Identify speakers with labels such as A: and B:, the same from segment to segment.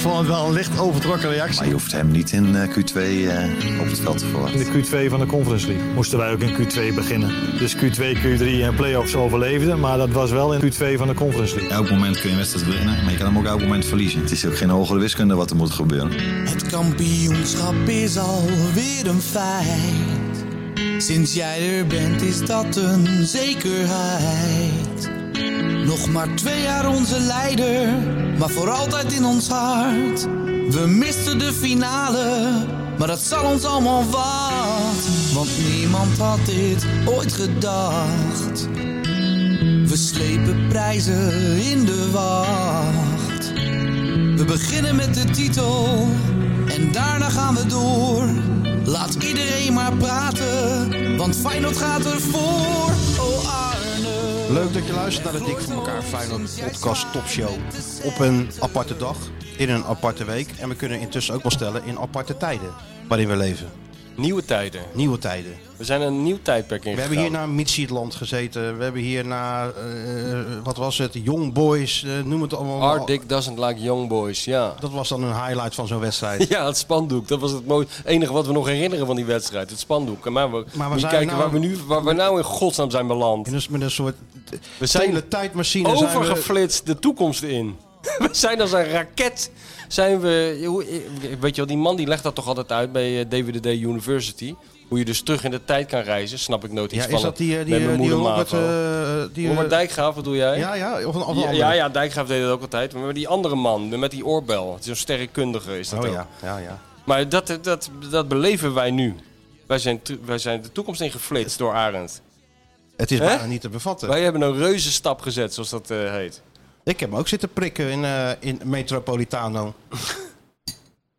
A: vond het wel een licht overtrokken reactie.
B: Maar je hoeft hem niet in eh, Q2 eh, op het veld te
A: In
B: verwachten.
A: de Q2 van de Conference League moesten wij ook in Q2 beginnen. Dus Q2, Q3 en playoffs overleefden, maar dat was wel in Q2 van de Conference League.
C: Elk moment kun je een wedstrijd winnen, maar je kan hem ook elk moment verliezen.
B: Het is ook geen hogere wiskunde wat er moet gebeuren.
D: Het kampioenschap is alweer een feit. Sinds jij er bent is dat een zekerheid. Nog maar twee jaar onze leider, maar voor altijd in ons hart. We misten de finale, maar dat zal ons allemaal wat. Want niemand had dit ooit gedacht. We slepen prijzen in de wacht. We beginnen met de titel en daarna gaan we door. Laat iedereen maar praten, want Feyenoord gaat ervoor. Oh Arne.
E: Leuk dat je luistert naar de Dik voor elkaar Feyenoord podcast topshow. Op een aparte dag, in een aparte week. En we kunnen intussen ook wel stellen in aparte tijden waarin we leven.
F: Nieuwe tijden.
E: Nieuwe tijden.
F: We zijn een nieuw tijdperk in.
E: We hebben hier naar Midsieland gezeten. We hebben hier naar, eh, wat was het, Young Boys, eh, noem het allemaal.
F: Art Dick doesn't like young boys, ja.
E: Dat was dan een highlight van zo'n wedstrijd.
F: Ja, het spandoek. Dat was het mooie- enige wat we nog herinneren van die wedstrijd. Het spandoek. Maar we
E: Maar we
F: moeten
E: zijn
F: kijken
E: nou-
F: waar, we nu, waar we nou in godsnaam zijn beland.
E: En dus met een soort
F: We zijn
E: hele tijdmachine zijn we...
F: overgeflitst de toekomst in. We zijn als een raket. Zijn we, hoe- weet je wel, die man die legt dat toch altijd uit bij eh, David D. University. Hoe je dus terug in de tijd kan reizen. Snap ik nooit iets
E: Ja,
F: van.
E: is dat die, eh, die,
F: met
E: eh,
F: mijn
E: die
F: moeder
E: Robert...
F: Mavo.
E: eh, die, eh,
F: Robert Dijkgraaf, wat doe jij?
E: Ja, ja, of een, of een
F: Ja,
E: andere.
F: ja, ja, Dijkgraaf deed dat ook altijd. Maar die andere man, met die oorbel. Zo'n sterrenkundige is dat
E: Oh
F: ook.
E: ja, ja, ja.
F: Maar dat, dat, dat beleven wij nu. Wij zijn, tu- wij zijn de toekomst ingeflitst door Arend.
E: Het is
F: Hè?
E: bijna niet te bevatten.
F: Wij hebben een reuze stap gezet, zoals dat eh, heet.
E: Ik heb hem ook zitten prikken in, eh, in Metropolitano.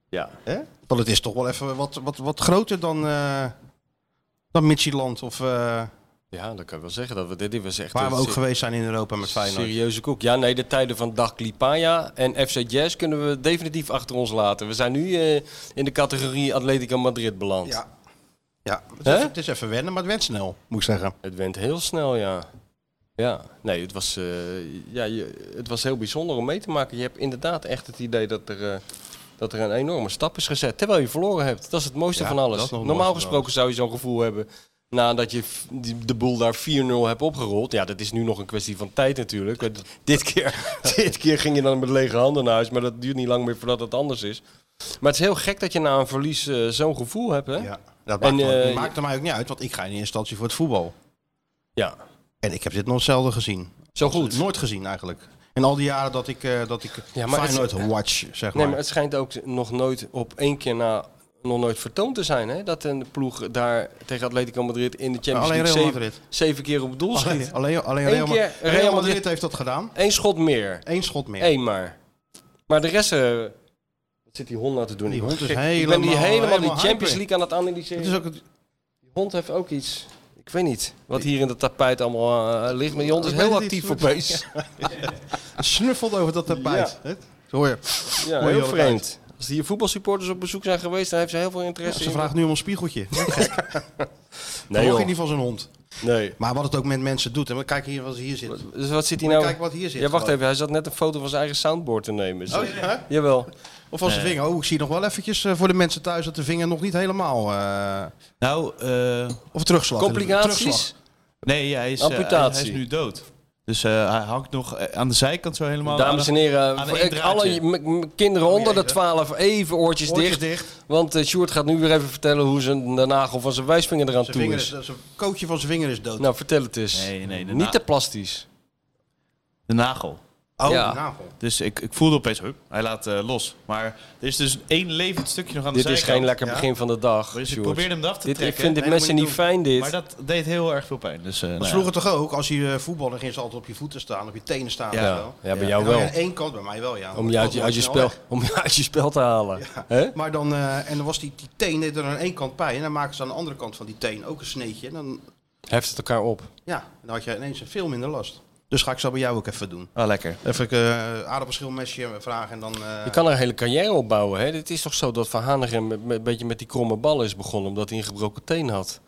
F: Ja.
E: Hè? Want het is toch wel even wat, wat, wat groter dan, eh dan Midtjylland. Of eh,
F: ja, dat kan ik wel zeggen. Dat we, dit, dit was echt
E: waar we
F: een
E: ook
F: se-
E: geweest zijn in Europa met Feyenoord.
F: serieuze koek. Ja, nee, de tijden van Dag Lipaya en FC Jazz kunnen we definitief achter ons laten. We zijn nu eh, in de categorie Atletico Madrid beland.
E: Ja. Ja, het
F: Hè?
E: is, het is even wennen, maar het went snel, moet ik zeggen.
F: Het went heel snel, ja. Ja, nee, het was, eh, ja, je, het was heel bijzonder om mee te maken. Je hebt inderdaad echt het idee dat er, eh, dat er een enorme stap is gezet. Terwijl je verloren hebt. Dat is het mooiste
E: Ja,
F: van
E: dat
F: alles.
E: is nog het
F: Normaal
E: mooiste van
F: gesproken zou je zo'n gevoel hebben nadat je f- die- de boel daar 4-0 hebt opgerold. Ja, dat is nu nog een kwestie van tijd natuurlijk. Want Dit keer, dit keer ging je dan met lege handen naar huis. Maar dat duurt niet lang meer voordat het anders is. Maar het is heel gek dat je na een verlies eh, zo'n gevoel hebt, hè?
E: Ja. Dat
F: En,
E: maakt,
F: eh,
E: het maakte mij ook niet uit, want ik ga in eerste instantie voor het voetbal.
F: ja.
E: En ik heb dit nog zelden gezien.
F: Zo Oh, goed.
E: Nooit gezien eigenlijk. In al die jaren dat ik, eh, dat ik
F: Ja, maar het-
E: Feyenoord watch, zeg maar.
F: Nee, maar het schijnt ook nog nooit op één keer na nog nooit vertoond te zijn, hè? Dat een ploeg daar tegen Atletico Madrid in de Champions
E: Alleen
F: League
E: Real
F: zeven,
E: Madrid.
F: zeven keer op doel schiet.
E: Alleen, alleen, alleen
F: Eén
E: Real,
F: keer
E: Madrid,
F: Real
E: Real
F: Madrid-
E: Madrid heeft dat gedaan.
F: Eén schot meer.
E: Eén schot meer.
F: Eén maar. Maar de rest... eh, wat zit die hond nou te doen?
E: Die
F: Ik
E: hond is
F: ben gek. Ik ben
E: helemaal-
F: die helemaal,
E: helemaal
F: die Champions
E: hyper.
F: League aan het analyseren.
E: Het is ook het,
F: Die hond heeft ook iets... Ik weet niet wat hier in dat tapijt allemaal eh, ligt. Maar die hond is
E: Ik weet
F: heel
E: het niet.
F: actief voor bezig.
E: het snuffelt over dat tapijt. hè? Zo hoor je.
F: Ja,
E: Hoor je
F: heel
E: wel
F: vreemd. Als hier voetbalsupporters op bezoek zijn geweest, dan heeft ze heel veel interesse
E: Ze
F: in.
E: vraagt nu om een spiegeltje. Nee,
F: Nee,
E: in
F: joh.
E: ieder geval zijn hond.
F: nee.
E: Maar wat het ook met mensen doet. En kijk hier wat hier zit.
F: Dus wat zit hier nou?
E: Kijk wat hier zit.
F: Ja, wacht
E: gewoon.
F: even. Hij zat net een foto van zijn eigen soundboard te nemen. Is dat-
E: Oh, ja?
F: Jawel.
E: Of als zijn vinger. Oh, ik zie nog wel eventjes eh, voor de mensen thuis dat de vinger nog niet helemaal... eh,
G: Nou, eh,
E: of terugslag. Terugslag.
F: Complicaties?
G: nee, hij is, eh, hij,
F: Amputatie.
G: hij is nu dood. Dus eh, hij hangt nog eh, aan de zijkant zo helemaal.
F: Dames en heren,
G: aan
F: voor
G: één
F: ik-
G: draadje.
F: alle m- m- kinderen onder de 12, even oortjes,
E: Oortjes
F: dicht. Want eh Sjoerd gaat nu weer even vertellen hoe zijn, de nagel van zijn wijsvinger eraan
E: Zijn,
F: toe
E: vinger
F: is.
E: is, zijn kootje van zijn vinger is dood.
F: Nou, vertel het eens.
G: Nee, nee, de na-
F: Niet te plastisch.
G: De nagel.
E: oh,
F: ja.
E: de navel.
G: Dus ik, ik voelde opeens, hup, hij laat eh, los. Maar er is dus één levend stukje nog aan de
F: Dit is
G: zijkant.
F: geen lekker
E: ja.
F: begin van de dag,
G: Dus ik
F: Sjoerd.
G: probeerde hem eraf te
F: Dit, ik
G: trekken.
F: vind dit
E: Nee,
F: mensen
E: dat moet
F: niet
E: je
F: fijn, dit.
G: Maar dat deed heel erg veel pijn. Dus, eh,
E: Maar
G: nou
E: vroeger toch ook, als je eh, voetballer ging ze altijd op je voeten staan, op je tenen staan.
G: Ja.
E: weet je wel.
F: ja, bij
G: Ja.
F: jou
E: En dan
F: wel.
E: aan één kant, bij mij wel, ja.
F: Om je, uit je,
E: Altijd
F: uit je
E: snel
F: spel,
E: weg.
F: om je uit je spel te halen. Hè?
E: Maar dan, eh, en dan was die, die teen deed er aan één kant pijn. En dan maakten ze aan de andere kant van die teen ook een sneetje. En dan,
F: Heft het elkaar op.
E: ja, dan had je ineens veel minder last. Dus ga ik zo bij jou ook even doen.
G: ja. Ah, lekker.
E: Even een eh, aardappelschilmesje vragen en dan... eh,
F: Je kan er een hele carrière op bouwen. Hè? Het is toch zo dat Van Hanegem met- met- een beetje met die kromme bal is begonnen. Omdat hij een gebroken teen had.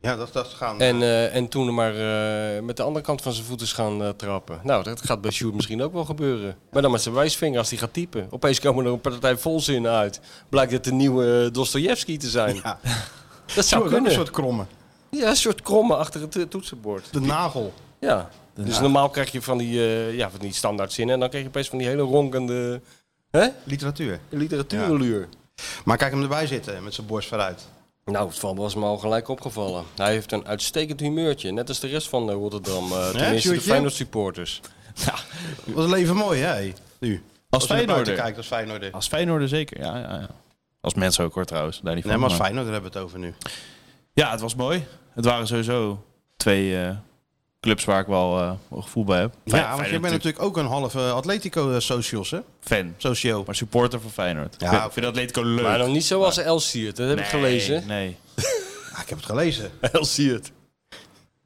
E: Ja, dat, dat gaan. Oh,
F: En, eh, en toen maar eh, met de andere kant van zijn voeten is gaan eh, trappen. Nou, dat gaat bij Sjoerd misschien ook wel gebeuren. Maar dan met zijn wijsvinger als hij gaat typen. Opeens komen er een partij volzinnen uit. Blijkt het de nieuwe eh, Dostojevski te zijn.
E: ja,
F: Dat zou
E: ook een
F: kunnen.
E: soort kromme.
F: Ja, een soort kromme achter het eh, toetsenbord.
E: De nagel.
F: Ja. Dus normaal krijg je van die, eh, ja, van die standaard zinnen. En dan krijg je opeens van die hele ronkende
E: Literatuur.
F: literatuurluur.
E: Maar kijk hem erbij zitten met zijn borst vooruit.
F: Nou, het val was me al gelijk opgevallen. Hij heeft een uitstekend humeurtje. Net als de rest van eh, Rotterdam. eh tenminste, de
E: Sjoerdje?
F: Feyenoord supporters.
E: Wat een leven mooi, hè? hé? Nu.
G: Als
E: Als je naar buiten
G: Feyenoorder.
E: kijkt, als
F: Ah,
E: Feyenoorder.
G: Als Feyenoorder zeker, ja. ja, ja. Als mensen ook hoor trouwens. Daar niet van,
E: Nee, maar als
G: maar-
E: Feyenoorder hebben we het over nu.
G: Ja, het was mooi. Het waren sowieso twee eh, clubs waar ik wel eh, wel gevoel bij heb. Fey-
E: ja, want jij
G: Feyenoord
E: bent natuurlijk ook een halve Atletico-socios, hè?
G: fan.
E: Socio.
G: Maar supporter van Feyenoord.
E: Ja,
G: ik vind,
E: oké.
G: vind Atletico leuk.
F: Maar nog niet zoals Elsiert. Dat heb ik gelezen.
G: Nee.
E: Ah, ik heb het gelezen.
F: Elsiert.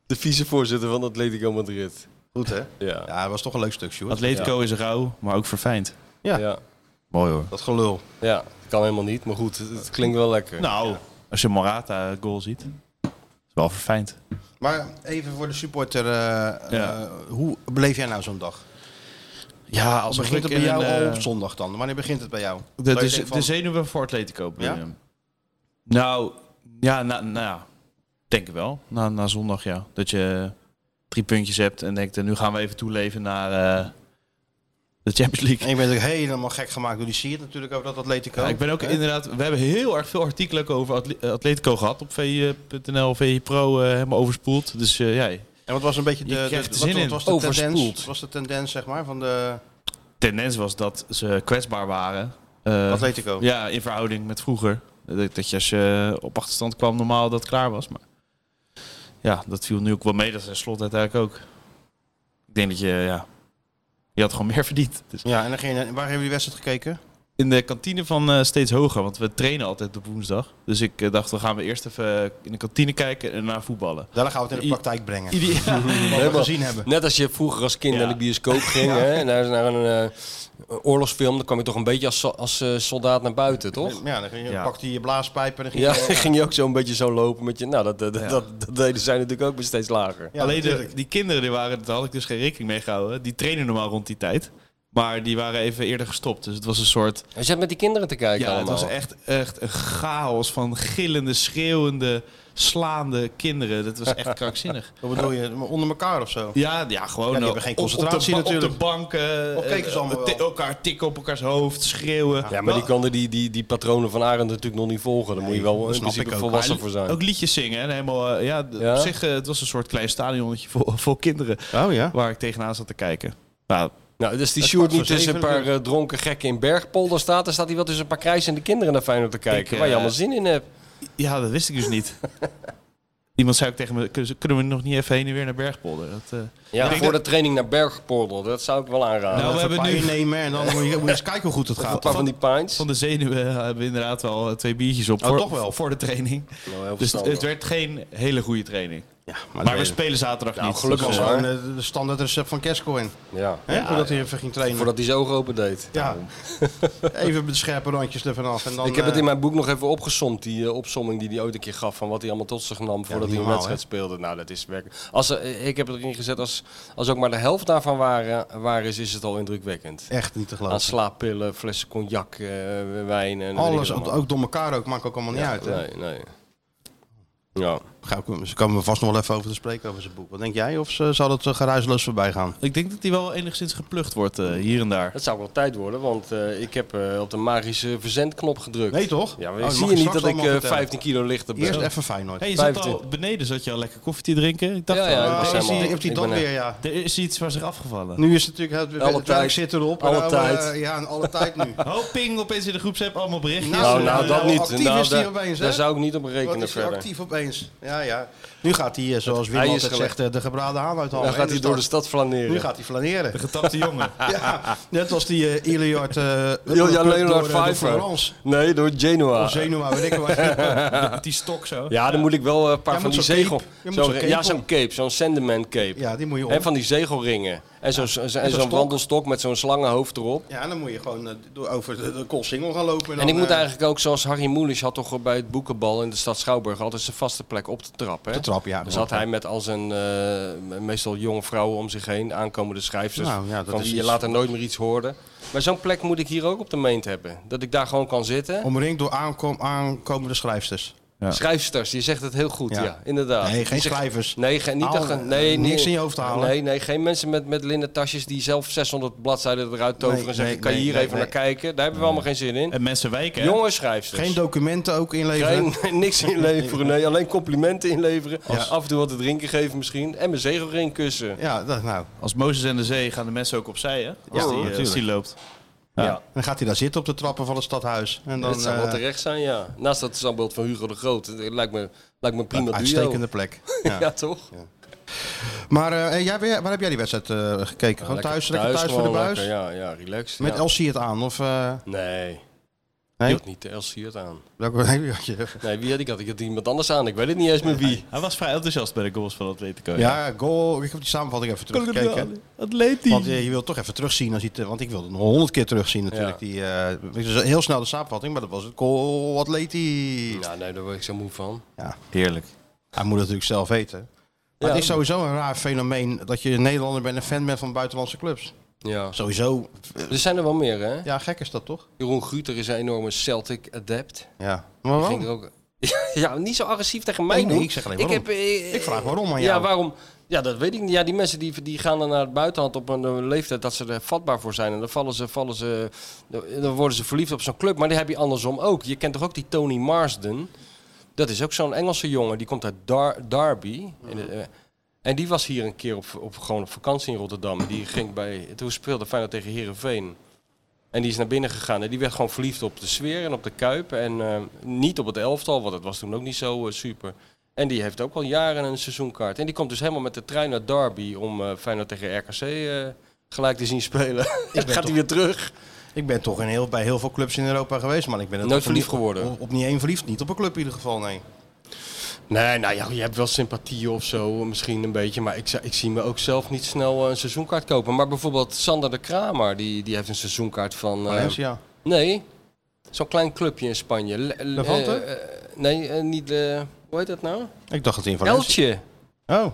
F: De vicevoorzitter van Atletico Madrid.
E: Goed, hè?
F: Ja.
E: Ja, het was toch een leuk stuk, Sjoerd.
G: Atletico is rauw, maar ook verfijnd.
E: Ja.
F: Ja.
G: Mooi hoor.
E: Dat gelul.
F: Ja, dat kan helemaal niet. Maar goed, het, het klinkt wel lekker.
G: Nou, als je Morata eh, goal ziet, is wel verfijnd.
E: Maar even voor de supporter, eh,
G: Ja.
E: eh, hoe beleef jij nou zo'n dag?
G: Ja, als
E: Begint het bij jou al
G: eh,
E: op zondag dan? Wanneer begint het bij jou?
G: De,
E: Dat je
G: de,
E: denkt
G: de
E: van-
G: zenuwen voor Atletico. bedoel
E: Ja?
G: je? Nou, ja, na, nou ja, denk ik wel. Na, na zondag, ja. Dat je drie puntjes hebt en denkt, eh, nu gaan we even toeleven naar eh, de Champions League.
E: En ik ben natuurlijk helemaal gek gemaakt door die Siert natuurlijk over dat Atletico.
G: Ja, ik ben ook
E: Hè?
G: inderdaad, we hebben heel erg veel artikelen ook over Atle- eh, Atletico gehad op VI.nl, VI Pro, eh, helemaal overspoeld. Dus eh, ja,
E: En wat was een beetje
G: Je
E: de, de,
G: krijgt er
E: wat,
G: zin
E: wat
G: in.
E: was de
F: Overspoeld.
E: tendens? Was de tendens zeg maar van de
G: tendens was dat ze kwetsbaar waren. Eh,
E: Atletico?
G: Ja, in verhouding met vroeger. Dat, dat je als je op achterstand kwam normaal dat het klaar was. Maar ja, dat viel nu ook wel mee. Dat is in slot uiteindelijk ook. Ik denk dat je, ja, je had gewoon meer verdiend. Dus
E: Ja, en dan ging, je- waar hebben jullie wedstrijd gekeken?
G: in de kantine van eh, Steeds Hoger, want we trainen altijd op woensdag. Dus ik eh, dacht, dan gaan we eerst even in de kantine kijken en daarna voetballen.
E: Daar gaan we het in de
G: I-
E: praktijk brengen.
G: Ideaal.
E: Wat we gezien hebben.
F: Net als je vroeger als kind
G: Ja.
F: naar de bioscoop ging hè, naar, naar een eh, oorlogsfilm, dan kwam je toch een beetje als, so- als eh, soldaat naar buiten, toch?
E: Ja, dan ging je,
G: Ja.
E: pakte je je blaaspijp en dan ging
F: Ja,
E: je...
F: ging je ook zo een beetje zo lopen met je. Nou, dat, dat,
G: Ja.
F: dat, dat deden zij natuurlijk ook maar steeds lager.
E: Ja,
G: Alleen de,
E: natuurlijk.
G: die kinderen, die waren, daar had ik dus geen rekening mee gehouden. Die trainen normaal rond die tijd. Maar die waren even eerder gestopt. Dus het was een soort
F: Je zat met die kinderen te kijken
G: Ja, het
F: allemaal.
G: was echt, echt een chaos van gillende, schreeuwende, slaande kinderen. Dat was echt krankzinnig.
E: Wat bedoel je? Onder elkaar of zo?
G: Ja, ja gewoon.
E: die
G: eh,
E: hebben geen
G: op- op de
E: concentratie
G: ba-
E: natuurlijk.
G: Op de banken.
E: Of keken ze
G: eh,
E: allemaal
G: ti-
E: wel?
G: elkaar tikken op elkaars hoofd, schreeuwen.
F: Ja, maar die konden die, die, die patronen van Arend natuurlijk nog niet volgen. Daar moet je wel
E: snap
F: in
E: ik
F: principe
E: ook.
F: volwassen
G: Maar
F: voor zijn.
G: Ook liedjes zingen. En helemaal, eh, ja, d-
F: Ja?
G: op zich, eh, het was een soort klein stadionnetje vol, vol kinderen.
E: Oh ja.
G: Waar ik tegenaan zat te kijken. Nou,
F: Nou, dus die
E: Dat
F: Sjoerd
E: kwart
F: niet
E: voor
F: tussen een
E: zeven
F: paar eh, dronken gekken in Bergpolder staat. Dan staat hij wel tussen een paar krijzende kinderen naar Feyenoord te kijken.
G: eh,
F: waar je allemaal zin in hebt.
G: ja, dat wist ik dus niet. Iemand zei ook tegen me, "Kunnen- kunnen we nog niet even heen en weer naar Bergpolder? Dat, eh,
F: Ja,
G: denk
F: voor de training naar Bergpolder. Dat zou ik wel aanraden.
G: Nou,
E: we hebben nu... nemen en dan moet je, moet je eens kijken hoe goed het
F: een
E: gaat.
F: paar van die pints.
G: Van de zenuwen hebben we inderdaad wel eh, twee biertjes op.
E: Oh, toch wel?
G: Voor de training.
F: Nou, heel
G: Dus het,
F: verstandig.
G: het werd geen hele goede training.
E: Ja,
G: Maar
E: dat
G: we
E: weet ik.
G: spelen zaterdag
F: Nou,
G: niet.
F: gelukkig
G: Dus,
E: Dat
G: eh,
E: was
F: wel.
E: gewoon eh, de standaard recept van Cascoin.
F: Ja,
E: Hè? Voordat hij even ging trainen.
F: voordat hij zijn ogen open deed.
E: Ja. Even de scherpe randjes ervan af. En dan,
F: Ik heb het
E: eh,
F: in mijn boek nog even opgesomd, die eh, opsomming die hij ooit een keer gaf van wat hij allemaal tot zich nam voordat hij een
E: normaal,
F: wedstrijd speelde. Nou, dat is werkelijk. Als, eh, ik heb het erin gezet, als, als ook maar de helft daarvan waar, waar is, is het al indrukwekkend.
E: eh, Echt niet te
F: Aan
E: geloven.
F: slaappillen, flessen cognac, eh, wijn en weet ik
E: Alles,
F: het allemaal.
E: ook door elkaar ook, maakt ook allemaal niet
F: Ja,
E: uit. Hè?
F: Nee, nee. Ja.
E: Ga ik, ze komen we vast nog wel even over te spreken over zijn boek. Wat denk jij? Of ze, zal het eh, geruisloos voorbij gaan?
G: Ik denk dat hij wel enigszins geplucht wordt eh, hier en daar.
F: Dat zou wel tijd worden, want eh, ik heb eh, op de magische verzendknop gedrukt.
E: Nee, toch?
F: Ja, maar
E: Oh, dat
F: zie
E: mag
F: je
E: je
F: niet
E: straks
F: dat ik
E: allemaal
F: eh,
E: vertellen.
F: 15 kilo lichter ben?
E: Eerst even Feyenoord.
G: Hey, je zat al
F: 25.
G: beneden zat je al lekker koffie te drinken. Ik dacht,
F: Ja, ja,
G: al,
E: Ah,
F: ik was
E: is
F: helemaal-
E: die- heeft hij
F: ik
E: dat
F: ben, eh,
E: weer, ja.
G: er is iets waar zich afgevallen.
E: Nu is het natuurlijk... Het,
F: Alle
E: het
F: tijd.
E: werk zit erop.
F: Alle
E: Nou, eh,
F: tijd.
E: ja, en alle tijd nu.
G: Oh, ping, opeens in de groepsapp allemaal berichtjes. Eh,
F: Nou,
E: Ja,
F: nou,
E: ja,
F: dat
E: ja,
F: niet.
E: actief
F: Nou,
E: is die
F: daar-
E: opeens, hè?
F: daar zou ik niet op rekenen
E: Wat is hij
F: verder.
E: actief opeens? Ja, ja. Nu gaat hij, eh, zoals Wim
F: Hij is
E: altijd
F: gelijk.
E: zegt, eh, de gebraden haan uit handen. dus
F: Dan gaat hij door de stad flaneren.
E: Nu gaat hij flaneren.
G: De getapte jongen.
E: Ja, net als die eh Iliard... eh,
F: Ilja
E: door, eh,
F: Leonard
E: door
F: Pfeiffer.
E: Florence.
F: Nee, door Genoa.
E: Of Genua, weet ik waar.
G: Met die stok zo.
F: Ja, dan moet ik wel eh, een paar
E: Jij
F: van die
E: moet zo'n
F: zegel.
E: cape. Je moet
F: Zo'n-
E: zo'n cape
F: ja, zo'n
E: om.
F: cape, zo'n Sandman cape.
E: Ja, die moet je om.
F: En van die zegelringen. En En zo'n zo, en
E: zo'n
F: zo'n
E: stok.
F: wandelstok met zo'n slangenhoofd erop.
E: Ja, dan moet je gewoon eh, door over de, de koolsingel gaan lopen.
F: En
E: dan,
F: ik moet
E: eh,
F: eigenlijk ook, zoals Harry Moelis had toch bij het boekenbal in de stad Schouwburg altijd zijn vaste plek op de trap. Hè?
E: De trap, ja.
F: Dan zat hij met al zijn eh, meestal jonge vrouwen om zich heen, aankomende schrijfsters.
E: Nou, ja, dat
F: van
E: is
F: wie je
E: iets-
F: later nooit meer iets hoorde. Maar zo'n plek moet ik hier ook op de meent hebben. Dat ik daar gewoon kan zitten.
E: Omringd door aankom, aankomende schrijfsters.
F: Dus- Schrijfsters, je zegt het heel goed, ja,
E: Ja.
F: inderdaad.
E: Nee, geen
F: Je zegt-
E: schrijvers.
F: Nee, ge- niet
E: Haal,
F: dat ge-
E: eh,
F: nee,
E: niks
F: nee.
E: in je hoofd halen.
F: Nee, nee, geen mensen met, met linnen tasjes die zelf 600 bladzijden eruit toveren
E: Nee,
F: en zeggen:
E: nee,
F: kan je
E: nee,
F: hier
E: nee,
F: even
E: nee.
F: naar kijken? Daar hebben we allemaal geen zin in.
G: En mensen wijken. hè?
F: Jonge schrijfsters.
E: Geen documenten ook inleveren.
F: Geen, niks inleveren, nee. Alleen complimenten inleveren. Af en toe wat te drinken geven misschien. En mijn zegelring kussen.
E: Ja, dat, nou.
G: Als Mozes en de zee gaan de mensen ook opzij, hè? Als, die, eh, als die loopt.
F: Ja.
E: Dan gaat hij daar zitten op de trappen van het stadhuis. En dan,
F: dat zou wel
E: eh,
F: terecht zijn, ja. Naast dat standbeeld van Hugo de Groot. Het lijkt me, lijkt me een prima
E: uitstekende
F: duo.
E: plek.
F: Ja,
E: Ja.
F: toch?
E: Maar eh, hey, jij, waar heb jij die wedstrijd eh, gekeken? Gewoon
F: Lekker
E: thuis, lekker thuis voor de
F: gewoon
E: buis?
F: lekker, ja, ja, relaxed.
E: Met
F: ja.
E: LC het aan? Of, eh,
F: Nee.
E: Nee?
F: Ik had niet de LC het aan.
E: welke-
F: Nee, wie had ik? Had ik had iemand anders aan. Ik weet het niet eens meer wie.
G: Hij was vrij enthousiast bij de goals van Atletico.
E: ja, goal. Ik heb die samenvatting even teruggekeken.
G: Atletico.
E: Want eh, je wilt toch even terugzien. Als je het, eh, want ik wilde nog honderd keer terugzien natuurlijk.
F: Ja.
E: Die, eh, het is heel snel de samenvatting, maar dat was het goal Atleti.
F: Nou, nee, daar word ik zo moe van.
G: Heerlijk.
E: Hij moet het natuurlijk zelf weten. Maar het is sowieso een raar fenomeen dat je een Nederlander bent en fan bent van buitenlandse clubs.
F: Ja.
E: Sowieso,
F: Er zijn er wel meer, hè?
E: ja gek is dat toch?
F: Jeroen Guter is een enorme Celtic adept.
E: Ja. Maar
F: Ging
E: waarom?
F: er ook... ja, niet zo agressief tegen mij
E: Oh. Nee, nee,
F: doen.
E: ik zeg alleen waarom.
F: eh,
E: Ik vraag waarom aan
F: Ja,
E: jou.
F: waarom? Ja, dat weet ik niet. Ja, die mensen die, die gaan dan naar het buitenland op een eh, leeftijd dat ze er vatbaar voor zijn. En dan vallen ze, vallen ze, eh, dan worden ze verliefd op zo'n club. Maar die heb je andersom ook. Je kent toch ook die Tony Marsden? Dat is ook zo'n Engelse jongen. Die komt uit Dar Derby. In de- eh, en die was hier een keer op, op, gewoon op vakantie in Rotterdam. Die ging bij, toen speelde Feyenoord tegen Herenveen. En die is naar binnen gegaan en die werd gewoon verliefd op de sfeer en op de kuip. En eh, niet op het elftal, want dat was toen ook niet zo eh, super. En die heeft ook al jaren een seizoenkaart. En die komt dus helemaal met de trein naar Derby om eh Feyenoord tegen RKC eh, gelijk te zien spelen. Dan gaat hij
E: toch-
F: weer terug.
E: Ik ben toch in heel, bij heel veel clubs in Europa geweest, maar ik ben er
F: Nooit
E: toch
F: verliefd
E: niet-
F: geworden.
E: Op, op niet één verliefd, niet op een club in ieder geval, nee.
F: Nee, nou ja, je hebt wel sympathie of zo, misschien een beetje. Maar ik, zou- ik zie me ook zelf niet snel eh, een seizoenkaart kopen. Maar bijvoorbeeld Sander de Kramer, die, die heeft een seizoenkaart van... eh,
E: Valencia.
F: Nee, zo'n klein clubje in Spanje. Le- le-
E: Levante?
F: eh, eh, nee, eh, niet... eh, hoe heet dat nou?
E: Ik dacht dat hij in Valencia...
F: Eltje.
E: Oh.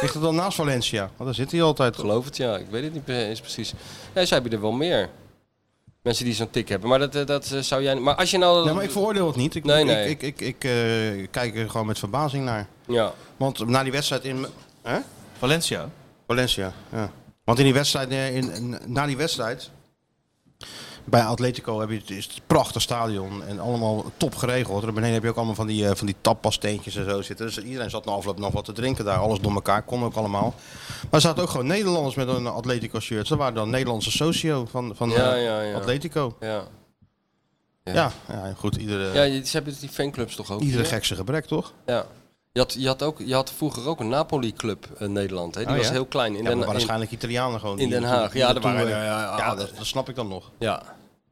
E: Ligt het dan naast Valencia? Want daar zit hij altijd.
F: Ik geloof het, ja. Ik weet het niet pre- eens precies. Ja, ze hebben er wel meer. Mensen die zo'n tik hebben. Maar dat, eh, dat eh, zou jij... Maar als je nou...
E: Nee, maar ik veroordeel het niet. Ik,
F: Nee,
E: ik-
F: nee.
E: Ik, ik, ik, eh, kijk er gewoon met verbazing naar.
F: Ja.
E: Want na die wedstrijd in... Hè?
G: Valencia.
E: Valencia, ja. Want in die wedstrijd, eh, in, in- na die wedstrijd... Bij Atletico heb je het, is het een prachtig stadion en allemaal top geregeld. Er beneden heb je ook allemaal van die, eh, van die tappasteentjes en zo zitten. Dus iedereen zat na afloop nog wat te drinken daar. Alles door elkaar, kon ook allemaal. Maar er zaten ook gewoon Nederlanders met een Atletico shirt. Dat waren dan Nederlandse socio van, van
F: Ja,
E: eh,
F: ja, ja.
E: Atletico.
F: Ja. Ja.
E: Ja, ja, goed. Iedere,
F: Ja, je- ze hebben die fanclubs toch ook?
E: iedere
F: hier?
E: gekse gebrek, toch?
F: Ja. Je had, je, had ook, je had vroeger ook een Napoli-club in Nederland. Hè? Die
E: Oh,
F: was
E: ja?
F: heel klein. In
E: ja, maar
F: Den, in,
E: waarschijnlijk Italianen gewoon.
F: in
E: die
F: Den
E: naartoe-
F: Haag.
E: die
F: Ja, daar waren...
E: naartoe,
F: Ja,
E: eh,
F: ja,
E: ja,
F: ja,
E: dat, dat snap ik dan nog.
F: ja.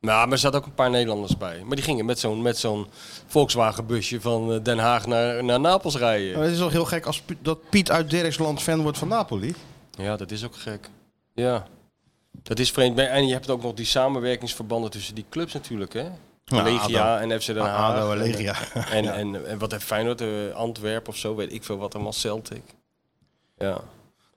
F: Nou, maar er zaten ook een paar Nederlanders bij. Maar die gingen met zo'n met zo'n Volkswagen-busje van eh, Den Haag naar, naar Napels rijden.
E: Maar het is toch heel gek als Piet- dat Piet uit Dirksland fan wordt van Napoli?
F: Ja, dat is ook gek. Ja. Dat is vreemd. En je hebt ook nog die samenwerkingsverbanden tussen die clubs natuurlijk, hè? Legia en FC Den Haag.
E: ADO en Legia.
F: En, en, en wat heeft Feyenoord? eh, Antwerpen of zo, weet ik veel wat. Allemaal Celtic. Ja.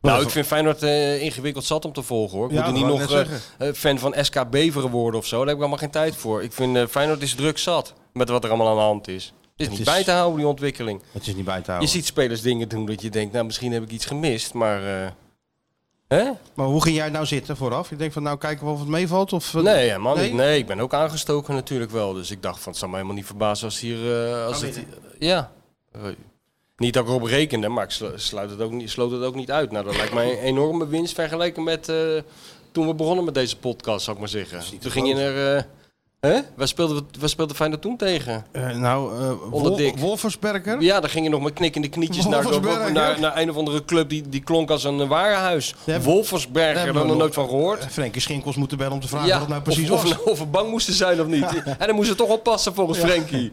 F: Nou, ik vind Feyenoord eh, ingewikkeld zat om te volgen, hoor. Ik
E: Ja,
F: moet er niet
E: wou
F: nog
E: net
F: eh, eh, fan van SK Beveren worden of zo. Daar heb ik allemaal geen tijd voor. Ik vind eh, Feyenoord is druk zat met wat er allemaal aan de hand is. Het is niet
E: is-
F: bij te houden, die ontwikkeling.
E: Het is niet bij te
F: Je
E: houden.
F: ziet spelers dingen doen dat je denkt, nou, misschien heb ik iets gemist, maar... eh, hè?
E: Maar hoe ging jij nou zitten vooraf? Je denkt van nou kijken we of het meevalt? Of, eh,
F: Nee, helemaal
E: nee?
F: niet. Nee, ik ben ook aangestoken natuurlijk wel. Dus ik dacht van, het zou me helemaal niet verbazen als hier... eh, als het, ja. Eh, niet dat ik erop rekende, maar ik slu- sluit het ook niet, sloot het ook niet uit. Nou, dat lijkt mij een enorme winst vergeleken met eh, toen we begonnen met deze podcast, zou ik maar zeggen. Toen ging je er... eh, hè? Waar speelde, we- waar speelde Feyenoord toen tegen?
E: Eh, nou, eh Wol-
F: dik.
E: Wolfersberger?
F: Ja, daar ging je nog met knikkende knietjes naar, naar,
E: Wolfersberg,
F: naar,
E: hè?
F: een of andere club die, die klonk als een warenhuis.
E: Daar hebben-
F: Wolfersberg, daar
E: hebben
F: hebben
E: we
F: we nog nooit
E: nog-
F: van gehoord.
E: Eh, Frenkie Schinkels moeten bellen om te vragen
F: Ja,
E: wat het nou precies
F: of,
E: was.
F: Of, of we bang moesten zijn of niet. En dan moesten we toch oppassen volgens Frenkie.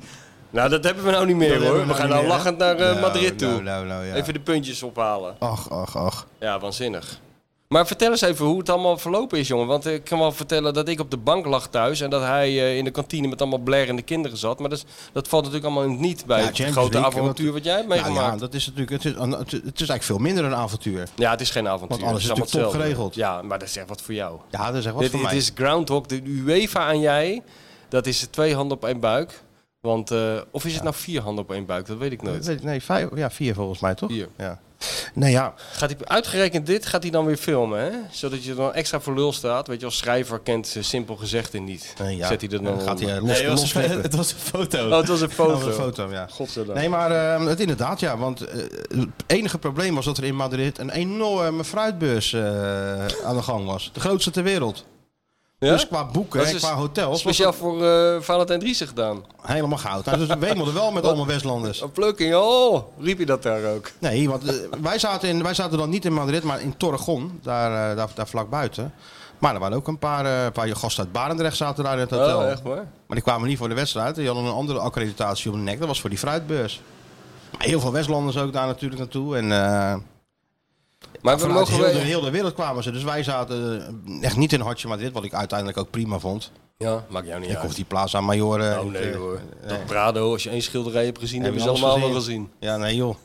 F: Nou, dat hebben we nou niet meer
E: Dat
F: hoor.
E: hebben
F: We,
E: we nou
F: gaan
E: niet
F: nou
E: meer, hè?
F: lachend naar
E: Nou,
F: eh, Madrid toe.
E: nou, nou, nou, ja.
F: Even de puntjes ophalen.
E: Ach, ach, ach.
F: Ja, waanzinnig. Maar vertel eens even hoe het allemaal verlopen is, jongen. Want ik kan wel vertellen dat ik op de bank lag thuis en dat hij eh, in de kantine met allemaal blerende kinderen zat. Maar dat, is- dat valt natuurlijk allemaal niet bij
E: Ja,
F: het
E: Champions
F: grote
E: League,
F: avontuur wat jij hebt
E: Nou ja,
F: meegemaakt.
E: dat is natuurlijk, het is, een- het is eigenlijk veel minder een avontuur.
F: Ja, het is geen avontuur.
E: Want alles
F: Het
E: is natuurlijk
F: allemaal
E: top
F: hetzelfde.
E: geregeld.
F: Ja, maar dat is echt wat voor jou.
E: Ja, dat is echt wat
F: Dit,
E: voor
F: dit
E: mij.
F: is Groundhog, de UEFA en jij. Dat is twee handen op één buik. Want, eh, of is het nou vier handen op één buik? Dat weet ik
E: Dat
F: nooit.
E: weet ik- nee, vijf, ja, vier volgens mij toch?
F: Vier.
E: Ja. Nee, ja.
F: Gaat hij, uitgerekend dit gaat hij dan weer filmen, hè? Zodat je er dan extra voor lul staat. Weet je, als schrijver kent ze simpel gezegd en niet.
E: Nee, ja.
F: Zet hij er dan
E: Dan gaat
F: onder.
E: hij eh, los, los knippen.
G: het was een foto.
F: Oh, het was een
E: Ja,
F: foto.
E: een foto, ja.
F: Godzijdank.
E: Nee, maar eh, het inderdaad, ja. Want eh, het enige probleem was dat er in Madrid een enorme fruitbeurs eh, aan de gang was. De grootste ter wereld.
F: Ja?
E: Dus qua boeken
F: Dat
E: en
F: is
E: qua hotels was
F: Speciaal voor eh Valentijn Driessen gedaan.
E: het helemaal goud. Nou, dus we wemelde wel
F: Oh.
E: met allemaal Westlanders.
F: Een plukking, oh! Riep je dat daar ook?
E: Nee, want eh, wij, zaten in, wij zaten dan niet in Madrid, maar in Torregon. Daar, eh, daar, daar vlak buiten. Maar er waren ook een paar, eh, een paar gasten uit Barendrecht zaten daar in het hotel.
F: Oh, echt waar?
E: Maar die kwamen niet voor de wedstrijd. Die hadden een andere accreditatie op de nek. Dat was voor die fruitbeurs. Maar heel veel Westlanders ook daar natuurlijk naartoe. En eh,
F: Maar we
E: vanuit
F: mogen...
E: heel, de,
F: Wel...
E: heel de wereld kwamen ze. Dus wij zaten eh, echt niet in Hartje Madrid. Wat ik uiteindelijk ook prima vond.
F: Ja, maakt jou niet
E: Ik
F: uit.
E: kocht die Plaza Major. eh,
F: Oh nee
E: eh,
F: hoor. Dat Prado, als je één schilderij hebt gezien,
E: Heb
F: hebben ze
E: je alles
F: allemaal wel
E: gezien?
F: gezien.
E: Ja, nee joh.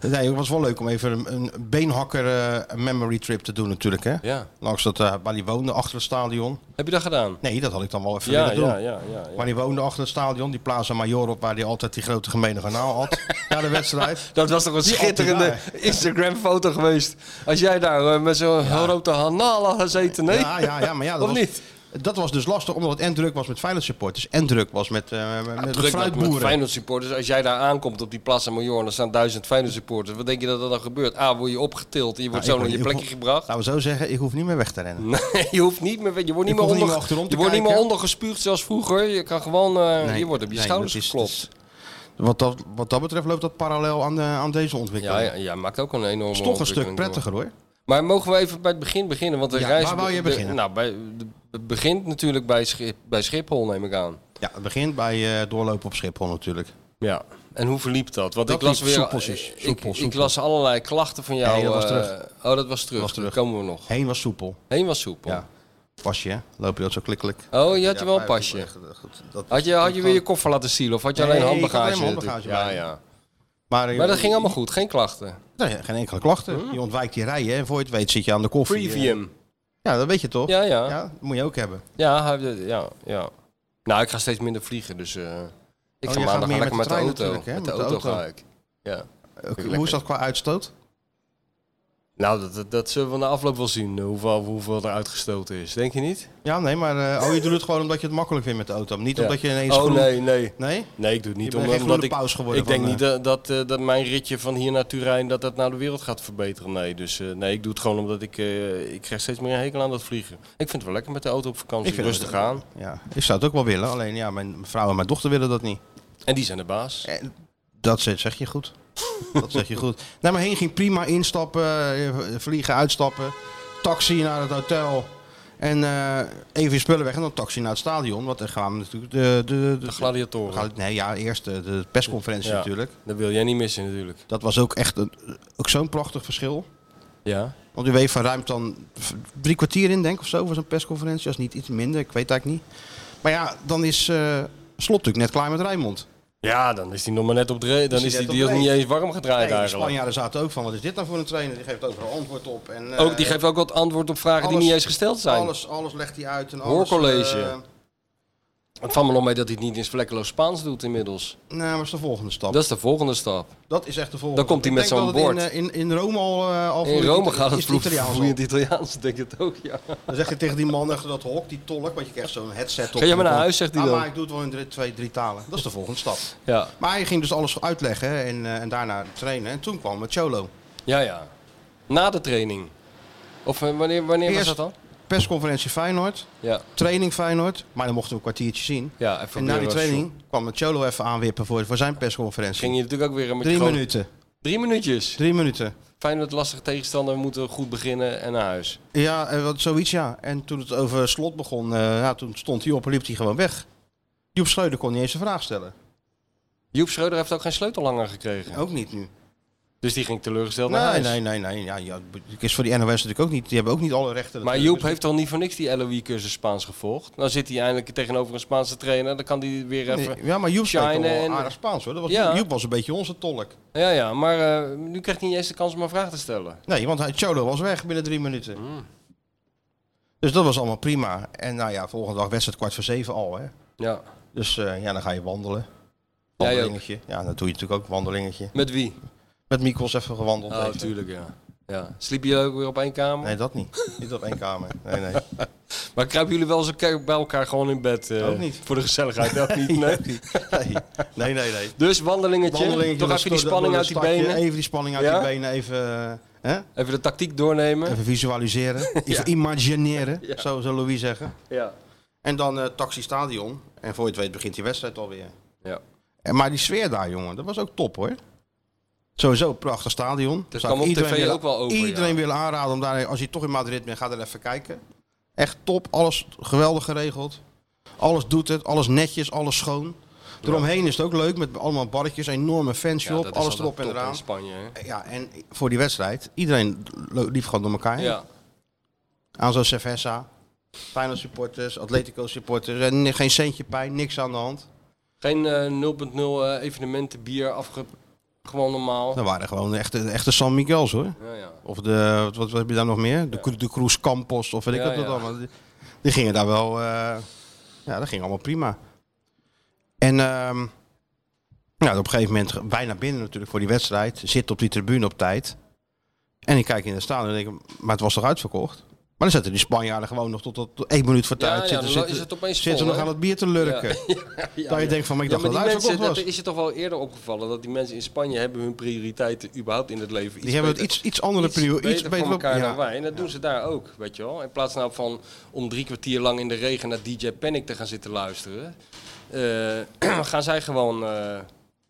E: Nee, het was wel leuk om even een, een beenhakker eh, memory trip te doen natuurlijk. Hè?
F: Ja.
E: Langs dat eh waar die woonde, achter het stadion.
F: Heb je dat gedaan?
E: Nee, dat had ik dan wel even
F: Ja,
E: willen doen.
F: ja, ja, ja, ja.
E: Waar die woonde achter het stadion, die Plaza Major op waar hij altijd die grote gemene garnaal had. na de wedstrijd.
F: Dat was toch een schitterende Instagram-foto geweest. Als jij daar eh, met zo'n grote hanal had gezeten, nee?
E: Ja, ja, ja, maar ja, dat
F: Of
E: was,
F: niet?
E: Dat was dus lastig, omdat het en druk was met Feyenoord supporters en druk was met, eh met, met
F: Druk met-
E: fruitboeren.
F: met Feyenoord supporters. Als jij daar aankomt op die Plaza Major en er staan duizend Feyenoord supporters. Wat denk je dat er dan gebeurt? A, word je opgetild en je wordt
E: Nou, ik
F: zo naar je
E: word-
F: plekje
E: ik word-
F: gebracht.
E: Laten we zo zeggen, ik hoef niet meer weg te rennen.
F: Nee, je hoeft niet meer, je wordt niet
E: hoef
F: meer,
E: niet
F: onder,
E: meer achterom te
F: je wordt niet meer
E: kijken.
F: ondergespuugd zoals vroeger. Je kan gewoon, eh,
E: Nee,
F: je wordt op je
E: nee,
F: schouders
E: dat is-
F: geklopt.
E: Wat dat, wat dat betreft loopt dat parallel aan, de, aan deze ontwikkeling.
F: Ja, ja, ja, maakt ook een enorme
E: is toch een stuk
F: ontwikkeling door.
E: prettiger hoor.
F: Maar mogen we even bij het begin beginnen? Want de
E: Ja,
F: reis
E: waar wou je
F: de-
E: beginnen?
F: nou, bij, de- het begint natuurlijk bij, Schip, bij Schiphol, neem ik aan.
E: Ja, het begint bij eh doorlopen op Schiphol natuurlijk.
F: Ja. En hoe verliep dat? Want
E: Dat
F: ik las
E: liep
F: weer.
E: soepeltjes.
F: ik- Ik,
E: Soepel,
F: ik
E: soepel.
F: las allerlei klachten van jou.
E: Nee, dat was
F: eh,
E: terug.
F: oh, dat was terug.
E: Was terug.
F: Daar komen we nog.
E: Heen was soepel.
F: Heen was soepel.
E: Ja. Pasje, hè? Loop je dat zo klikkelijk?
F: Oh, je had je wel een
E: Ja,
F: pasje.
E: echt, eh, goed, dat-
F: Had je, had je weer je
E: dat-
F: koffer laten zielen of had je
E: Nee,
F: alleen
E: ik had
F: handbagage?
E: alleen handbagage
F: ja,
E: bij.
F: ja.
E: Maar, eh,
F: Maar dat ging allemaal goed, geen klachten.
E: Nee, Nou geen enkele klachten.
F: Hm.
E: Je ontwijkt die rijen en voor je het weet zit je aan de koffie. eh.
F: Previum.
E: Ja, dat weet je toch?
F: Ja, ja.
E: Ja, dat moet je ook hebben.
F: Ja, hij- ja, ja. Nou, ik ga steeds minder vliegen, dus eh, ik
E: Oh,
F: ga
E: jij gaat
F: maandag
E: meer
F: lekker
E: met
F: met
E: de trein
F: de auto.
E: natuurlijk, hè?
F: Met de auto ga ik. Ja.
E: Eh, Hoe is dat qua uitstoot?
F: Nou, dat, dat, dat zullen we na afloop wel zien, eh, hoeveel, hoeveel er uitgestoten is. Denk je niet?
E: Ja, nee, maar eh, oh, je doet het gewoon omdat je het makkelijk vindt met de auto. Niet
F: Ja.
E: omdat je ineens
F: Oh,
E: groen-
F: nee, nee.
E: Nee?
F: Nee, ik doe het niet.
E: Je bent
F: om-
E: geen
F: eh, omdat
E: groene
F: ik,
E: paus geworden
F: ik denk
E: van,
F: niet dat, dat, eh, dat mijn ritje van hier naar Turijn dat dat nou de wereld gaat verbeteren. Nee, dus eh, nee, ik doe het gewoon omdat ik, eh, ik krijg steeds meer een hekel aan dat vliegen. Ik vind het wel lekker met de auto op vakantie,
E: Ik vind
F: rustig
E: het-
F: aan.
E: Ja, ik zou het ook wel willen. Alleen ja, mijn vrouw en mijn dochter willen dat niet.
F: En die zijn de baas.
E: En dat zeg zeg je goed. Dat zeg je goed. Nee, maar heen ging prima instappen, eh, vliegen, uitstappen. Taxi naar het hotel. En eh, even je spullen weg en dan taxi naar het stadion. Want dan gaan we natuurlijk de... De, de,
F: De gladiatoren.
E: gaan- Nee, ja, eerst de, de persconferentie
F: Ja.
E: natuurlijk.
F: Dat wil jij niet missen natuurlijk.
E: Dat was ook echt een, ook zo'n prachtig verschil.
F: Ja.
E: Want UEFA ruimt dan v- drie kwartier in, denk ik, of zo, voor zo'n persconferentie. Als niet iets minder, ik weet eigenlijk niet. Maar ja, dan is eh, Slot natuurlijk net klaar met Rijnmond.
F: Ja, dan is die nog maar net op de Dan
E: hij
F: is die
E: net
F: deal
E: op
F: niet
E: dreef.
F: eens warm gedraaid
E: Nee, de
F: eigenlijk.
E: Spanjaarden zaten ook van, wat is dit nou voor een trainer? Die geeft overal antwoord op. En, eh,
F: Ook, die geeft ook wat antwoord op vragen die
E: alles-
F: niet eens gesteld zijn.
E: Alles, alles legt hij uit. En alles,
F: Hoorcollege.
E: eh,
F: Het valt me nog mee dat hij het niet eens vlekkeloos Spaans doet inmiddels.
E: nou, dat is de volgende stap.
F: Dat
E: Dat,
F: is de volgende stap.
E: is echt de volgende
F: Dan komt hij
E: stap. Ik
F: met
E: denk
F: zo'n
E: dat het In, in, in Rome al... eh, al
F: In
E: vloeit-
F: Rome gaat
E: is
F: het vloed-
E: Italiaans al.
F: vloeiend Italiaans, denk ik het ook, ja.
E: Dan zegt hij tegen die man achter dat hok, die tolk, want je krijgt zo'n headset op.
F: Ga jij maar naar huis, zegt hij
E: Ah,
F: dan.
E: Maar ik doe het wel in drie- twee, drie talen. Dat is de volgende stap.
F: Ja,
E: Maar hij ging dus alles uitleggen en, eh, en daarna trainen. En toen kwam Cholo.
F: ja. ja. Na de training. Of eh, wanneer, wanneer was
E: Eerst-
F: dat dan?
E: Persconferentie Feyenoord,
F: Ja,
E: training Feyenoord. Maar dan mochten we een kwartiertje zien.
F: ja. even
E: en na
F: weer
E: die
F: wat
E: training
F: show.
E: kwam Cholo even aanwippen voor, voor zijn persconferentie.
F: Ging je natuurlijk ook weer met je
E: Drie
F: grote-
E: minuten.
F: Drie minuutjes.
E: Drie minuten.
F: Fijn dat lastige tegenstander, we moeten goed beginnen en naar huis.
E: Ja, eh, wat, zoiets ja. En toen het over slot begon, eh, ja, toen stond hij op en liep hij gewoon weg. Joep Schreuder kon niet eens een vraag stellen.
F: Joep Schreuder heeft ook geen sleutel langer gekregen.
E: Ook niet nu.
F: Dus die ging teleurgesteld naar
E: Oh. Nee,
F: huis.
E: nee, nee. nee. Ja, ja, het is voor die NOS natuurlijk ook niet. Die hebben ook niet alle rechten.
F: Maar
E: natuurlijk.
F: Joep heeft toch niet voor niks die LOE-cursus Spaans gevolgd? Dan zit hij eindelijk tegenover een Spaanse trainer. Dan kan hij weer even...
E: Nee, Ja, maar Joep spreekt toch
F: Shine
E: wel
F: en-
E: aardig Spaans hoor. Dat was,
F: Ja.
E: Joep was een beetje onze tolk.
F: Ja, ja, maar eh, nu krijgt hij niet eens de kans om een vraag te stellen.
E: Nee, want hij- Cholo was weg binnen drie minuten.
F: Hmm.
E: Dus dat was allemaal prima. En nou ja, volgende dag wedstrijd kwart voor zeven al. Hè.
F: Ja.
E: Dus eh, ja, dan ga je wandelen.
F: Jij ook?
E: Wandelingetje. Ja, dat doe je natuurlijk ook, wandelingetje.
F: Met wie?
E: Met Mikkels even gewandeld.
F: Oh,
E: even.
F: tuurlijk, ja. ja. Sliepen jullie ook weer op één kamer?
E: Nee, dat niet. niet op één kamer. Nee, nee.
F: Maar kruipen jullie wel eens elkaar- bij elkaar gewoon in bed? eh,
E: Ook niet.
F: Voor de gezelligheid, ook niet. Nee.
E: Nee, nee, nee. nee.
F: Dus wandelingetje,
E: Wandelingetje,
F: toch
E: dan
F: even die
E: sto-
F: spanning
E: dan
F: uit die
E: stak je
F: benen.
E: Even die spanning uit
F: Ja?
E: die benen. Even, eh, hè?
F: Even de tactiek doornemen.
E: even visualiseren. Even imagineren, zou, zou Louis zeggen.
F: Ja.
E: En dan eh Taxi Stadion. En voor je het weet begint die wedstrijd alweer.
F: Ja.
E: En, maar die sfeer daar, jongen, dat was ook top hoor. Sowieso een prachtig stadion.
F: Dus
E: Zou ik
F: kwam op tv
E: willen-
F: ook wel over,
E: Iedereen
F: ja.
E: wil aanraden om daar, als je toch in Madrid bent, ga er even kijken. Echt top, alles geweldig geregeld. Alles doet het, alles netjes, alles schoon. Eromheen is het ook leuk met allemaal barretjes, enorme fanshop,
F: dat is
E: alles erop
F: altijd
E: en
F: top
E: eraan.
F: in Spanje, hè?
E: Ja, en voor die wedstrijd, iedereen lo- liep gewoon door elkaar. heen.
F: Ja.
E: Aanzo Cerveza, Feyenoord supporters, Atletico supporters. En geen centje pijn, niks aan de hand.
F: Geen eh, 0.0 eh, evenementen, bier, afge... gewoon normaal.
E: Dat waren gewoon echte, echte San Miguel's hoor.
F: Ja, ja.
E: Of de, wat, wat heb je daar nog meer? De, Cru- de Cruz Campos of weet ik
F: Ja,
E: wat dat
F: ja.
E: allemaal. Die, die gingen daar wel, eh, ja, dat ging allemaal prima. En ehm ja, op een gegeven moment, ge- bijna binnen natuurlijk voor die wedstrijd, zit op die tribune op tijd. En ik kijk in de stadion en denk, maar het was toch uitverkocht? Maar dan zitten die Spanjaarden gewoon nog tot, tot, tot één minuut voor
F: Ja,
E: tijd.
F: ja,
E: zitten
F: dan
E: zitten-
F: is het opeens
E: zitten ze
F: vol,
E: nog
F: hè?
E: aan het bier te lurken.
F: Ja,
E: Dat je
F: ja.
E: denkt van, maar ik
F: Ja,
E: dacht dat het
F: maar die mensen,
E: uitverkocht
F: dat
E: was.
F: is je toch wel eerder opgevallen dat die mensen in Spanje hebben hun prioriteiten überhaupt in het leven. Iets
E: Die hebben het
F: beter-
E: iets, iets andere
F: iets
E: prio. Iets
F: beter voor
E: op-
F: elkaar
E: ja.
F: dan wij. En dat doen ze daar ook, weet je wel. In plaats nou van om drie kwartier lang in de regen naar DJ Panic te gaan zitten luisteren, eh, gaan zij gewoon eh,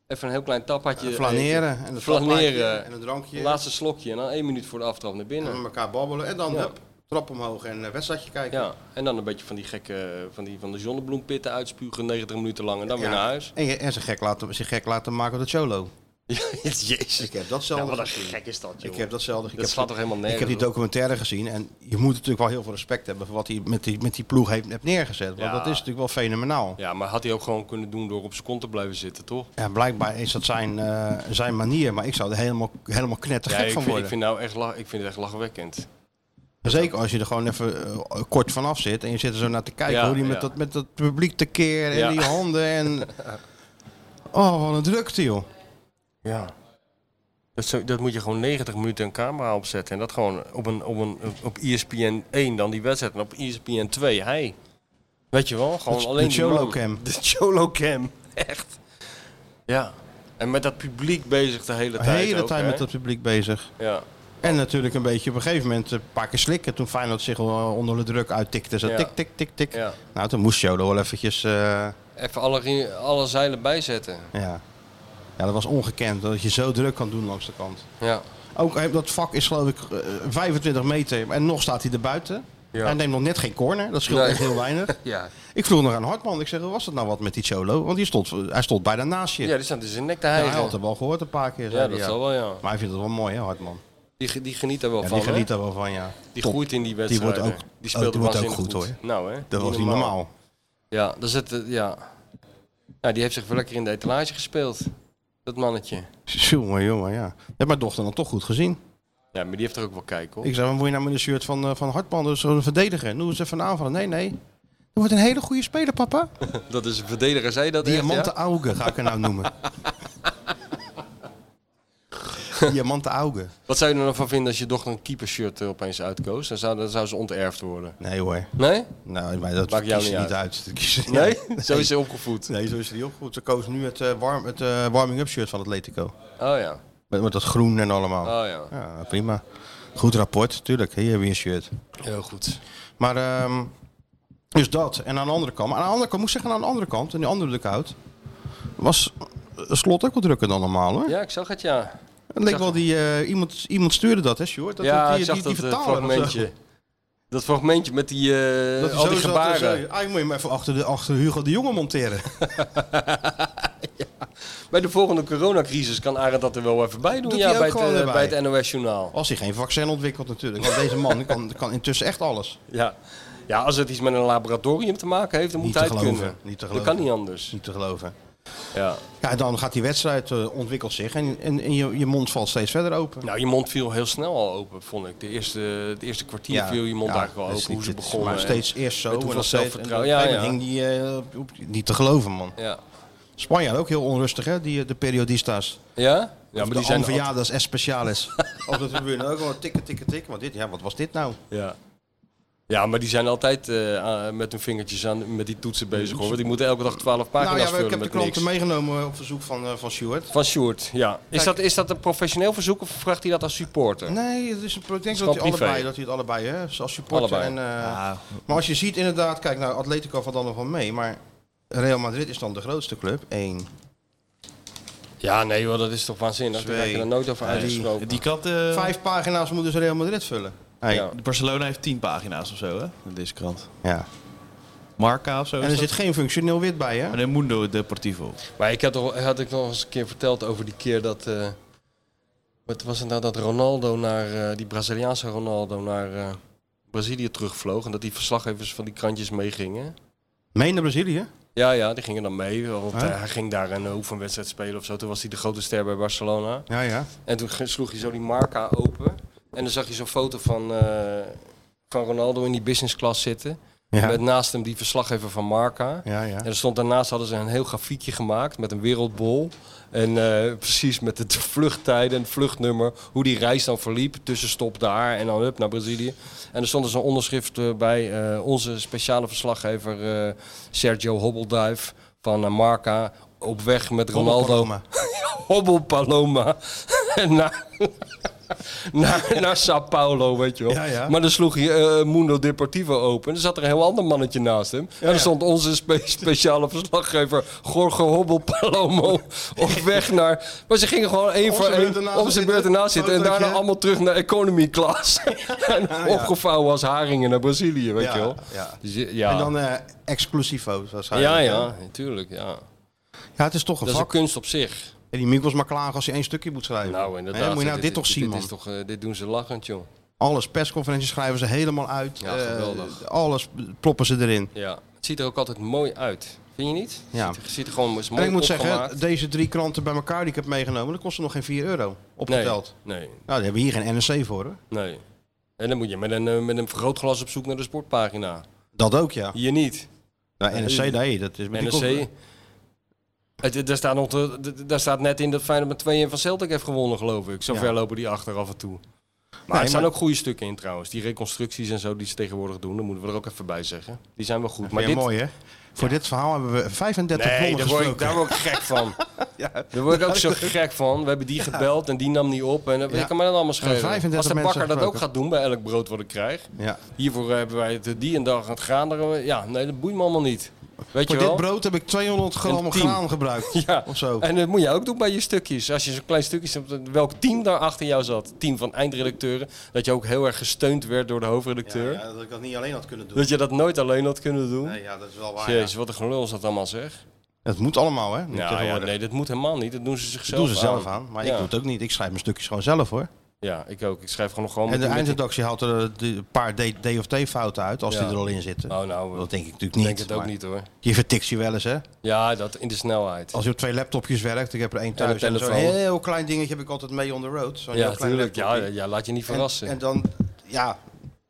F: even een heel klein tappadje
E: Flaneren. En het
F: Flaneren.
E: En een
F: eten.
E: drankje.
F: Laatste slokje en dan één minuut voor de aftrap naar
E: En met
F: binnen.
E: elkaar babbelen. En dan
F: Ja.
E: hup, trap omhoog en eh, wedstrijdje kijken.
F: Ja, en dan een beetje van die gekke, van die van de zonnebloempitten uitspugen, 90 minuten lang en dan weer
E: Ja.
F: naar huis.
E: En, je- en zich, gek laten, zich gek laten maken door Cholo.
F: Jezus.
E: Dus Ik heb
F: Ja,
E: datzelfde
F: wat een
E: gezien.
F: gek is dat, joh.
E: Ik heb datzelfde. Ik
F: Dat
E: heb,
F: slaat toch helemaal
E: ik
F: nergens
E: heb die
F: op?
E: documentaire gezien. En je moet natuurlijk wel heel veel respect hebben voor wat hij met die, met die ploeg heeft, heeft neergezet. Want
F: Ja.
E: dat is natuurlijk wel fenomenaal.
F: Ja, maar had hij ook gewoon kunnen doen door op zijn kont te blijven zitten, toch?
E: Ja, blijkbaar is dat zijn, eh, zijn manier. Maar ik zou er helemaal, helemaal knettergek
F: Ja, ik,
E: van
F: vind, ik,
E: worden.
F: vind nou echt lach, ik vind het echt lachwekkend.
E: Zeker als je er gewoon even eh, kort vanaf zit. En je zit er zo naar te kijken
F: Ja,
E: hoe die
F: ja.
E: met, dat, met dat publiek tekeer. En
F: Ja.
E: die handen. En... Oh, wat een drukte joh.
F: Ja. Dat, zo, dat moet je gewoon 90 minuten een camera opzetten. En dat gewoon op, een, op, een, op E ESPN 1 dan die wedstrijd. En op E ESPN 2, hij. Weet je wel, gewoon
E: De- de
F: alleen die man.
E: Cholocam.
F: De Cholocam, echt. Ja. En met dat publiek bezig de hele
E: De
F: tijd
E: hele
F: ook,
E: tijd
F: hè?
E: met dat publiek bezig.
F: Ja.
E: En natuurlijk een beetje op een gegeven moment eh, een paar keer slikken. Toen Feyenoord zich wel onder de druk uittikte. Zo
F: Ja.
E: tik, tik, tik, tik.
F: Ja.
E: Nou, toen moest Jolo wel eventjes... eh,
F: Even alle, alle zeilen bijzetten.
E: ja. ja, dat was ongekend. Dat je zo druk kan doen langs de kant.
F: Ja.
E: Ook eh, dat vak is geloof ik eh, 25 meter. En nog staat hij er buiten.
F: Ja.
E: Hij neemt nog net geen corner. Dat scheelt
F: Nee.
E: echt heel weinig.
F: Ja.
E: Ik vroeg nog aan Hartman. Ik zeg, hoe was dat nou wat met die Jolo? Want die stond, hij stond bijna naast je.
F: ja, die staat dus in nek te
E: Ja,
F: hijgen.
E: hij had het wel gehoord een paar keer. zei
F: Ja,
E: hij,
F: dat zal wel, ja.
E: Maar hij vindt het wel mooi, hè, Hartman?
F: Die, ge- die geniet er wel
E: Ja,
F: van,
E: die
F: hè?
E: geniet daar wel van, ja.
F: Die
E: Top.
F: groeit in die
E: wordt
F: wedstrijd.
E: ook-
F: die
E: oh,
F: speelt
E: die wordt ook
F: waanzinnig
E: goed, hoor.
F: Nou, hè?
E: Dat was niet normaal.
F: Ja, dat is het, eh, ja. ja, die heeft zich wel lekker in de etalage gespeeld. Dat mannetje.
E: Jongen, jongen, ja. Dat heeft mijn dochter dan toch goed gezien.
F: Ja, maar die heeft er ook wel kijk op.
E: Ik zei, wat moet je nou met een shirt van, eh, van Hartman? Dat is een verdediger. Noem eens even een aanvallen. Nee, nee. Dat wordt een hele goede speler, papa.
F: Dat is een verdediger, zei dat echt,
E: Diamante
F: ja?
E: Auge ga ik er nou noemen. Diamante Auge.
F: Wat zou je er dan van vinden als je dochter een keepershirt er opeens uitkoos? Dan zou, dan zou ze onterfd worden.
E: Nee hoor.
F: Nee?
E: Nou, maar dat
F: Maakt jou
E: kies je
F: niet
E: niet uit. Dat kies je-
F: Nee? Zo is ze opgevoed.
E: Nee, zo is het niet opgevoed. Ze koos nu het, eh, warm, het eh, warming-up shirt van Atletico.
F: Oh ja.
E: Met, met dat groen en allemaal.
F: Oh ja.
E: Ja, prima. Goed rapport, tuurlijk. Hier heb je een shirt.
F: Heel goed.
E: Maar ehm, dus dat. En aan de andere kant. Maar aan de andere kant, moet ik zeggen, aan de andere kant, in die andere dugout, was eh, slot ook wel drukker dan normaal hoor.
F: Ja, ik zag het, ja.
E: het leek
F: zag
E: wel die, eh, iemand, iemand stuurde dat, hè, Sjoerd? Dat,
F: ja,
E: dat
F: ik
E: die,
F: zag
E: die,
F: dat
E: die
F: eh,
E: vertaler of zo.
F: fragmentje. Dat fragmentje met die, eh,
E: Dat hij
F: al
E: zo
F: die
E: zat en
F: gebaren.
E: zo, "Ah, ik moet je hem even achter, de, achter Hugo de Jonge monteren.
F: bij de volgende coronacrisis kan Arend dat er wel even bij doen.
E: Doet hij
F: ja,
E: ook
F: bij het,
E: gewoon
F: eh,
E: erbij.
F: bij het NOS-journaal.
E: Als hij geen vaccin ontwikkelt natuurlijk. Want deze man kan, kan intussen echt alles.
F: Ja. ja, als het iets met een laboratorium te maken heeft, dan moet
E: Niet
F: hij
E: te
F: het
E: geloven,
F: kunnen.
E: niet te
F: dat
E: geloven.
F: kan niet anders.
E: Niet te geloven.
F: Ja.
E: Ja, dan gaat die wedstrijd, eh, ontwikkelt zich en, en, en je, je mond valt steeds verder open.
F: Nou, je mond viel heel snel al open, vond ik. De eerste, het eerste kwartier viel je mond eigenlijk wel
E: dat
F: open,
E: is
F: hoe
E: niet-
F: ze
E: het is
F: begonnen.
E: Maar steeds eerst zo.
F: met hoeveel
E: dan steeds-
F: zelfvertrouwen.
E: en op een
F: Ja,
E: gegeven moment hing die, eh, op- niet te geloven, man.
F: En- ja.
E: Spanjaard ook heel onrustig, hè, die, eh, de periodistas.
F: Ja? Ja,
E: Of
F: maar
E: de
F: die zijn... altijd-
E: Anverjaardas Especiales. Op de tribune ook wel tikken, tikken, tikken. Maar dit, ja, wat was dit nou?
F: Ja. Ja, maar die zijn altijd eh, aan- met hun vingertjes aan met die toetsen bezig hoor. Want die moeten elke dag 12 pagina's
E: Nou ja, ik
F: vullen
E: heb de
F: met
E: klanten
F: niks.
E: meegenomen op verzoek van, eh, van Stuart.
F: Van Sjoerd, ja. Is
E: Kijk.
F: dat, is dat een professioneel verzoek of vraagt hij dat als supporter?
E: Nee, het is een, pro- ik denk
F: Het is
E: dat hij,
F: gewoon privé.
E: allebei, dat hij het allebei, hè, als supporter.
F: Allebei.
E: En, eh, Maar als je ziet inderdaad, kijk, nou, Atletico valt dan nog wel mee, maar Real Madrid is dan de grootste club. Eén.
F: Ja, nee hoor, dat is toch waanzinnig. Daar
E: Twee.
F: heb je er nooit over
E: Ja, die-
F: uitgesproken.
G: Die kat, eh,
E: Vijf pagina's moeten ze Real Madrid vullen. Hey.
F: Ja.
G: Barcelona heeft tien pagina's of zo, hè? in Deze krant.
E: Ja.
G: Marca of zo.
E: En er zit geen functioneel wit bij, hè?
G: En een Mundo Deportivo.
F: Maar ik had, toch, had ik nog eens een keer verteld over die keer dat... eh, wat was het nou dat Ronaldo naar... eh, die Braziliaanse Ronaldo naar eh, Brazilië terugvloog. En dat die verslaggevers van die krantjes meegingen.
E: Meen naar Brazilië?
F: Ja, ja, die gingen dan mee. Want
E: Huh?
F: eh, hij ging daar een oefenwedstrijd spelen of zo. Toen was hij de grote ster bij Barcelona.
E: Ja, ja.
F: En toen ge- sloeg hij zo die marca open. En dan zag je zo'n foto van, eh, van Ronaldo in die business class zitten. Met
E: Ja,
F: naast hem die verslaggever van marca.
E: ja. ja.
F: En er stond daarnaast hadden ze een heel grafiekje gemaakt met een wereldbol. En eh, precies met de t- vluchttijden en het vluchtnummer. Hoe die reis dan verliep. Tussenstop daar en dan up naar Brazilië. En er stond dus een onderschrift eh, bij eh, onze speciale verslaggever eh, Sergio Hobbelduif van eh, Marca. Op weg met Ronaldo.
E: Paloma.
F: Hobbel Paloma. naar, naar, naar Sao Paulo, weet je wel.
E: Ja, ja.
F: Maar dan sloeg hij eh, Mundo Deportivo open. Er zat er een heel ander mannetje naast hem. en
E: ja.
F: er stond onze spe- speciale verslaggever Gorgo Hobbel Palomo op weg naar... Maar ze gingen gewoon één
E: Op
F: voor
E: zijn beurt
F: één
E: ernaast
F: op zijn beurt
E: zitten,
F: ernaast zitten. En
E: fotootje.
F: daarna allemaal terug naar economy class. en opgevouwen als haringen naar Brazilië, weet
E: Ja,
F: je wel.
E: ja.
F: Dus je- ja.
E: En dan eh exclusivo, zoals hij
F: ja,
E: dat,
F: ja,
E: hè?
F: natuurlijk, ja.
E: Ja, het is toch een
F: Dat is een
E: vak.
F: kunst op zich.
E: En die Miek was maar klagen als hij één stukje moet schrijven.
F: Nou, inderdaad.
E: Hè, moet je nou dit, toch zien,
F: dit
E: man?
F: Is toch, eh, dit doen ze lachend, joh.
E: Alles, persconferenties schrijven ze helemaal uit.
F: Ja,
E: Eh,
F: geweldig.
E: alles ploppen ze erin.
F: Ja. Het ziet er ook altijd mooi uit. Vind je niet?
E: Ja.
F: Het ziet, er- ziet er gewoon eens mooi
E: En ik moet
F: opgemaakt.
E: zeggen, deze drie kranten bij elkaar die ik heb meegenomen, dat kostte nog geen 4 euro opgeteld.
F: nee, nee,
E: Nou, die hebben hier geen NRC voor, hè?
F: nee. En dan moet je met een, eh, met een vergrootglas op zoek naar de sportpagina.
E: Dat ook, ja.
F: Hier niet.
E: Nou, NRC, nee, dat is met die
F: NRC.
E: kop-
F: Het, het- daar, staat nog de- de- daar staat net in dat Feyenoord met 2-1 van Celtic heeft gewonnen, geloof ik. Zo
E: Ja.
F: ver lopen die achter af en toe. Maar
E: Nee,
F: er staan
E: maar-
F: ook goede stukken in trouwens. Die reconstructies en zo die ze tegenwoordig doen, dat moeten we er ook even bij zeggen. Die zijn wel goed.
E: Maar
F: Maar
E: dit...
F: dit,
E: mooi, hè? Voor dit verhaal hebben we 35
F: Nee,
E: bronnen
F: daar word, ik,
E: gesproken.
F: daar word ik gek van. Daar word ik ook zo gek van. We hebben die gebeld en die nam niet op. En dat
E: Ja.
F: kan me dan allemaal
E: Ja,
F: schelen.
E: 35
F: Als de
E: mensen
F: bakker dat ook
E: gesproken.
F: gaat doen bij elk brood wat ik krijg.
E: Ja.
F: Hiervoor hebben wij het die en daar gaan het graan. er- Ja, nee, dat boeit me allemaal niet. Weet
E: Voor
F: je wel?
E: dit brood heb ik 200 gram
F: Een team.
E: graan gebruikt.
F: Ja.
E: Of zo.
F: En dat moet je ook doen bij je stukjes. Als je zo'n klein stukje hebt, welk team daar achter jou zat. Team van eindredacteuren. Dat je ook heel erg gesteund werd door de hoofdredacteur.
E: dat ik dat niet alleen had kunnen
F: Dat je dat nooit alleen had kunnen doen.
E: ja, dat is wel
F: Jezus, wat een gelul is dat allemaal zeg.
E: Het moet allemaal, hè? nu
F: Nou ja,
E: tegenwoordig.
F: nee, dat moet helemaal niet. Dat doen ze
E: dat
F: zichzelf
E: doen ze zelf aan. Maar ik
F: Ja.
E: doe het ook niet. Ik schrijf mijn stukjes gewoon zelf, hoor.
F: Ja, ik ook. Ik schrijf gewoon gewoon
E: En de
F: met- met-
E: eindredactie haalt er eh, de- een paar D- D of T-fouten uit, als
F: Ja.
E: die er al in zitten.
F: Nou, nou,
E: dat
F: dat
E: denk ik natuurlijk
F: ik
E: niet.
F: denk het ook
E: maar
F: niet hoor.
E: Je vertikt je wel eens, hè?
F: Ja, dat in de snelheid.
E: Als je op twee laptopjes werkt, ik heb er één
F: Ja,
E: thuis en zo'n
F: telefoon.
E: heel klein dingetje heb ik altijd mee on the road. Zo'n
F: ja,
E: heel klein
F: natuurlijk. Ja,
E: laptopje.
F: ja, laat je niet verrassen.
E: En, en dan, ja,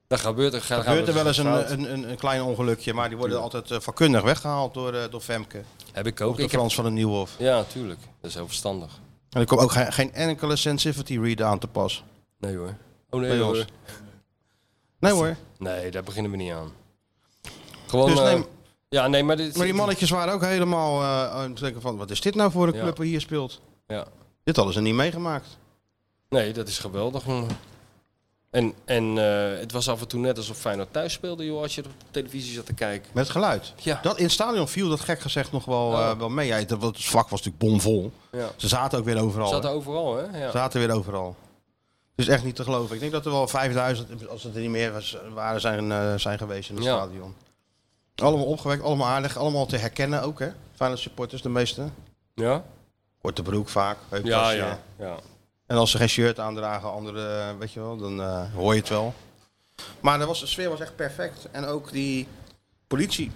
F: dan gebeurt er, gaat,
E: gebeurt er wel eens een, een, een, een klein ongelukje, maar die worden altijd eh, vakkundig weggehaald door, eh, door Femke.
F: Heb ik
E: Ook
F: ook.
E: de
F: Ik heb,
E: Frans van den Nieuwhof.
F: ja, tuurlijk. Dat is heel verstandig.
E: En er komt ook geen, geen enkele sensitivity reader aan te pas.
F: Nee hoor. Oh nee
E: Bij
F: hoor.
E: ons. Nee hoor.
F: Nee, daar beginnen we niet aan. Gewoon.
E: Dus
F: eh,
E: neem-
F: ja, nee, maar dit.
E: Maar die mannetjes waren ook helemaal eh, aan het denken van, wat is dit nou voor een
F: Ja.
E: club die hier speelt?
F: Ja.
E: Dit hadden ze niet meegemaakt.
F: Nee, dat is geweldig. jongen. En, en eh, het was af en toe net alsof Feyenoord thuis speelde, joh, als je op de televisie zat te kijken.
E: Met het geluid.
F: Ja.
E: Dat, in het stadion viel dat gek gezegd nog wel,
F: Ja.
E: eh, wel mee. Ja, het, het vak was natuurlijk bomvol.
F: Ja.
E: Ze zaten ook weer overal.
F: Zat
E: hè?
F: overal, hè? Ja.
E: Zaten weer overal. Het is echt niet te geloven. Ik denk dat er wel 5000, als het er niet meer was, waren, zijn, eh, zijn geweest in het
F: Ja.
E: stadion. Allemaal opgewekt, allemaal aardig, allemaal te herkennen ook, hè? Feyenoord supporters, de meeste.
F: ja?
E: Korte broek vaak.
F: Ja,
E: heuptasje.
F: ja, ja.
E: En als ze geen shirt aandragen, andere, eh, weet je wel, dan eh, hoor je het wel. Maar er was, de sfeer was echt perfect. En ook die politie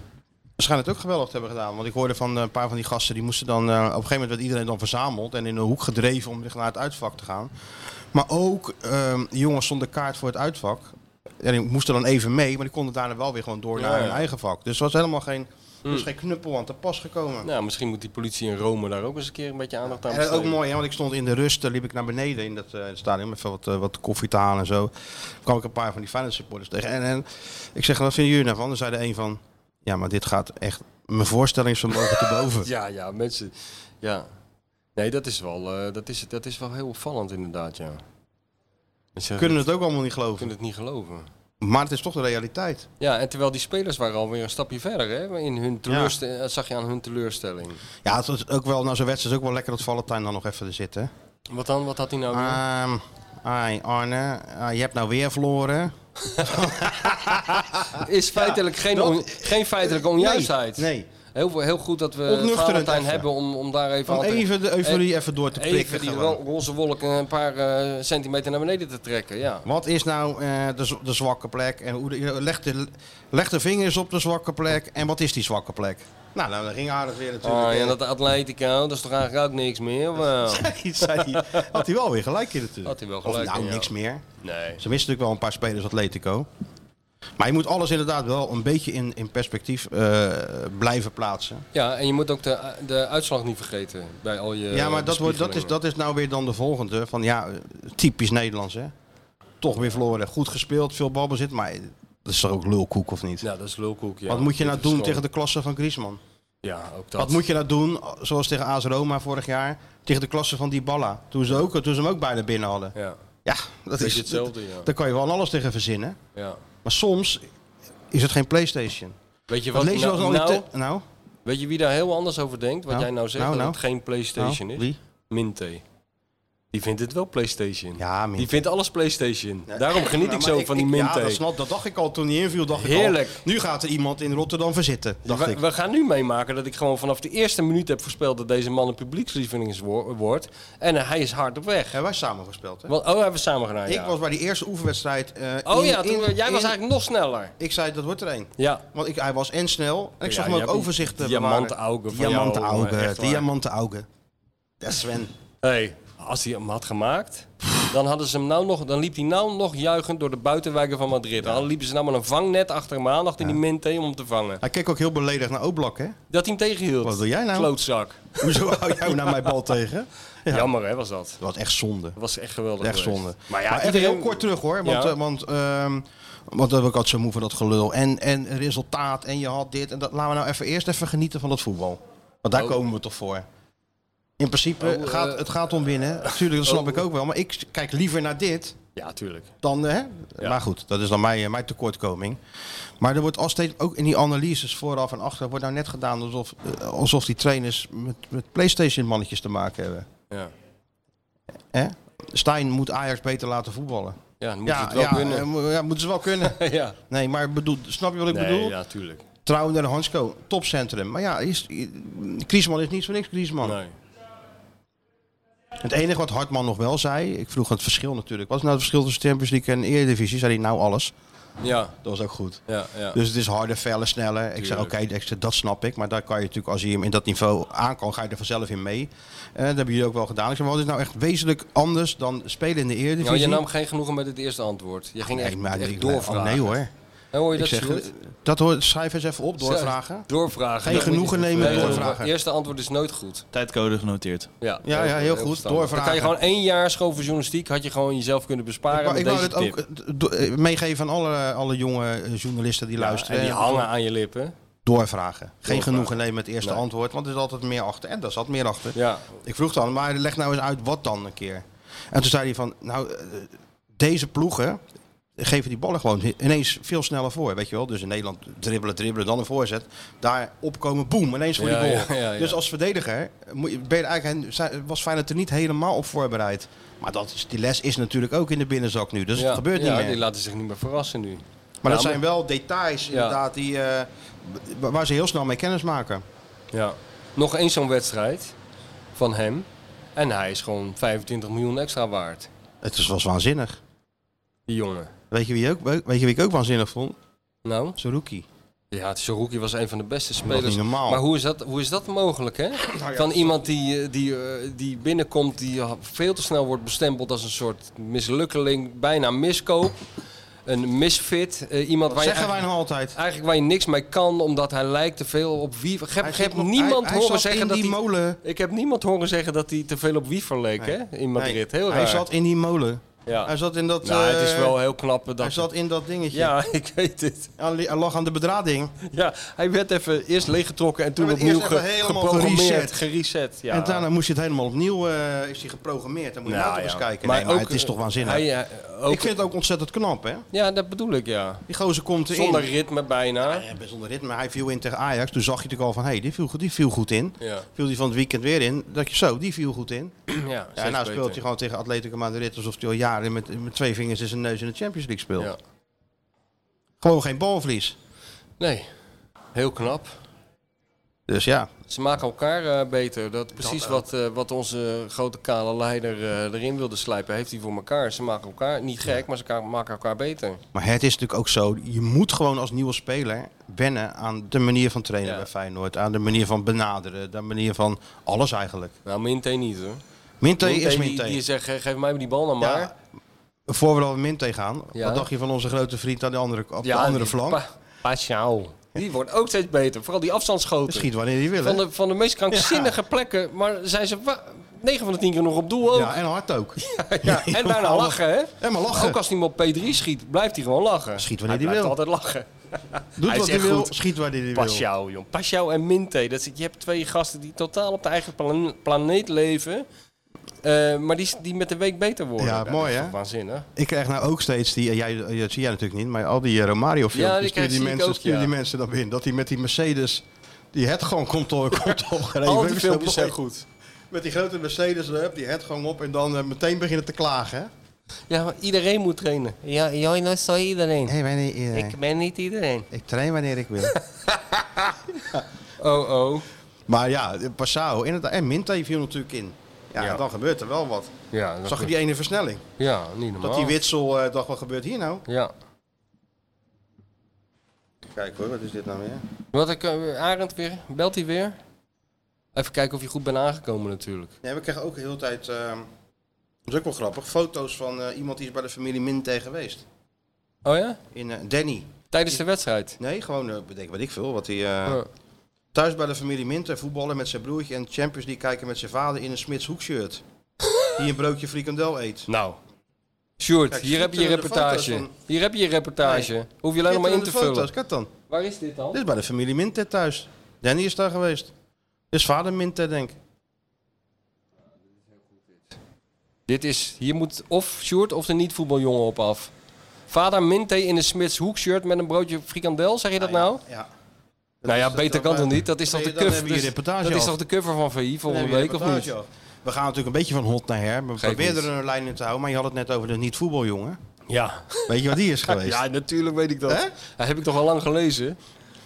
E: schijnt het ook geweldig te hebben gedaan. Want ik hoorde van eh, een paar van die gasten, die moesten dan... eh, op een gegeven moment werd iedereen dan verzameld en in een hoek gedreven om naar het uitvak te gaan. Maar ook eh, jongens zonder kaart voor het uitvak. En die moesten dan even mee, maar die konden daarna wel weer gewoon door
F: Ja,
E: naar
F: ja. Mm.
E: hun eigen vak. Dus er was helemaal geen, er was geen knuppel aan te pas gekomen.
F: Nou, misschien moet die politie in Rome daar ook eens een keer een beetje aandacht aan
E: En dat is
F: besteden.
E: Eh, ook mooi, hè, want ik stond in de rust, eh, liep ik naar beneden in dat eh, stadion met wat, eh, wat koffie te halen en zo. kwam ik een paar van die Feyenoord supporters tegen. En, en ik zeg, wat vinden jullie daarvan? Dan zei er een van, ja, maar dit gaat echt mijn voorstellingsvermogen te boven.
F: Ja, ja, mensen. Ja. Nee, dat is wel, eh, dat is, dat is wel heel opvallend inderdaad, ja. Mensen
E: Kunnen het ook allemaal niet geloven.
F: kunnen het niet geloven.
E: Maar het is toch de realiteit.
F: Ja, en terwijl die spelers waren alweer een stapje verder, hè? In hun teleurste- eh, zag je aan hun teleurstelling.
E: Ja, het is ook wel, nou zo'n wedstrijd is het ook wel lekker dat Valentijn dan nog even er zit, hè.
F: Wat dan? Wat had hij nou weer?
E: Ehm, ai, Arne, ah, je hebt nou weer verloren.
F: Is feitelijk geen,
E: dat-
F: on- geen feitelijke onjuistheid.
E: Nee, nee.
F: Heel, veel- heel goed dat we
E: Ontnuchterend
F: Valentijn
E: even.
F: hebben om, om daar even...
E: Om
F: altijd-
E: even de euforie even door te
F: Eh, even
E: prikken.
F: die
E: gewoon.
F: ro- roze wolken een paar eh, centimeter naar beneden te trekken, ja.
E: Wat is nou eh, de, z- de zwakke plek? En hoe de- leg, de, leg de vingers op de zwakke plek. En wat is die zwakke plek? Nou, nou dat ging aardig weer natuurlijk. eh,
F: Ah, ja, dat Atletico, dat is toch eigenlijk ook niks meer? of wel?
E: Zei die- had hij wel weer gelijk in natuurlijk.
F: Had hij wel
E: Of
F: gelijk
E: nou,
F: in, ja.
E: niks meer.
F: Nee.
E: Ze misten natuurlijk wel een paar spelers Atletico. Maar je moet alles inderdaad wel een beetje in, in perspectief eh, blijven plaatsen.
F: Ja, en je moet ook de, de uitslag niet vergeten bij al je
E: ja, maar dat, wordt, dat, is,
F: bespiegelingen.
E: dat is nou weer dan de volgende. Van ja, typisch Nederlands hè. Toch weer verloren. Goed gespeeld, veel balbezit. Maar dat is toch ook lulkoek of niet?
F: Ja, dat is lulkoek, ja.
E: Wat moet je
F: Dit
E: nou
F: is
E: doen
F: gewoon-
E: tegen de klasse van Griezmann?
F: Ja, ook dat.
E: Wat moet je nou doen, zoals tegen AS Roma vorig jaar, tegen de klasse van Dybala, toen ze, ook, toen ze hem ook bijna binnen hadden.
F: Ja,
E: Ja, dat
F: Beetje
E: is
F: hetzelfde,
E: dat-
F: ja.
E: Daar kan je wel aan alles tegen verzinnen.
F: ja.
E: Maar soms is het geen PlayStation.
F: Weet je
E: Wat
F: wat?
E: lees je wel
F: nou,
E: eens al
F: nou,
E: die te- nou,
F: weet je wie daar heel anders over denkt? Wat
E: Nou,
F: jij nou zegt,
E: nou,
F: dat
E: nou.
F: het geen PlayStation
E: nou,
F: is.
E: wie?
F: Minte. Die vindt het wel PlayStation.
E: Ja, Minte.
F: Die vindt alles PlayStation. Daarom geniet
E: Nou,
F: ik
E: maar
F: zo van die
E: Ja,
F: Minte.
E: dat, snap, dat dacht ik al toen hij inviel. Dacht
F: Heerlijk.
E: Ik al, nu gaat er iemand in Rotterdam verzitten, dacht
F: we,
E: ik.
F: we gaan nu meemaken dat ik gewoon vanaf de eerste minuut heb voorspeld dat deze man een publiekslieveling is wo- wordt. En eh, hij is hard op weg.
E: Hebben wij samen gespeeld, hè?
F: Want, oh, hebben we samen gedaan,
E: Ik
F: ja.
E: was bij die eerste oefenwedstrijd... eh,
F: Oh
E: in-
F: ja, toen,
E: in-
F: jij was
E: in-
F: eigenlijk nog sneller.
E: Ik zei, dat wordt er één.
F: Ja.
E: Want ik, hij was en snel. En ik
F: Ja,
E: zag hem
F: je
E: ook
F: hebt die
E: overzicht eh,
F: diamantaugen van
E: bewaren.
F: jou,
E: Diamantaugen.
F: jongen, echt waar.
E: Diamantaugen. Dat is Sven.
F: Hey, als hij hem had gemaakt, dan, hadden ze hem nou nog, dan liep hij nou nog juichend door de buitenwijken van Madrid. Dan liepen ze nou maar een vangnet achter hem aan, achter die Minte om hem te vangen.
E: Hij keek ook heel beledigd naar Oblak, hè?
F: Dat hij hem tegenhield.
E: Wat wil jij nou?
F: Klootzak.
E: Hoezo hou jij nou mijn bal tegen? Ja.
F: Jammer hè, was dat.
E: Dat was echt zonde.
F: Dat was echt geweldig.
E: Echt
F: geweest.
E: zonde.
F: Maar ja,
E: even
F: iedereen...
E: heel kort terug hoor. Want,
F: Ja.
E: eh, want, ehm, want dat heb ik altijd zo moe van dat gelul. En, en resultaat en je had dit en dat. Laten we nou even eerst even genieten van het voetbal. Want daar
F: Oh.
E: komen we toch voor. In principe,
F: Oh,
E: gaat,
F: eh.
E: het gaat om winnen. Natuurlijk, dat snap
F: Oh.
E: ik ook wel. Maar ik kijk liever naar dit
F: Ja, tuurlijk.
E: dan... Hè? Maar goed, dat is dan mijn, eh, mijn tekortkoming. Maar er wordt al steeds, ook in die analyses vooraf en achter... wordt nou net gedaan alsof, eh, alsof die trainers met, met Playstation-mannetjes te maken hebben.
F: Ja,
E: Hè? Stijn moet Ajax beter laten voetballen.
F: ja dan moet
E: ja,
F: het wel
E: ja, eh,
F: kunnen.
E: mo- ja, moeten ze wel kunnen.
F: ja.
E: Nee, maar bedoel, snap je wat ik
F: Nee,
E: bedoel?
F: ja, tuurlijk.
E: Trouwen en Hansko, topcentrum. Maar ja, is, eh, Griezmann is niet voor niks Griezmann.
F: Nee.
E: Het enige wat Hartman nog wel zei, ik vroeg het verschil natuurlijk. Wat is nou het verschil tussen Champions League en Eredivisie? Zei hij nou alles.
F: Ja,
E: Dat was ook goed.
F: ja, ja.
E: Dus het is harder, feller, sneller. Ik zei, oké,
F: Tuurlijk.
E: ik zei, dat snap ik. Maar daar kan je natuurlijk, als je hem in dat niveau aan kan, ga je er vanzelf in mee. Eh, dat hebben jullie ook wel gedaan. Ik zei, maar wat is nou echt wezenlijk anders dan spelen in de Eredivisie?
F: Nou, je nam geen genoegen met het eerste antwoord. Je ging echt,
E: nee, maar
F: echt
E: ik- oh,
F: doorvragen.
E: nee hoor.
F: En hoor je
E: Ik
F: dat,
E: zeg, eh,
F: Sjoerd?
E: dat hoort, schrijf eens even op, doorvragen.
F: Doorvragen.
E: Geen
F: Dat moet je
E: genoegen
F: niet-
E: nemen,
F: Nee,
E: doorvragen.
F: Het eerste antwoord is nooit goed.
G: Tijdcode genoteerd.
F: Ja,
E: ja, heel goed.
F: verstandig.
E: Doorvragen.
F: Dan kan je gewoon één jaar school voor journalistiek, had je gewoon jezelf kunnen besparen
E: Maar ik
F: met
E: wou
F: deze
E: het
F: tip.
E: ook eh, do- eh, meegeven aan alle, alle jonge eh, journalisten die
F: Ja,
E: luisteren.
F: en die
E: Eh,
F: hangen aan je lippen.
E: Doorvragen. Geen genoegen nemen met het eerste
F: Nee.
E: antwoord, want er is altijd meer achter. En daar zat meer achter.
F: Ja,
E: Ik vroeg dan, maar leg nou eens uit wat dan een keer. En toen zei hij van, nou, eh, deze ploegen geven die ballen gewoon ineens veel sneller voor, weet je wel. Dus in Nederland dribbelen, dribbelen, dan een voorzet. Daar opkomen, boem, ineens voor
F: Ja,
E: die goal.
F: ja, ja, ja.
E: Dus als verdediger moet je- ben je eigenlijk, zijn- was Feyenoord er niet helemaal op voorbereid. Maar dat is, die les is natuurlijk ook in de binnenzak nu, dus
F: ja.
E: het gebeurt
F: ja,
E: niet meer.
F: die laten zich niet meer verrassen nu.
E: Maar
F: Ja,
E: dat zijn wel details inderdaad die, eh, wa- waar ze heel snel mee kennis maken.
F: Ja. Nog eens zo'n wedstrijd van hem. En hij is gewoon 25 miljoen extra waard,
E: Het is- was waanzinnig.
F: die jongen.
E: Weet je wie, ook, weet je wie ik ook waanzinnig vond?
F: Nou,
E: Saruki.
F: ja, Saruki was een van de beste
E: Dat is
F: spelers.
E: niet normaal. Nou
F: Maar hoe is dat, hoe is dat mogelijk, hè? Van iemand die, eh, die, eh, die binnenkomt, die veel te snel wordt bestempeld als een soort mislukkeling, bijna miskoop. Een misfit. eh, iemand
E: dat
F: waar je
E: zeggen wij nou?
F: eigenlijk,
E: nog altijd.
F: eigenlijk waar je niks mee kan, omdat hij lijkt te veel op wie. Ik heb, ik heb
E: zit nog-
F: niemand
E: hij- hij
F: horen
E: zat
F: zeggen
E: in
F: dat
E: die
F: hij...
E: molen.
F: Ik heb niemand horen zeggen dat hij te veel op Wiever leek,
E: Nee.
F: hè? In Madrid.
E: Nee,
F: Heel raar.
E: Hij zat in die molen.
F: ja.
E: Hij zat in dat...
F: Nou, het is
E: eh,
F: wel heel knap dat...
E: Hij zat in dat dingetje.
F: Ja, ik weet het.
E: Hij li- hij lag aan de bedrading.
F: Ja, hij werd even eerst leeggetrokken en toen
E: Hij werd
F: opnieuw
E: eerst
F: ge-
E: even helemaal
F: geprogrammeerd, gereset.
E: gereset.
F: ja.
E: En daarna moest je het helemaal opnieuw... eh, is hij geprogrammeerd. Dan moet je nou, toch eens kijken. Maar, nee, maar het is toch waanzinnig.
F: Hij, eh, ook,
E: Ik vind het ook ontzettend knap, hè?
F: Ja, dat bedoel ik, ja.
E: Die gozer komt erin.
F: Zonder ritme bijna.
E: Ja, best onder ritme. Hij viel in tegen Ajax. Toen zag je natuurlijk al van, hé, hey, die, viel, goed- die viel goed in.
F: Ja,
E: Viel die van het weekend weer in. Dat je zo, die viel goed in.
F: ja,
E: Ja, en nou speelt hij
F: je
E: gewoon tegen Atletico Madrid alsof hij al jaren met, met twee vingers in zijn neus in de Champions League speelt.
F: Ja.
E: Gewoon geen balverlies.
F: Nee, heel knap.
E: Dus ja,
F: Ze maken elkaar eh, beter. Dat is precies wat, eh, wat onze grote kale leider eh, erin wilde slijpen. Heeft hij voor elkaar. Ze maken elkaar niet gek, maar ze ka- maken elkaar beter.
E: maar het is natuurlijk ook zo. Je moet gewoon als nieuwe speler wennen aan de manier van trainen
F: Ja.
E: bij Feyenoord. Aan de manier van benaderen. De manier van alles eigenlijk.
F: Nou, Minté niet hoor.
E: Minte
F: Minté
E: is
F: die,
E: Minte.
F: die zegt, eh, geef mij maar die bal nou maar.
E: Ja, Voor we dan Minte gaan.
F: Ja.
E: Wat dacht je van onze grote vriend aan de andere, op
F: Ja,
E: de andere
F: die
E: flank?
F: Pa Paschal. Die wordt ook steeds beter. Vooral die afstandsschoten.
E: Schiet wanneer hij wil.
F: Van
E: hè?
F: de, van de meest krankzinnige plekken. Maar zijn ze 9 van de 10 keer nog op doel ook.
E: Ja, en hard ook.
F: Ja, en daarna lachen, hè?
E: En maar lachen.
F: Ook als hij maar op P3 schiet, blijft hij gewoon lachen.
E: Schiet wanneer
F: hij
E: hij
F: blijft
E: wil.
F: altijd lachen.
E: Doet
F: Hij
E: wat
F: is
E: hij
F: echt
E: wil,
F: goed.
E: schiet waar hij wil.
F: Pas jou, jong. Pas jou en Minte. Dat is, je hebt twee gasten die totaal op de eigen plan- planeet leven. eh, maar die, die met de week beter worden.
E: Ja,
F: dat
E: mooi,
F: is
E: hè?
F: toch Waanzinnig.
E: Ik krijg nou ook steeds die, eh, jij, eh, dat zie jij natuurlijk niet, maar al die eh, Romario
F: Ja,
E: filmpjes,
F: die
E: sturen
F: krijg-
E: die,
F: zie ik
E: mensen,
F: ook,
E: sturen
F: ja.
E: die mensen dan in. Dat hij met die Mercedes, die het gewoon komt al komt al gereden.
F: Al
E: Dat
F: die
E: is
F: filmpjes
E: zo
F: zijn
E: mooi.
F: goed.
E: Met die grote Mercedes, eh, die het gewoon op en dan eh, meteen beginnen te klagen. hè?
F: Ja, maar iedereen moet trainen. Ja, jij nou zo iedereen.
E: Nee, ben niet iedereen.
F: Ik ben niet iedereen.
E: Ik train wanneer ik wil.
F: Oh, oh.
E: maar ja, eh, Passau inderdaad. En Minte viel natuurlijk in. Ja,
F: Ja.
E: dan gebeurt er wel wat.
F: Ja, dat
E: Zag je die ene versnelling?
F: Ja, niet normaal.
E: Dat die witsel eh, dacht, wat gebeurt hier nou?
F: Ja.
E: Kijk hoor, wat is dit nou weer?
F: Wat ik, eh, Arend weer, belt hij weer? Even kijken of je goed bent aangekomen natuurlijk.
E: Nee, we krijgen ook de hele tijd, ehm, dat is ook wel grappig, foto's van eh, iemand die is bij de familie Minte geweest.
F: Oh ja?
E: In eh, Danny.
F: Tijdens de wedstrijd.
E: Nee, gewoon, eh, bedenk wat ik veel. Wat hij, eh,
F: Ja.
E: Thuis bij de familie Minter voetballen met zijn broertje en Champions League kijken met zijn vader in een Smits hoekshirt. die een broodje frikandel eet.
F: Nou. Sjoerd,
E: Kijk,
F: hier heb je je
E: schitterende
F: reportage.
E: foto's
F: Hier heb je je reportage.
E: Nee.
F: Hoef je alleen nog maar in te
E: Schitterende
F: vullen.
E: foto's, Kijk dan.
F: Waar is dit dan?
E: Dit is bij de familie Minter thuis. Danny is daar geweest. Dit is vader Minter, denk ik.
F: Dit is, hier moet of Sjoerd of de niet-voetbaljongen op af. Vader Minte in een Smits hoekshirt met een broodje frikandel, zeg je dat nou?
E: Ja.
F: nou ja,
E: is dat dan,
F: beter kan toch
E: eh,
F: niet? Dat is toch
E: nee,
F: de
E: dan
F: cover?
E: hebben we je
F: dus-
E: reportage
F: dat is
E: af.
F: toch de cover van VI volgende
E: Nee,
F: week of
E: reportage,
F: niet?
E: joh. We gaan natuurlijk een beetje van hot naar her. We
F: Geeft
E: proberen
F: niet.
E: er een lijn in te houden, maar je had het net over de niet-voetbaljongen.
F: Ja.
E: Weet je wat die is geweest?
F: Ja, natuurlijk weet ik dat.
E: Hè?
F: Dat heb ik toch al lang gelezen.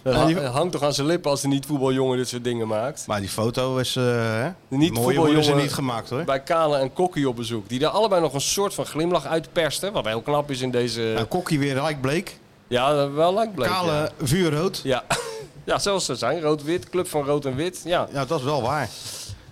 F: Dat
E: Ja,
F: ha-
E: die-
F: hangt toch aan zijn lippen als de niet-voetbaljongen dit soort dingen maakt.
E: Maar die foto is eh hè? Mooie
F: Niet
E: worden ze
F: voetbaljongen.
E: niet gemaakt hoor.
F: Bij Kale en Kokkie op bezoek. Die daar allebei nog een soort van glimlach uitpersten. Wat heel knap is in deze...
E: Nou, Kokkie weer rijk bleek.
F: Ja, wel lang bleek.
E: Kale vuurrood.
F: Ja. Ja. ja, zoals ze zijn. Rood-wit, club van rood en wit. Ja.
E: Ja, dat is wel waar.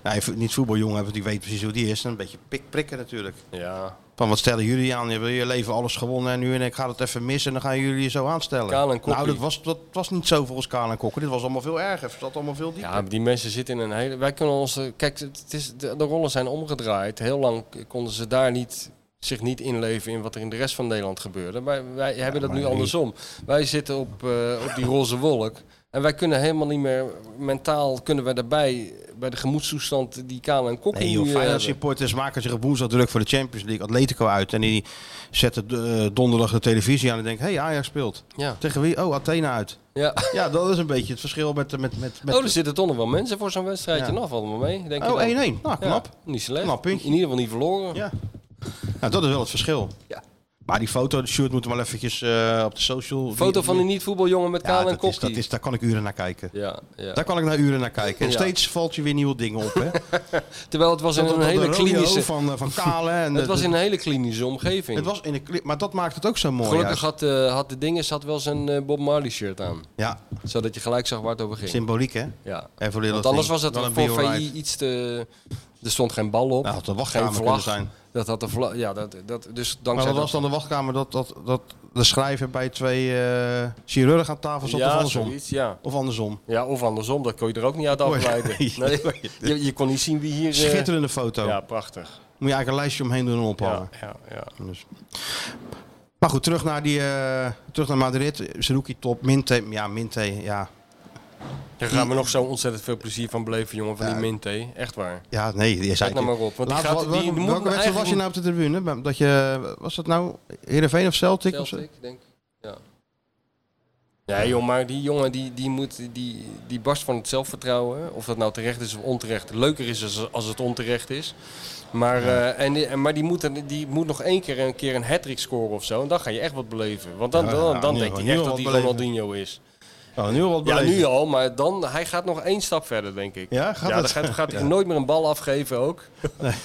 E: Nou, je- niet voetbaljongen, want die weet precies hoe die is. En Een beetje pik prikken natuurlijk.
F: ja.
E: Van wat stellen jullie aan? Je hebt je leven alles gewonnen en nu en ik ga het even missen en dan gaan jullie je zo aanstellen.
F: Kale en Kokkie.
E: Nou, dat was, dat was niet zo volgens Kale en Kokkie. Dit was allemaal veel erger. Het zat allemaal veel dieper.
F: Ja, maar die mensen zitten in een hele... Wij kunnen onze... Kijk, het is, de, de rollen zijn omgedraaid. Heel lang konden ze daar niet, zich niet inleven in wat er in de rest van Nederland gebeurde. Maar wij hebben dat nu andersom. Wij zitten op, eh, op die roze wolk. En wij kunnen helemaal niet meer... Mentaal kunnen wij daarbij... Bij de gemoedstoestand die Kale en Kokkie
E: Nee,
F: nu
E: joh,
F: eh,
E: Feyenoord
F: hebben.
E: supporters maken zich op woensdag druk voor de Champions League. Atletico uit. En die zetten eh, donderdag de televisie aan en denken... Hé, hey, Ajax speelt.
F: Ja.
E: Tegen wie? Oh, Athena uit.
F: ja.
E: Ja, dat is een beetje het verschil met... eh, met, met, met
F: oh, er zitten toch nog wel mensen voor zo'n wedstrijdje.
E: Ja.
F: Nou, valt me mee, denk je
E: Oh,
F: dan.
E: 1-1. Nou, knap.
F: Ja, niet slecht.
E: Knap
F: in
E: puntje.
F: ieder geval niet verloren.
E: Ja. Nou, dat is wel het verschil.
F: Ja.
E: Maar die foto, Sjoerd moet hem wel eventjes eh, op de social...
F: Foto van een niet-voetbaljongen met
E: ja,
F: kaal en
E: dat is, dat
F: kopje.
E: is, Daar kan ik uren naar kijken.
F: Ja, ja.
E: Daar kan ik naar uren naar kijken. En
F: Ja.
E: steeds valt je weer nieuwe dingen op. Hè?
F: Terwijl het was in
E: Dat-
F: een
E: dat
F: hele
E: de rodeo
F: klinische...
E: Van, eh, van Kale. En
F: Het was
E: de-
F: in een hele klinische omgeving.
E: het was in een kli- maar dat maakt het ook zo mooi.
F: Gelukkig
E: juist.
F: had, eh, had de dinges had wel zijn eh, Bob Marley shirt aan.
E: Ja,
F: Zodat je gelijk zag waar het over ging.
E: symboliek hè.
F: ja.
E: En voor Little
F: Want anders
E: Thing.
F: was het
E: Wel een
F: voor
E: be alright.
F: VI iets te... Er stond geen bal op.
E: Nou, had de
F: geen
E: wachtkamer kunnen
F: vlag.
E: zijn.
F: Dat had de vlag... Ja, dat, dat, dus
E: Maar
F: dankzij
E: dat
F: dat-
E: was dan de wachtkamer dat, dat, dat de schrijver bij twee eh, chirurgen aan tafel zat of
F: ja,
E: andersom.
F: zoiets, ja.
E: Of andersom.
F: Ja, of andersom. Dat kon je er ook niet uit afleiden.
E: Nee.
F: Nee. Je, je kon niet zien wie hier... eh,
E: Schitterende foto.
F: Ja, prachtig.
E: Moet je eigenlijk een lijstje omheen doen en ophangen.
F: Ja, ja, ja.
E: Dus. Maar goed, terug naar, die, eh, terug naar Madrid. Zerouki top. Minte, ja, Minte, ja.
F: Daar gaan we nog zo ontzettend veel plezier van beleven, jongen, van die Minté. Echt waar.
E: Ja, nee, die zei
F: Kijk nou maar op. Want die
E: Laatst,
F: gaat,
E: wel-
F: die,
E: welke
F: die moet
E: welke wedstrijd
F: eigenlijk
E: was je nou op de tribune? Bij- Dat je, was dat nou Heerenveen of Celtic? nou- of zo?
F: Celtic, denk ik. Ja. Nee, joh, maar die jongen die, die, moet, die, die barst van het zelfvertrouwen. Of dat nou terecht is of onterecht. Leuker is als, als het onterecht is. Maar, eh, en, die- en- maar die, moet, er- die moet nog één keer een, keer een hat-trick scoren of zo. En dan ga je echt wat beleven. Want dan,
E: Ja,
F: dan,
E: ja,
F: dan,
E: nu
F: denkt
E: al,
F: hij
E: nu al
F: echt dat
E: wat
F: hij
E: beleven.
F: Ronaldinho is.
E: Oh, nu al wat
F: Ja,
E: beleven.
F: nu al. Maar dan, hij gaat nog één stap verder, denk ik.
E: Ja, gaat
F: ja,
E: het?
F: dan gaat, gaat hij nooit meer een bal afgeven ook.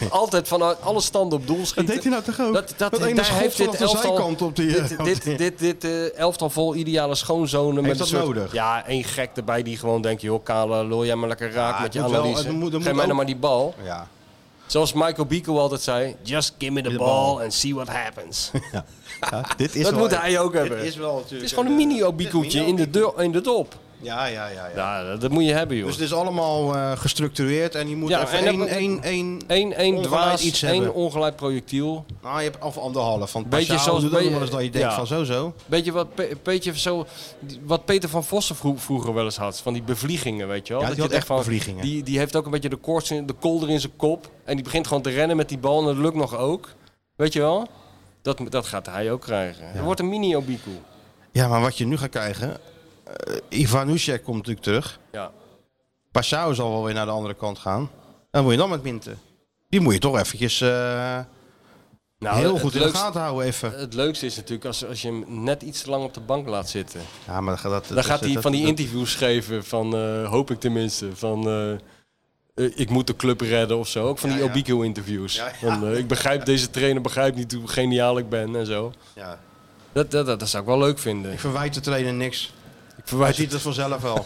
F: Altijd vanuit alle standen op doel schieten.
E: Dat deed hij nou toch ook?
F: Dat- dat-
E: ene
F: daar
E: schot
F: heeft dit
E: vanaf de
F: elftal-
E: zijkant op die...
F: dit, dit, dit, dit, eh, elftal vol ideale schoonzonen. met
E: dat
F: een soort-
E: nodig?
F: Ja, één gek erbij die gewoon denkt... joh, Kale, lul jij maar lekker raak
E: Ja,
F: met je
E: het moet wel-
F: analyse.
E: het moet- het
F: Geef
E: moet
F: mij nou
E: ook-
F: maar die bal.
E: ja.
F: Zoals Michael Bico altijd zei... Just give me the,
E: The
F: ball,
E: ball.
F: and see what happens.
E: dit is
F: dat
E: wel-
F: moet hij ook hebben.
E: Dit is wel natuurlijk... eh,
F: het is gewoon een mini-obikoetje in, de deur- in de dop.
E: Ja, ja, ja. ja.
F: Ja, dat, dat moet je hebben, joh.
E: Dus het is allemaal eh, gestructureerd en je moet
F: Ja,
E: even
F: en
E: één,
F: dat-
E: één, één,
F: Eén, één
E: ongelijk
F: dwaas,
E: iets
F: één
E: hebben.
F: ongelijk projectiel.
E: Nou, je hebt of anderhalf. Want
F: Beetje
E: Beetje
F: zoals
E: zoals... Doet ook
F: bij-
E: nog wel eens dat je denkt
F: ja.
E: van zo, zo.
F: Beetje wat, Pe- beetje zo, die- wat Peter van Vossen vro- vroeger wel eens had. Van die bevliegingen, weet je wel.
E: Ja,
F: Dat
E: die had
F: je denkt
E: echt
F: van,
E: bevliegingen.
F: Die, die heeft ook een beetje de, koorts in, de kolder in zijn kop. En die begint gewoon te rennen met die bal. En dat lukt nog ook. Weet je wel? Dat, dat gaat hij ook krijgen. Er wordt een mini-obiku.
E: Ja, maar wat je nu gaat krijgen... eh Ivan Ušek komt natuurlijk terug.
F: Ja.
E: Passau zal wel weer naar de andere kant gaan. Dan moet je dan met Minten. Die moet je toch eventjes eh,
F: Nou,
E: heel
F: het
E: goed in de
F: leukste-
E: gaten houden even.
F: Het leukste is natuurlijk als, als je hem net iets te lang op de bank laat zitten.
E: Ja, maar dat, dat,
F: Dan gaat
E: dat-
F: hij
E: dat-
F: van die
E: dat-
F: interviews geven van, eh, hoop ik tenminste, van eh, eh, ik moet de club redden of zo. Ook van die
E: Ja, ja.
F: Obico interviews.
E: Ja, ja.
F: Van, eh, ik begrijp deze trainer, begrijpt niet hoe geniaal ik ben en zo.
E: Ja.
F: Dat, dat, dat, dat zou ik wel leuk vinden.
E: Ik verwijt de trainer niks.
F: Ik
E: Hij
F: verwijt
E: ziet het vanzelf wel.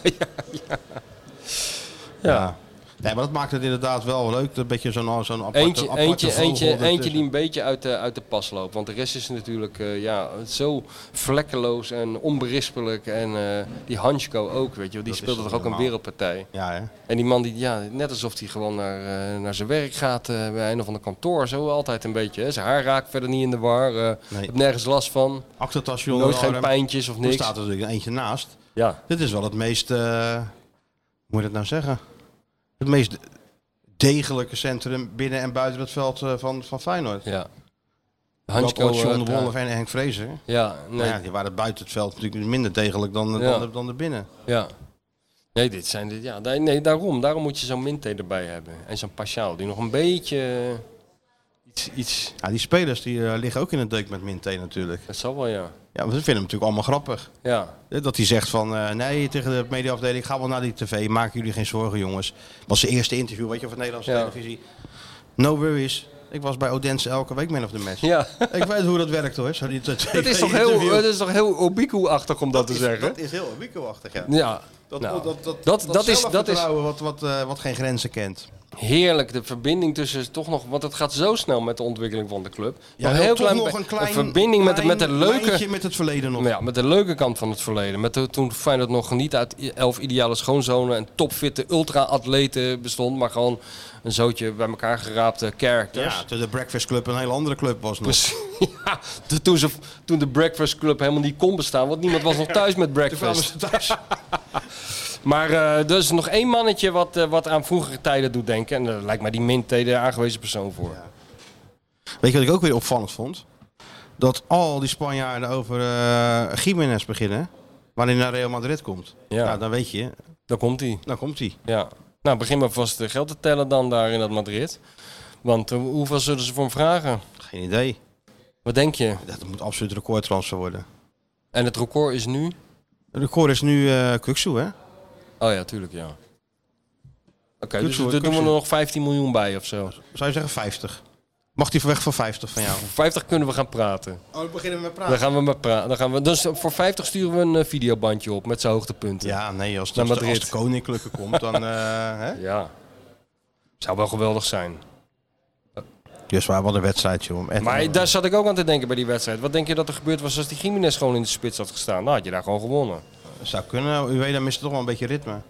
F: Ja.
E: Nee, maar dat maakt het inderdaad wel leuk. Een beetje zo'n zo'n aparte,
F: Eentje,
E: aparte eh.
F: eentje,
E: vogel
F: eentje,
E: ertussen.
F: eentje die een beetje uit de, uit de pas loopt. Want de rest is natuurlijk eh, ja, zo vlekkeloos en onberispelijk. En eh, die Hansko ook, weet je wel. Die
E: is
F: speelde
E: toch
F: toch ook een
E: normaal?
F: wereldpartij.
E: Ja, hè?
F: En die man, die, ja, net alsof hij gewoon naar, eh, naar zijn werk gaat eh, bij een of ander kantoor. Zo altijd een beetje. Hè. Zijn haar raakt verder niet in de war. eh
E: Nee.
F: Heb nergens last van.
E: Actetation.
F: Nooit geen
E: Arnhem.
F: pijntjes of
E: Er
F: niks.
E: staat er natuurlijk eentje naast.
F: Ja.
E: Dit is wel het meest... eh, hoe moet je dat nou zeggen? Het meest degelijke centrum binnen en buiten het veld eh, van, van Feyenoord.
F: ja.
E: Hansko,
F: eh,
E: John de
F: ja.
E: Wolf en Henk Vrezer.
F: Ja, nee.
E: Nou ja, die waren buiten het veld natuurlijk minder degelijk dan, dan,
F: Ja.
E: de- dan de binnen.
F: Ja. Nee, dit zijn dit, ja, nee, nee, daarom, daarom moet je zo'n Minte erbij hebben. En zo'n Paschaal, die nog een beetje eh, iets, iets...
E: Ja, die spelers die, eh, liggen ook in het deuk met Minté natuurlijk.
F: Dat zal wel, ja.
E: Ja, want ze vinden hem natuurlijk allemaal grappig.
F: Ja,
E: Eh, Dat hij zegt van, eh, nee, tegen de mediaafdeling, ga wel naar die tv, maak jullie geen zorgen jongens. Was zijn eerste interview, weet je, van Nederlandse
F: Ja.
E: televisie. No worries. Ik was bij Odense elke week man of the match.
F: ja.
E: Ik weet hoe dat werkt hoor. Zo die
F: dat, is toch heel, eh, dat is toch heel Obiku-achtig om dat, te zeggen?
E: Dat is heel wikkelachtig, ja.
F: ja.
E: Dat,
F: Nou,
E: dat, dat,
F: dat, dat is, dat is
E: zelfvertrouwen Wat, wat, eh, wat geen grenzen kent.
F: heerlijk, de verbinding tussen toch nog... Want het gaat zo snel met de ontwikkeling van de club.
E: Ja,
F: Nog
E: heel toch
F: klein
E: nog
F: be-
E: een klein
F: verbinding met, de- met de
E: klein
F: leuke...
E: lijntje met het verleden nog.
F: Maar Ja, met de leuke kant van het verleden. Met de, toen Feyenoord nog niet uit i- elf ideale schoonzonen en topfitte ultra-atleten bestond. Maar gewoon een zootje bij elkaar eh, geraapte characters.
E: Ja, toen de Breakfast Club een hele andere club was nog.
F: Dus, ja, de- toen, ze, toen de Breakfast Club helemaal niet kon bestaan. Want niemand was nog thuis met breakfast. Maar eh, er is nog één mannetje wat, eh, wat aan vroegere tijden doet denken. En daar lijkt mij die Minte de aangewezen persoon voor.
E: Weet je wat ik ook weer opvallend vond? Dat al die Spanjaarden over eh Jiménez beginnen. Wanneer hij naar Real Madrid komt.
F: Ja.
E: Ja. dan weet je.
F: Daar komt hij.
E: Dan komt hij.
F: Ja. Nou, begin maar vast eh, geld te tellen dan daar in dat Madrid. Want eh, hoeveel zullen ze voor hem vragen?
E: Geen idee.
F: Wat denk je?
E: Dat moet absoluut een recordtransfer worden.
F: En het record is nu?
E: Het record is nu eh Kuksu, hè?
F: Oh ja, tuurlijk, ja. Oké, dus
E: Kukzu,
F: daar doen we er
E: Kukzu.
F: nog 15 miljoen bij of zo.
E: Zou je zeggen 50? Mag die weg voor 50 van jou?
F: Voor 50 kunnen we gaan praten.
E: Oh, we beginnen met
F: Ah. Dan gaan we maar praten. Dan gaan we, dus voor 50 sturen we een eh, videobandje op met zijn hoogtepunten.
E: Ja, nee, als,
F: Naar
E: als, de,
F: Madrid.
E: als de koninklijke komt, dan... eh hè?
F: Ja. Zou wel geweldig zijn.
E: Dus waar, wat een wedstrijd, joh. Echt
F: Maar
E: een-
F: daar zat ik ook aan te denken bij die wedstrijd. Wat denk je dat er gebeurd was als die Gimenez gewoon in de spits had gestaan? Nou, had je daar gewoon gewonnen.
E: Zou kunnen. Ueda miste toch wel een beetje ritme.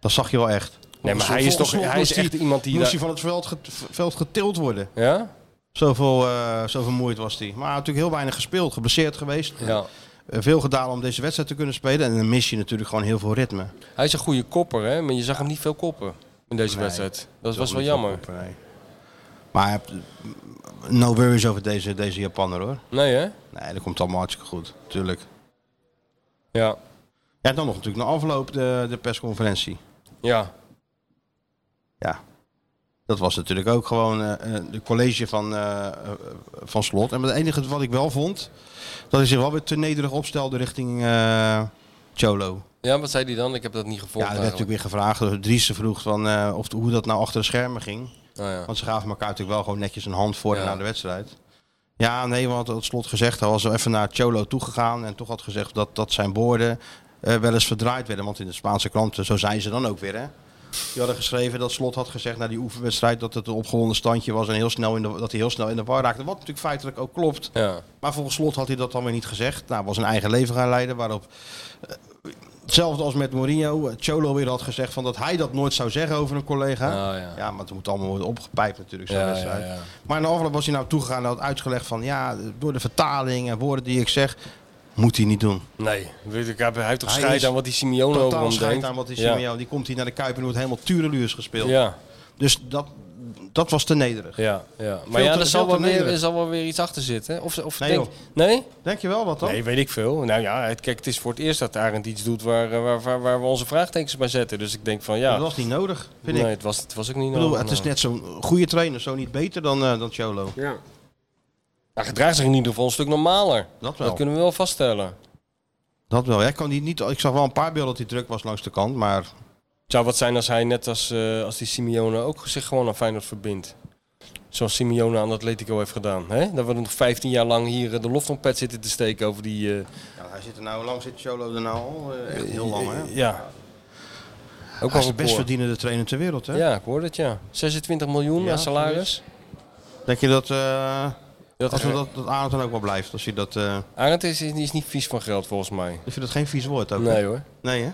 E: Dat zag je wel echt.
F: Nee, maar
E: Volgens-
F: hij is toch
E: volgens-
F: hij is
E: moest
F: echt iemand die...
E: moest
F: daar-
E: hij van het veld, get- veld getild worden.
F: Ja?
E: Zoveel, eh zo vermoeid was hij. Maar hij had natuurlijk heel weinig gespeeld. Geblesseerd geweest.
F: Ja.
E: Eh, veel gedaan om deze wedstrijd te kunnen spelen. En dan mis je natuurlijk gewoon heel veel ritme.
F: Hij is een goede kopper, hè? Maar je zag hem niet veel koppen in deze
E: Nee,
F: wedstrijd. Dat was
E: is
F: wel jammer.
E: Nee. Maar eh, no worries over deze, deze Japaner hoor.
F: Nee, hè?
E: Nee, dat komt allemaal hartstikke goed. Tuurlijk.
F: Ja.
E: Ja, dan nog natuurlijk na afloop de, de persconferentie.
F: Ja.
E: Ja. Dat was natuurlijk ook gewoon eh, eh, de college van, eh, eh, van Slot. En het enige wat ik wel vond, dat hij zich wel weer te nederig opstelde richting eh, Cholo.
F: Ja, wat zei hij dan? Ik heb dat niet
E: Ja,
F: gevolgd.
E: er werd
F: eigenlijk.
E: natuurlijk weer gevraagd, door Driessen vroeg van, eh, of, hoe dat nou achter de schermen ging.
F: Nou ja.
E: Want ze gaven elkaar natuurlijk wel gewoon netjes een hand voor en
F: Ja.
E: na de wedstrijd. Ja, nee, want het slot gezegd, hij was wel even naar Cholo toegegaan en toch had gezegd dat, dat zijn woorden eh, wel eens verdraaid werden. Want in de Spaanse kranten, zo zijn ze dan ook weer, hè? Die hadden geschreven dat Slot had gezegd na die oefenwedstrijd dat het een opgewonden standje was en heel snel in de, dat hij heel snel in de war raakte. Wat natuurlijk feitelijk ook klopt.
F: Ja.
E: Maar volgens Slot had hij dat dan weer niet gezegd. Nou, was een eigen leven gaan leiden. Waarop eh, hetzelfde als met Mourinho, eh, Cholo weer had gezegd van dat hij dat nooit zou zeggen over een collega.
F: Ah, ja.
E: ja, maar het moet allemaal worden opgepijpt natuurlijk. Zo'n
F: Ja, ja,
E: wedstrijd.
F: ja.
E: Maar in de afloop was hij nou toegegaan en had uitgelegd van ja, door de vertaling en woorden die ik zeg, moet hij niet doen.
F: Nee, weet ik, hij heeft toch
E: Hij
F: scheid
E: is
F: aan wat die Simeone over
E: Totaal
F: hem denkt.
E: schijnt aan wat hij
F: Ja.
E: Simeone, die komt hier naar de Kuip en wordt helemaal tureluurs gespeeld.
F: Ja,
E: Dus dat, dat was te nederig.
F: ja, ja. Maar
E: te-
F: ja,
E: veel
F: er zal,
E: te
F: wel weer,
E: nederig.
F: er zal wel weer iets achter zitten. hè? Of, of
E: Nee,
F: denk, nee?
E: Denk je wel wat dan?
F: Nee, weet ik veel. Nou ja, het, kijk, het is voor het eerst dat Arend iets doet waar, eh, waar, waar, waar we onze vraagtekens bij zetten. Dus ik denk van ja,
E: Dat was niet nodig, vind
F: nee,
E: ik.
F: Het, was, het was ook niet
E: Ik bedoel,
F: nodig,
E: het is
F: nee.
E: net zo'n goede trainer, zo niet beter dan, eh, dan Cholo.
F: Ja. Hij gedraagt zich in ieder geval een stuk normaler.
E: Dat wel.
F: Dat kunnen we wel vaststellen.
E: Dat wel. Ja, ik, kan die niet, ik zag wel een paar beelden dat hij druk was langs de kant, maar
F: Het zou wat zijn als hij net als, eh, als die Simeone ook zich gewoon aan Feyenoord verbindt. Zoals Simeone aan Atletico heeft gedaan. Hè? Dat we nog 15 jaar lang hier eh, de loftompet zitten te steken over die... eh,
E: ja, hij zit er nou, hoe lang zit Cholo er nou al? Eh, Echt heel lang, hè?
F: Ja.
E: Hij
F: Ook al
E: is de
F: een
E: best
F: koor.
E: verdienende trainer ter wereld, hè?
F: Ja, ik hoor het, ja. 26 miljoen
E: Ja,
F: aan salaris.
E: Denk je dat, eh
F: Dat
E: als we dat, dat Arend dan ook wel blijft? Als je dat, eh
F: Arend is, is, is niet vies van geld, volgens mij.
E: ik vind dat geen vies woord ook. hè?
F: Nee hoor.
E: Nee, hè?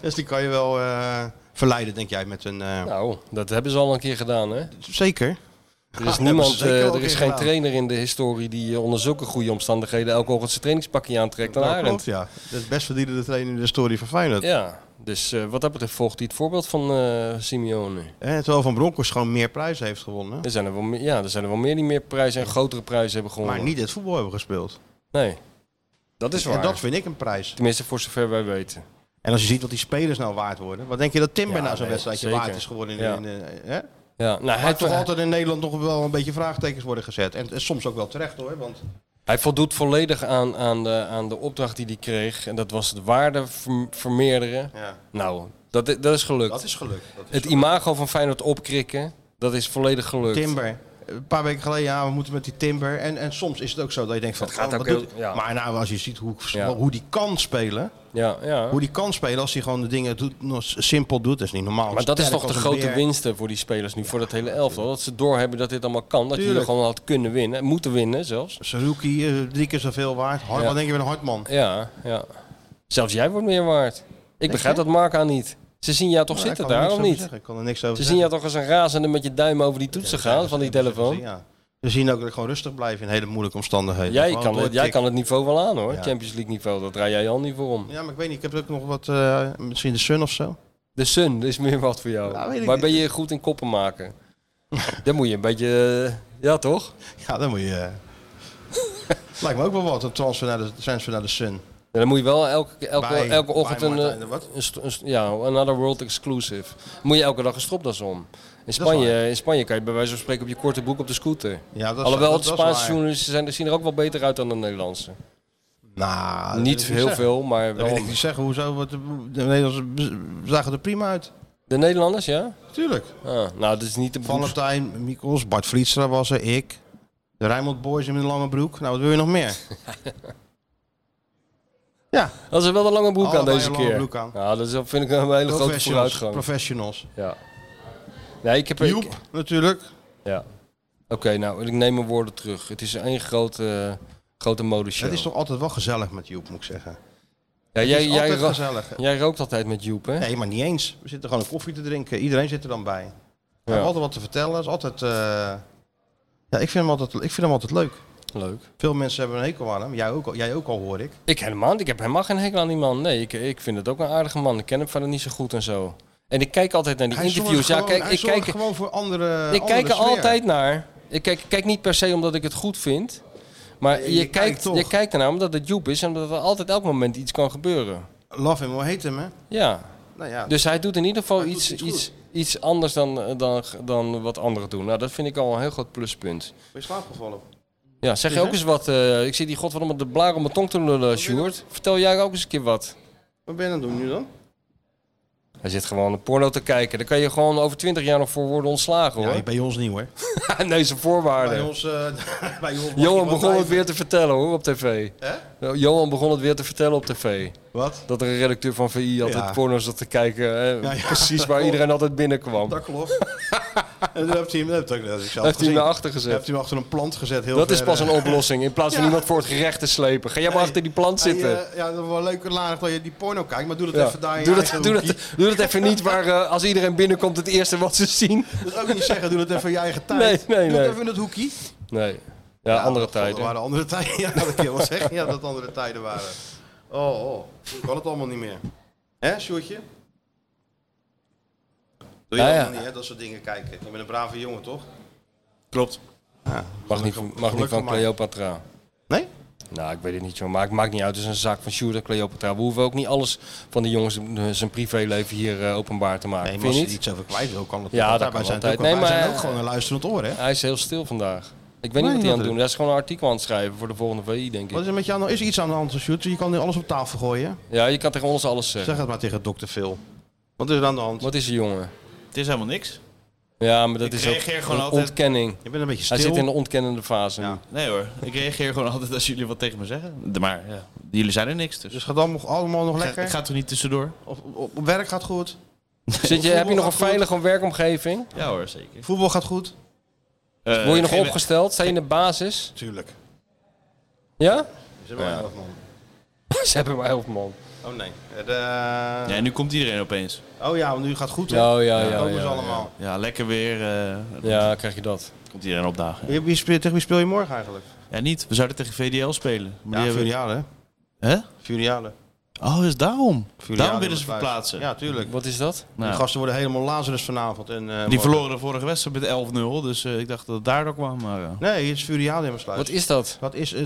E: dus die kan je wel eh, verleiden, denk jij, met een... eh,
F: Nou, dat hebben ze al een keer gedaan, hè?
E: Zeker.
F: Er is,
E: ze
F: niemand,
E: zeker
F: eh,
E: al een
F: er is
E: keer
F: geen
E: gedaan.
F: trainer in de historie die eh, onder zulke goede omstandigheden elke ochtend zijn trainingspakje aantrekt dan
E: Dat
F: Arend.
E: klopt, ja. Dat is best verdienende trainer in de historie van Feyenoord.
F: Ja, dus eh, wat dat betreft volgt hij het voorbeeld van eh, Simeone.
E: En terwijl Van Bronckhorst gewoon meer prijzen heeft gewonnen.
F: Er zijn er, wel, meer- ja, er zijn er wel meer die meer prijzen en grotere prijzen hebben gewonnen.
E: Maar niet het voetbal hebben gespeeld.
F: Nee, dat is waar.
E: En dat vind ik een prijs.
F: Tenminste, voor zover wij weten.
E: En als je ziet wat die spelers nou waard worden. Wat denk je dat Timber
F: Ja,
E: nou zo'n
F: nee,
E: wedstrijdje
F: zeker.
E: waard is geworden? In,
F: Ja.
E: in, eh, hè?
F: Ja, nou, hij,
E: Maar toch
F: hij-
E: altijd in Nederland nog wel een beetje vraagtekens worden gezet. En, en soms ook wel terecht hoor. Want
F: Hij voldoet volledig aan, aan, de, aan de opdracht die hij kreeg. En dat was het waarde ver- vermeerderen.
E: ja,
F: Nou, dat, i- dat is gelukt.
E: dat is gelukt. Dat is
F: het imago van Feyenoord opkrikken, dat is volledig gelukt.
E: Timber. Een paar weken geleden, ja, we moeten met die Timber. En, en soms is het ook zo dat je denkt van...
F: Dat gaat
E: oh,
F: ook
E: wat
F: heel-
E: doet-
F: ja.
E: Maar nou, als je ziet hoe,
F: Ja.
E: hoe die kan spelen...
F: Ja, ja.
E: Hoe die kan spelen als hij gewoon de dingen doet, nog s- simpel doet, dat is niet normaal.
F: Maar dat is
E: Sterk
F: toch de
E: als een
F: grote
E: beer.
F: winsten voor die spelers nu, voor dat hele elftal. Dat ze doorhebben dat dit allemaal kan. Dat je hier
E: Tuurlijk.
F: gewoon had kunnen winnen, moeten winnen zelfs.
E: Saruki, eh, drie keer zoveel waard. Hart,
F: Ja.
E: Wat denk je van Hartman?
F: Ja, ja. Zelfs jij wordt meer waard. Ik begrijp dat Marca niet. Ze zien jou toch
E: Nou, ik
F: zitten
E: kan er niks
F: daar, of
E: over
F: niet?
E: zeggen. Ik kan er niks over
F: Ze zien
E: zeggen.
F: jou toch als een razende met je duim over die toetsen gaan van die telefoon.
E: Ja. We zien ook dat ik gewoon rustig blijf in hele moeilijke omstandigheden.
F: Jij,
E: Gewoon
F: kan het, jij
E: doortikken.
F: kan het niveau wel aan hoor.
E: Ja.
F: Champions League niveau, daar draai jij al niet voor om.
E: Ja, maar ik weet niet. Ik heb ook nog wat, eh, misschien de Sun of zo.
F: De Sun dat is meer wat voor jou.
E: Nou, weet ik
F: Waar
E: niet.
F: ben je goed in koppen maken? Dan moet je een beetje. eh, ja, toch?
E: Ja, dan moet je... eh, Lijkt me ook wel wat, een transfer naar de, transfer naar de Sun.
F: Ja, dan moet je wel elke, elke,
E: Bij-
F: elke ochtend
E: bij
F: een,
E: Martijn
F: eh,
E: de wat?
F: een st- een st- Ja, another world exclusive. Moet je elke dag een stropdas om. In
E: is
F: Spanje, in Spanje kan je bij wijze van spreken op je korte broek op de scooter.
E: Ja, dat is-
F: Alhoewel,
E: dat-
F: de
E: dat is
F: Spaanse
E: waar.
F: journalisten zijn, zien er ook wel beter uit dan de Nederlandse.
E: Nou, dat
F: niet
E: wil ik
F: heel
E: zeggen.
F: veel, maar
E: Dat
F: wel.
E: wil ik niet zeggen. Hoezo? Wat, de Nederlanders b- zagen er prima uit.
F: De Nederlanders, ja?
E: Tuurlijk.
F: Ah, nou, dat is niet de beroeps...
E: Valentijn, Mikkels, Bart Vlietstra was er, ik. De Rijnmond Boys in een lange broek. Nou, wat wil je nog meer? ja,
F: Dat is wel een lange broek aan
E: Allebei
F: deze
E: een lange
F: keer.
E: broek aan.
F: Ja, dat is, vind ik een hele grote
E: professionals.
F: vooruitgang.
E: professionals.
F: Ja. Nee, ik heb... ik-
E: Joep, natuurlijk.
F: ja. Oké, nou, ik neem mijn woorden terug. Het is één grote, grote modeshow.
E: Het is toch altijd wel gezellig met Joep, moet ik zeggen.
F: ja,
E: Het
F: jij,
E: is
F: jij,
E: altijd
F: ro-
E: gezellig.
F: jij rookt altijd met Joep, hè?
E: Nee, maar niet eens. We zitten gewoon een koffie te drinken. Iedereen zit er dan bij. We
F: Ja.
E: hebben altijd wat te vertellen. Het is altijd... eh, Ja, ik vind, hem altijd, ik vind hem altijd leuk.
F: Leuk.
E: Veel mensen hebben een hekel aan hem. Jij ook, al- jij ook al, hoor ik.
F: Ik helemaal niet. Ik heb helemaal geen hekel aan die man. Nee, ik, ik vind het ook een aardige man. Ik ken hem verder niet zo goed en zo. En ik kijk altijd naar die
E: Hij
F: interviews.
E: zorgt
F: ja,
E: gewoon-
F: kijk,
E: hij
F: ik
E: zorgt
F: kijk,
E: gewoon voor andere
F: ik
E: andere
F: kijk er
E: sfeer.
F: altijd naar. Ik kijk, ik kijk niet per se omdat ik het goed vind. Maar
E: Nee,
F: je,
E: je kijkt
F: kijkt,
E: toch.
F: je kijkt ernaar omdat het Joep is en omdat er altijd elk moment iets kan gebeuren.
E: Love him, hoe heet hem, hè?
F: Ja,
E: Nou ja,
F: dus hij doet in ieder geval
E: Hij doet
F: iets,
E: iets
F: iets,
E: goed.
F: iets, anders dan, eh, dan, dan wat anderen doen. Nou, dat vind ik al een heel groot pluspunt.
E: ben je slaapgevallen?
F: Ja, zeg je
E: Ja.
F: ook eens wat. eh, ik zit die godverdomme de blaar om mijn tong te lullen, Sjoerd. Vertel jij ook eens een keer wat.
E: Wat ben je aan het doen nu dan?
F: Hij zit gewoon een porno te kijken. Daar kan je gewoon over 20 jaar nog voor worden ontslagen hoor.
E: bij ons niet hoor.
F: nee, zijn voorwaarden.
E: Bij ons, eh, bij ons mag
F: Johan
E: iemand
F: begon het
E: blijven.
F: weer te vertellen hoor op tv.
E: Hè?
F: Nou, Johan begon het weer te vertellen op tv.
E: Wat?
F: Dat er een redacteur van VI altijd
E: Ja.
F: porno zat te kijken. hè,
E: Ja, Oh. ja, dat
F: precies waar
E: klopt.
F: iedereen altijd binnenkwam.
E: Dat klopt. en dan heeft hij hem, dat heb ik ook net zelf
F: heeft hij
E: gezien.
F: hem naar achter
E: Dan
F: gezet.
E: heeft hij hem achter een plant gezet. Heel
F: Dat is
E: ver,
F: pas
E: eh.
F: een oplossing. In plaats van
E: Ja.
F: iemand voor het gerecht te slepen. Ga jij maar
E: Hey,
F: achter die plant
E: hey,
F: zitten.
E: eh, ja, dat is wel leuk en aardig dat je die porno kijkt, maar doe dat
F: Ja.
E: even daar in je
F: Doe, dat,
E: eigen
F: doe, dat,
E: hoekie.
F: doe dat even niet waar eh, als iedereen binnenkomt het eerste wat ze zien.
E: Dat is ook niet zeggen, doe dat even in je eigen tijd.
F: Nee, nee,
E: doe
F: nee.
E: het even in het hoekie.
F: Nee. Ja, andere
E: dat- Dat
F: tijden.
E: waren andere tijden. Ja, dat kan je wel zeggen. Ja, dat andere tijden waren. Oh, oh. Ik kan het allemaal niet meer. Hè, Sjoerdje? Doe je
F: Ja, ja.
E: allemaal niet, hè? Dat soort dingen kijken. Je bent een brave jongen, toch?
G: Klopt.
F: Mag niet, van- mag niet van
E: maar.
F: Cleopatra.
E: Nee?
F: Nou, ik weet het niet, joh. Maar het maakt niet uit. Het is een zaak van Sjoerd en Cleopatra. We hoeven ook niet alles van die jongens eh, zijn privéleven hier eh, openbaar te maken.
E: Nee, maar als
F: Vind je
E: je er
F: niet?
E: iets over kwijt wil, kan het.
F: Ja,
E: Want
F: dat
E: daarbij zijn
F: kan
E: het Ook,
F: altijd. Nee,
E: wij zijn
F: maar-
E: ook gewoon een luisterend oor, hè?
F: Hij is heel stil vandaag. Ik weet niet
E: Nee,
F: wat hij aan het
E: dat-
F: doen. Hij is gewoon een artikel aan het schrijven voor de volgende VI, denk
E: Wat
F: ik.
E: is er met jou? nou? Is er iets aan de hand, Sjoerd? Je kan nu alles op tafel gooien.
F: Ja, je kan tegen ons alles
E: Zeg
F: zeggen.
E: het maar tegen dokter Phil. Wat is er aan de hand?
F: Wat is er, jongen?
G: Het is helemaal niks.
F: Ja, maar dat
G: Ik
F: is ook
G: reageer gewoon
F: een
G: altijd-
F: ontkenning.
E: Je bent een beetje stil.
F: Hij zit in de ontkennende fase nu.
E: Ja.
G: Nee hoor, ik reageer gewoon altijd als jullie wat tegen me zeggen. Maar ja, jullie zijn er niks, dus
E: Dus gaat allemaal, allemaal nog
G: ik
E: lekker?
G: ga toch niet tussendoor?
E: Op, op- op werk gaat goed.
F: Zit je, heb je nog
E: Voetbal
F: een
E: gaat
F: veilige werkomgeving?
E: Eh,
G: Ja hoor, zeker. Eh,
E: Voetbal gaat goed.
F: Word je nog opgesteld? Sta je in de basis?
E: Tuurlijk. Ze
F: Ja?
E: hebben maar elf man.
F: Ze hebben maar elf man.
E: Oh nee. Eh,
G: Ja,
E: de-
G: en nu komt iedereen opeens.
E: Oh ja, want nu gaat het goed. hè?
F: Oh, ja,
E: Dan
F: ja,
E: komen ze
F: ja,
E: allemaal.
G: Ja, lekker weer. eh,
F: Ja, krijg je dat.
G: Komt iedereen opdagen.
E: Wie- Wie speel, tegen wie speel je morgen eigenlijk?
G: Ja, niet. We zouden tegen VDL spelen. Maar
E: Ja,
G: die hebben...
E: Furiale.
G: Hè?
E: Furiale.
G: Oh, is daarom.
E: Furiale
G: daarom willen ze
E: thuis.
G: verplaatsen.
E: Ja, tuurlijk.
F: Wat is dat?
G: Nou,
E: Die gasten worden helemaal lazerus vanavond. En, eh,
G: die
E: morgen.
G: verloren de vorige wedstrijd met 11-0. Dus eh, ik dacht dat het daardoor kwam. Maar, eh,
E: Nee, het is Furiade in mijn sluis.
F: Wat is dat?
E: Dat is, eh,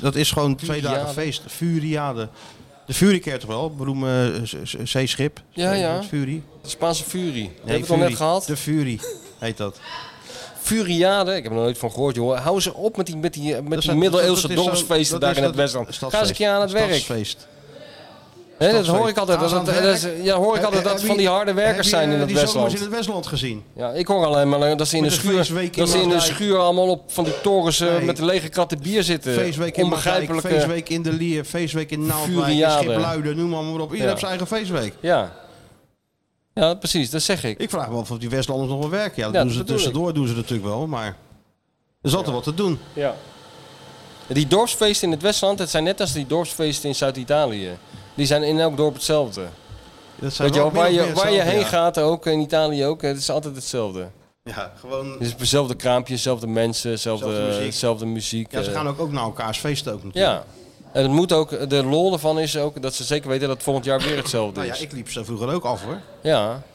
E: dat is gewoon twee
F: Furiade.
E: dagen feest. Furiade. De Fury keert toch wel? Het beroemde eh, z- z- zeeschip.
F: Ja, ja.
E: Het Fury.
F: Spaanse Fury. Nee, heb ik het al
E: Fury.
F: net gehad?
E: De Fury heet dat.
F: Furiade, ik heb er nog nooit van gehoord, jongen. Hou eens op met die, met die, met
E: Dat
F: die
E: zijn-
F: middeleeuwse
E: dat is zo'n-
F: dorpsfeesten
E: dat
F: daar
E: is
F: in het
E: dat-
F: Westland. Ga eens een
E: stadsfeest.
F: keer aan het werk.
E: Stadsfeest.
F: Hè, dat
E: stadsfeest.
F: hoor ik altijd. Dat,
E: Gaan ze
F: dat,
E: aan het
F: dat is- ja, hoor ik altijd
E: Heb-
F: dat
E: heb
F: van
E: je-
F: die harde werkers
E: heb je,
F: zijn in
E: eh,
F: het
E: die zomers
F: Westland.
E: in het Westland gezien.
F: Ja, ik hoor alleen maar eh, dat ze in de
E: Met de
F: schuur,
E: feestweek in
F: dat ze in de
E: Maasdijk.
F: schuur allemaal op van die torens eh,
E: Nee.
F: met de lege kratten bier zitten.
E: Feestweek in Maasdijk,
F: Onbegrijpelijke.
E: feestweek in de Lier, feestweek in Naaldwijk, in
F: Furiade.
E: Schipluiden, noem maar, maar op. Iedereen
F: Ja.
E: heeft zijn eigen feestweek.
F: Ja. ja, precies, dat zeg ik.
E: Ik vraag me af of die Westlanders nog wel werken. Ja, dat
F: Ja,
E: doen
F: dat
E: ze
F: bedoel
E: tussendoor, doen ze natuurlijk wel, maar er is altijd wat te doen.
F: Ja. Die dorpsfeesten in het Westland, het zijn net als die dorpsfeesten in Zuid-Italië. Die zijn in elk dorp hetzelfde.
E: Dat zijn
F: Weet je
E: wel
F: wel, waar
E: min of
F: je,
E: meer
F: waar je
E: hetzelfde,
F: heen
E: ja.
F: gaat, ook in Italië ook, het is altijd hetzelfde.
E: Ja, gewoon,
F: Het is hetzelfde kraampje, dezelfde mensen, dezelfde,
E: Zelfde muziek.
F: dezelfde muziek.
E: ja, ze
F: eh,
E: gaan ook, ook naar elkaars feesten ook natuurlijk.
F: ja. En het moet ook, de lol ervan is ook dat ze zeker weten dat het volgend jaar weer hetzelfde
E: Nou
F: is.
E: ja,
F: Ja,
E: ik liep ze vroeger ook af hoor.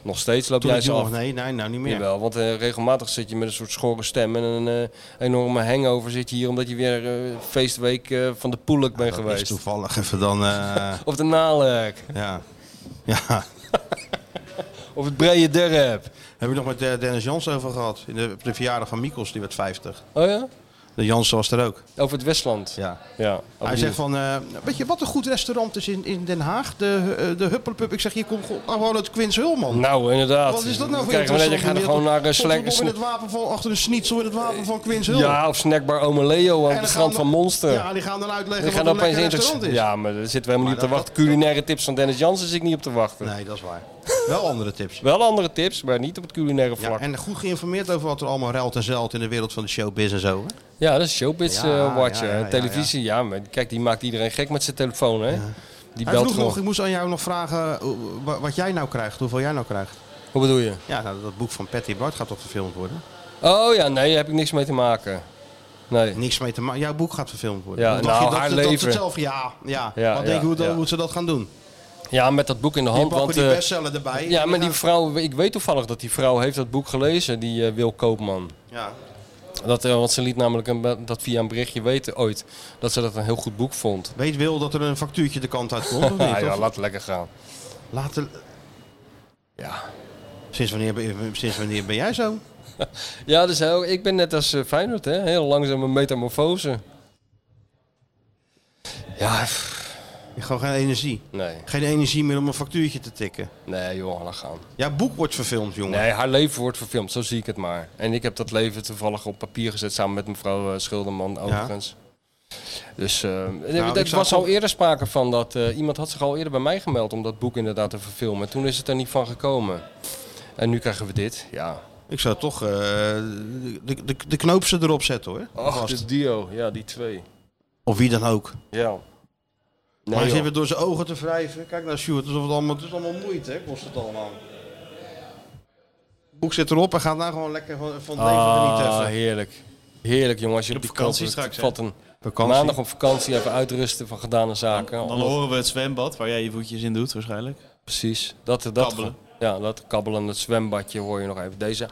F: nog steeds loop
E: Toen
F: jij
E: ik
F: ze
E: jong
F: af.
E: was, nee, nee, nou niet meer.
F: Jawel, want eh, regelmatig zit je met een soort schorre stem en een eh, enorme hangover zit je hier omdat je weer eh, feestweek eh, van de Poelik bent
E: dat is
F: geweest.
E: toevallig even dan, eh,
F: Of de Nalek,
E: ja. Ja,
F: of het Brede Derp.
E: Heb ik nog met eh, Dennis Jans over gehad. In de, op de verjaardag van Mikos, die werd 50.
F: Oh ja?
E: De Jans was er ook.
F: Over het Westland.
E: Ja.
F: ja
E: Hij
F: opnieuw.
E: zegt van, eh, weet je wat een goed restaurant is in, in Den Haag? De, eh, de Huppelpup. Ik zeg, hier komt gewoon- nou, gewoon het Quins Hulman.
F: Nou, inderdaad.
E: Wat is dat nou voor
F: Kijk, maar je
E: interessant?
F: gaat gewoon naar eh,
E: Komt
F: Slack-
E: er nog in het wapen van, achter een schnitzel in het wapen van Quins Hulman.
F: Ja, of snackbar Ome Leo aan
E: dan
F: het
E: gaan
F: strand
E: we-
F: van Monster.
E: Ja, die gaan dan uitleggen
F: Die
E: wat
F: gaan
E: een
F: opeens
E: lekker
F: interessant.
E: restaurant is.
F: Ja, maar daar zitten we helemaal niet op te
E: Maar
F: wachten. Culinaire tips van Dennis Jansen zit ik niet op te wachten.
E: Nee, dat is waar. Wel andere tips.
F: Wel andere tips, maar niet op het culinaire
E: Ja,
F: vlak. Ja,
E: en goed geïnformeerd over wat er allemaal ruilt en zeilt in de wereld van de showbiz en zo. hè?
F: dat is showbiz
E: Ja,
F: eh, watcher.
E: ja, ja,
F: En
E: ja,
F: televisie, ja. maar kijk, die maakt iedereen gek met zijn telefoon, hè? Die
E: Hij
F: belt
E: vroeg nog, ik
F: gewoon.
E: moest aan jou nog vragen eh, wa- wat jij nou krijgt, hoeveel jij nou krijgt.
F: Wat bedoel je?
E: Ja, nou, dat boek van Patty Bart gaat toch verfilmd worden?
F: Oh ja, nee, daar heb ik niks mee te maken. Nee.
E: Niks mee te maken. Jouw boek gaat verfilmd worden.
F: Ja,
E: Hoe dacht
F: nou,
E: je dat,
F: haar
E: dat, dat
F: leven.
E: ze zelf, ja, ja.
F: Ja,
E: Wat denk
F: ja,
E: je hoe, dat-
F: ja.
E: hoe ze dat gaan doen?
F: Ja, met dat boek in de
E: Die
F: hand.
E: pakken
F: want,
E: die
F: eh,
E: bestseller erbij.
F: ja,
E: en
F: maar die
E: gaan-
F: vrouw, ik weet toevallig dat die vrouw heeft dat boek gelezen, die eh, Wil Koopman.
E: Ja.
F: Dat, eh, want ze liet namelijk een, dat via een berichtje weten ooit dat ze dat een heel goed boek vond.
E: Weet Wil dat er een factuurtje de kant uit komt? Of niet?
F: Ah, ja,
E: Of-
F: laat lekker gaan.
E: Later...
F: Ja.
E: Sinds wanneer, ben- sinds wanneer ben jij zo?
F: Ja, dus heel, ik ben net als eh, Feyenoord, hè? heel langzame metamorfose. Ja, pff,
E: Gewoon geen energie.
F: nee,
E: Geen energie meer om een factuurtje te tikken.
F: nee joh, laat gaan.
E: Jouw boek wordt verfilmd, jongen.
F: Nee, haar leven wordt verfilmd, zo zie ik het maar. En ik heb dat leven toevallig op papier gezet samen met mevrouw eh, Schilderman overigens. Dus eh er
E: ik zou
F: was al
E: toch-
F: eerder sprake van dat eh, iemand had zich al eerder bij mij gemeld om dat boek inderdaad te verfilmen. Toen is het er niet van gekomen. En nu krijgen we dit, ja.
E: Ik zou toch eh, de, de, de knoopsen erop zetten, hoor.
F: Ach,
E: Gast.
F: dus Dio, ja, die twee.
E: Of wie dan ook.
F: Ja.
E: maar hij
F: joh.
E: zit weer door zijn ogen te wrijven. Kijk naar Sjoerd, alsof het allemaal, het is allemaal moeite, hè, kost het allemaal. Het boek zit erop en gaat nou gewoon lekker van, van het leven
F: Ah,
E: genieten. Even.
F: heerlijk. Heerlijk, jongen. Als je op, die
G: vakantie
F: vakantie straks
G: straks, hè?
F: vat een
E: Vakantie.
F: maandag op vakantie even uitrusten van gedane zaken.
G: Dan horen we het zwembad waar jij je voetjes in doet waarschijnlijk.
F: Precies. Dat, dat,
G: Kabbelen.
F: Ja, dat kabbelen, het zwembadje hoor je nog even. Deze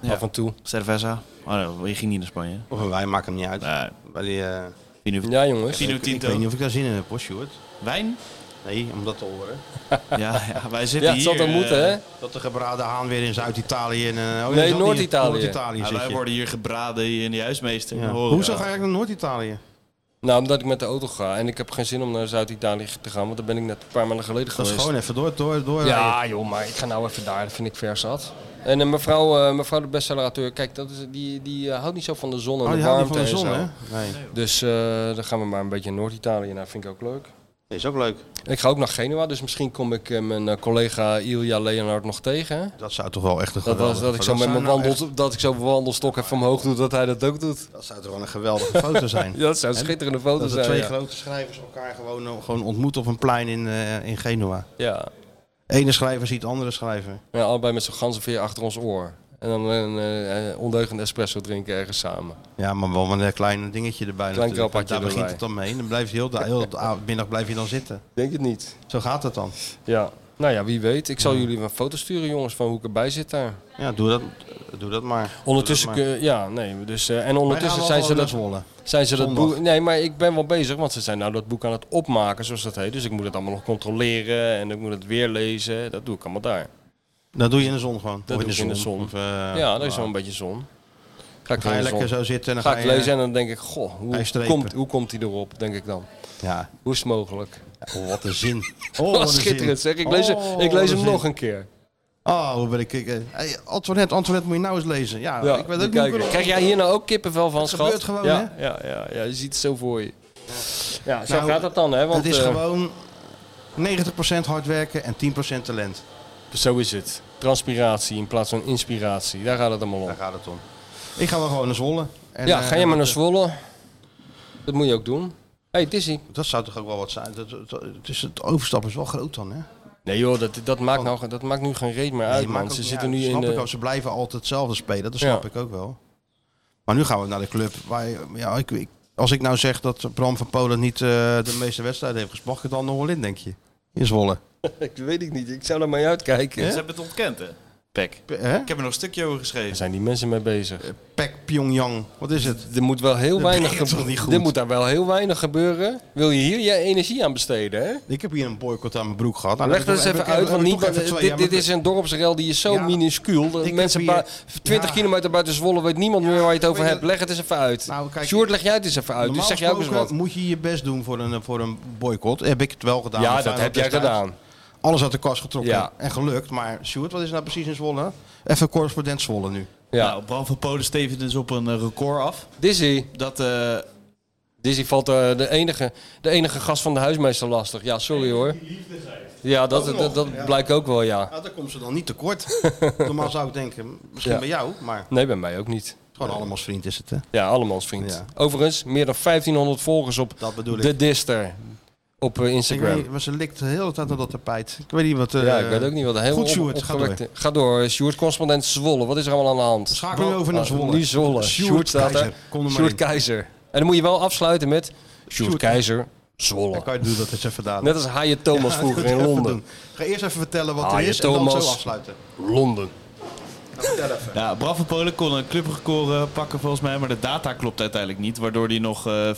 G: Ja.
F: af en toe.
G: Cerveza. Oh, je ging niet naar Spanje.
E: Of wij maken hem niet uit.
G: Nee.
E: Bij die, eh,
G: Pino,
F: Ja, jongens.
G: Pino
E: ik weet niet
G: Tinto.
E: of ik daar zin in heb, hoor, Sjoerd.
G: Wijn?
E: Nee, om dat te horen.
G: Ja, ja, wij zitten
F: Ja, het zal
G: hier.
F: dan
G: eh,
F: moeten, hè?
E: Dat de gebraden haan weer in Zuid-Italië en... eh, oh, is
F: Nee,
E: dat niet-
F: Noord-Italië.
E: Noord-Italië
G: Ja,
E: zit
G: wij
E: je.
G: worden hier gebraden hier in de huismeester.
E: Ja.
G: Horen
E: Hoezo
G: we.
E: ga je eigenlijk naar Noord-Italië?
F: Nou, omdat ik met de auto ga. En ik heb geen zin om naar Zuid-Italië te gaan, want daar ben ik net een paar maanden geleden
E: Dat is
F: geweest.
E: gewoon even door, door, door.
F: Ja, joh, maar ik ga nou even daar. Dat vind ik ver zat. En eh, mevrouw, eh, mevrouw de bestseller-auteur, kijk, dat is, die, die eh, houdt niet zo van de zon en
E: Oh,
F: de
E: je houdt
F: warmte
E: niet van de
F: en
E: zon,
F: zo.
E: hè? Nee.
F: Dus eh, dan gaan we maar een beetje naar Noord-Italië. Nou, vind ik ook leuk.
E: Is ook leuk.
F: En ik ga ook naar Genua, dus misschien kom ik eh, mijn eh, collega Ilja Leonard nog tegen. hè?
E: Dat zou toch wel echt een
F: Dat,
E: geweldige...
F: was, dat, ik zo met
E: zou
F: mijn
E: nou
F: wandel,
E: echt-
F: dat ik zo mijn wandelstok even omhoog doe, dat hij dat ook doet.
E: Dat zou toch wel een geweldige foto zijn.
F: Ja, dat zou een schitterende foto
E: Dat de
F: zijn.
E: twee
F: ja.
E: grote schrijvers elkaar gewoon, eh, gewoon ontmoeten op een plein in, eh, in Genua.
F: Ja.
E: Ene schrijver ziet de andere schrijver.
F: ja, allebei met zo'n ganzenveer achter ons oor. En dan een eh, eh, ondeugend espresso drinken ergens samen.
E: Ja, maar wel met een klein dingetje erbij
F: Klein
E: natuurlijk.
F: krabbertje
E: Daar begint
F: erbij.
E: het dan mee. Dan blijf je heel de, heel de avond- middag blijf je dan zitten.
F: Denk het niet.
E: Zo gaat het dan.
F: Ja. Nou ja, wie weet. Ik zal jullie een foto sturen, jongens, van hoe ik erbij zit daar.
E: Ja, doe dat, doe dat maar.
F: Ondertussen,
E: Doe dat maar.
F: kun- ja, nee. Dus, eh, en
E: Wij gaan
F: ondertussen
E: wel
F: zijn ze
E: gewoon
F: dat
E: naar Zwolle.
F: Zijn ze dat
E: Zondag.
F: boek? Nee, maar ik ben wel bezig, want ze zijn nou dat boek aan het opmaken, zoals dat heet. Dus ik moet het allemaal nog controleren en ik moet het weer lezen. Dat doe ik allemaal daar.
E: Dat doe je in de zon gewoon.
F: Dat
E: Of
F: doe ik in de zon.
E: Of, eh,
F: ja, dat is
E: nou,
F: wel een beetje zon. Ga ik,
E: Ga
F: in
E: je
F: de
E: lekker
F: zon.
E: zo zitten en dan
F: Ga
E: ga
F: ik
E: je-
F: lezen en dan denk ik, goh,
E: Hij
F: hoe
E: strepen.
F: komt, hoe komt hij erop, denk ik dan?
E: Ja,
F: Hoe is het mogelijk?
E: oh, wat een zin. Oh,
F: Oh,
E: wat een zin.
F: schitterend zeg. Ik lees,
E: Oh,
F: ik
E: wat
F: lees
E: een
F: hem
E: zin.
F: nog een keer.
E: Oh, hoe ben ik... ik, eh, hey, Antoinette, Antoinette moet je nou eens lezen. Ja,
F: Ja,
E: ik weet ook
F: kijk.
E: niet hoe-
F: Krijg jij hier nou ook kippenvel van, schat?
E: gebeurt gewoon,
F: ja, Ja, ja, ja, je ziet het zo voor je. Ja, zo
E: Nou,
F: gaat dat dan, hè? Want,
E: Het is
F: eh,
E: gewoon 90% hard werken en 10% talent.
F: Oh. Zo is het. Transpiratie in plaats van inspiratie. Daar gaat het allemaal om.
E: Daar gaat het om. Ik ga wel gewoon naar Zwolle. En,
F: ja,
E: eh,
F: ga je maar naar
E: dat-
F: Zwolle. Dat moet je ook doen. hey, Tizzy.
E: Dat zou toch ook wel wat zijn. Dat, dat- het is, het overstap is wel groot dan, hè?
F: Nee joh, dat, dat, maakt, nou, dat maakt nu geen reet meer uit,
E: maakt
F: man.
E: ook
F: Ze
E: niet
F: zitten
E: uit.
F: nu in
E: snap
F: de...
E: ik ook. Ze blijven altijd hetzelfde spelen. Dat snap
F: Ja.
E: ik ook wel. Maar nu gaan we naar de club. Waar, ja, ik, ik- als ik nou zeg dat Bram van Polen niet eh, de meeste wedstrijden heeft gespeeld, mag ik het dan nog wel in, denk je? In Zwolle.
F: Ik weet ik niet. Ik zou er maar uitkijken.
G: Ze hebben het ontkend, hè? Pek.
E: P- hè?
G: Ik heb er nog een stukje over geschreven.
F: Daar zijn die mensen mee bezig.
E: Pek Pyongyang. Wat is het?
F: Eh, Er moet wel heel weinig
E: brengt toch niet
F: gebeuren.
E: goed?
F: Er moet daar wel heel weinig gebeuren. Wil je hier je energie aan besteden, hè?
E: Ik heb hier een boycott aan mijn broek gehad. Nou,
F: Leg
E: dat
F: dat
E: heb
F: eens
E: ik-
F: even
E: heb ik-
F: uit, want
E: heb ik
F: niet,
E: toch even twee-
F: dit,
E: ja,
F: dit
E: maar-
F: is een dorpsrel die is zo
E: Ja,
F: minuscuul. Dat
E: ik
F: mensen
E: heb hier-
F: bui- 20
E: ja.
F: kilometer buiten Zwolle weet niemand meer waar je het over
E: weet
F: hebt.
E: dat-
F: Leg het eens even uit.
E: Nou, kijk,
F: Sjoerd, leg jij het eens even uit. Dus
E: Normaal
F: zeg jij ook eens wat.
E: gesproken moet je je best doen voor een, voor een boycott. Heb ik het wel gedaan.
F: Ja,
E: maar
F: dat
E: Feyenoord
F: heb jij
E: destijds.
F: gedaan.
E: Alles uit de kast getrokken.
F: Ja.
E: En gelukt. Maar Sjoerd, wat is nou precies in Zwolle? Even correspondent Zwolle nu.
F: Ja.
G: Nou, Bram van Polen stevend dus op een eh, record af.
F: Dizzy.
G: Dat, eh,
F: Dizzy valt eh, de, enige, de enige gast van de huismeester lastig. Ja, sorry hoor. Ja, dat,
E: Ook
F: dat,
E: nog,
F: dat,
E: ja.
F: blijkt ook wel, ja.
E: Nou, daar komt ze dan niet tekort. Normaal zou ik denken, misschien
F: Ja.
E: bij jou, maar
F: Nee, bij mij ook niet.
E: gewoon allemaal vriend is het. Hè?
F: Ja, allemans vriend.
E: Ja.
F: Overigens, meer dan 1500 volgers op
E: Dat bedoel ik.
F: de Dister op eh,
E: Ik
F: Instagram.
E: weet, niet, maar ze likt de hele tijd naar dat tapijt. Ik weet niet wat... eh,
F: ja, ik weet ook niet wat heel
E: goed,
F: op-
E: Sjoerd, ga
F: opgewekte- Ga door, eh, Sjoerd, correspondent Zwolle. Wat is er allemaal aan de hand?
E: Schakel nu over naar
F: Ah,
E: Zwolle.
F: Nu Zwolle.
E: Sjoerd
F: Sjoerd staat er.
E: Keizer. Kom er maar
F: Sjoerd
E: in.
F: Keizer. En dan moet je wel afsluiten met Sjoerd
E: Sjoerd.
F: Keizer, Zwolle.
E: Dan kan je doen dat eens even dadelijk.
F: Net als Haaien Thomas
E: Ja,
F: vroeger
E: dat
F: in
E: moet je even
F: Londen.
E: doen. Ga eerst even vertellen wat
F: Ah,
E: er
F: je
E: is en dan
F: Thomas.
E: zo afsluiten.
F: Londen.
G: ja, Bram van Polen kon een clubrecord eh, pakken volgens mij, maar de data klopt uiteindelijk niet. Waardoor hij nog eh,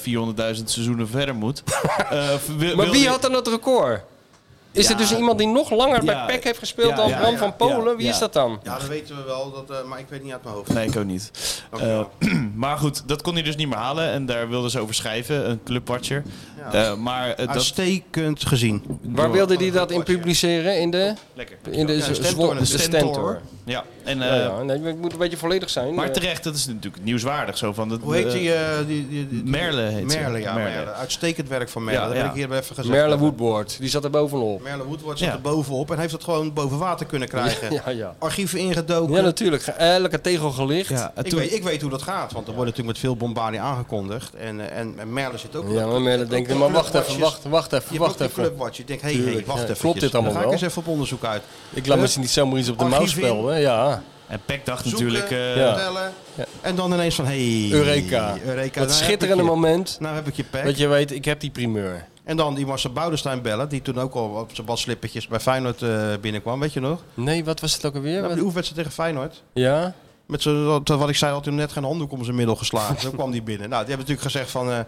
G: 400.000 seizoenen verder moet. Eh, wil-
F: Maar
G: wilde-
F: wie had dan dat record? Is er
G: Ja.
F: dus iemand die nog langer
G: Ja.
F: bij PEC heeft gespeeld
G: Ja,
F: dan
G: ja,
F: Bram
G: ja,
F: van Polen?
G: ja,
F: Wie
G: ja.
F: is dat dan?
E: Ja, dat weten we wel, dat, eh, maar ik weet niet uit mijn hoofd.
G: Nee, ik ook niet.
E: Dankjewel.
G: Maar goed, dat kon hij dus niet meer halen. En daar wilden ze over schrijven, een clubwatcher. Eh, maar eh, dat...
E: Uitstekend gezien.
F: Waar wilde die dat in publiceren? In de,
G: Oh, Lekker.
F: in de,
E: Ja,
F: Zwo-
E: Stentor.
F: de Stentor.
E: Stentor.
G: Ja, en,
F: Ja,
G: eh,
F: ja, nee, het moet een beetje volledig zijn.
G: maar
F: Eh,
G: terecht, dat is natuurlijk nieuwswaardig. Zo van, dat,
E: Hoe heet
G: eh,
E: die? eh, die, die, die- die-
G: Merle heet ze.
E: Merle, ja. Merle.
G: Merle.
E: Uitstekend werk van Merle.
G: Ja,
E: dat
G: ja.
E: heb ik hier even gezegd.
F: Merle Woodward, die zat er bovenop.
E: Merle Woodward zit
G: Ja.
E: er bovenop en heeft het gewoon boven water kunnen krijgen.
F: Ja, ja.
E: Archieven ingedoken.
F: Ja, natuurlijk. Ge- Elke tegel gelicht. Ja,
G: Ja, en
E: ik,
G: toen-
E: weet, ik weet hoe dat gaat, want er wordt natuurlijk met veel bombardie aangekondigd. En, eh, en, en Merle zit ook...
F: maar Merle denkt, maar wacht even, wacht, wacht
E: Je
F: even,
E: hebt ook
F: wacht
E: die
F: even.
E: clubwatch. Je denkt, hé, hey,
F: Tuurlijk,
E: hey, wacht
F: ja.
E: even.
F: Klopt dit allemaal
E: Dan ga ik
F: wel?
E: eens even op onderzoek uit.
F: Ik laat
E: Eh,
F: mensen niet zomaar iets op de mouw
E: archief in.
F: spelen. Ja.
G: En Peck dacht
E: Zoeken,
G: natuurlijk... eh,
F: Ja.
E: vertellen. En dan ineens van, hé... Hey,
F: Eureka.
E: Eureka. nou
F: Dat
E: heb
F: schitterende
E: ik je-
F: moment
E: Nou heb ik je pack.
F: dat je weet, ik heb die primeur.
E: En dan die Marcel Boudestein bellen, die toen ook al op zijn badslippertjes bij Feyenoord eh, binnenkwam, weet je nog?
F: Nee, wat was het ook alweer?
E: Ja,
F: Wat-
E: de oefenwedstrijd tegen Feyenoord.
F: Ja?
E: Met zo, dat- wat ik zei, had hij net geen handdoek om zijn middel geslagen. Zo kwam die binnen. Nou, die hebben natuurlijk gezegd van... eh,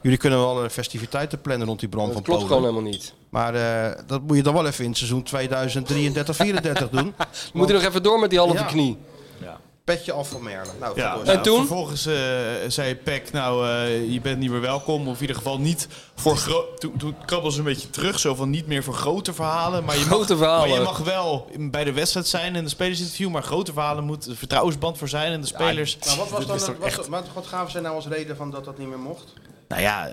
E: jullie kunnen wel eh, festiviteiten plannen rond die brand
F: Dat
E: van
F: klopt gewoon
E: Polen.
F: helemaal niet.
E: Maar eh, dat moet je dan wel even in het seizoen 2033-34 doen.
F: Moet je nog even door met die halve
E: Ja.
F: knie?
E: Petje af van Merle. Nou,
G: Ja,
E: ga door.
G: nou,
F: En toen?
G: Vervolgens eh, zei Peck, nou, eh, je bent niet meer welkom. Of in ieder geval niet voor groot... Toen, toen krabbelden ze een beetje terug, zo van niet meer voor grote verhalen. Maar je mag,
F: Grote verhalen.
G: Maar je mag wel bij de wedstrijd zijn en de spelersinterview. Maar grote verhalen moet een vertrouwensband voor zijn en de spelers...
E: Nou, wat, was
G: Dit
E: dan,
G: is
E: het-
G: toch
E: was,
G: echt-
E: het- maar wat gaven zij nou als reden van dat dat niet meer mocht?
G: Nou ja,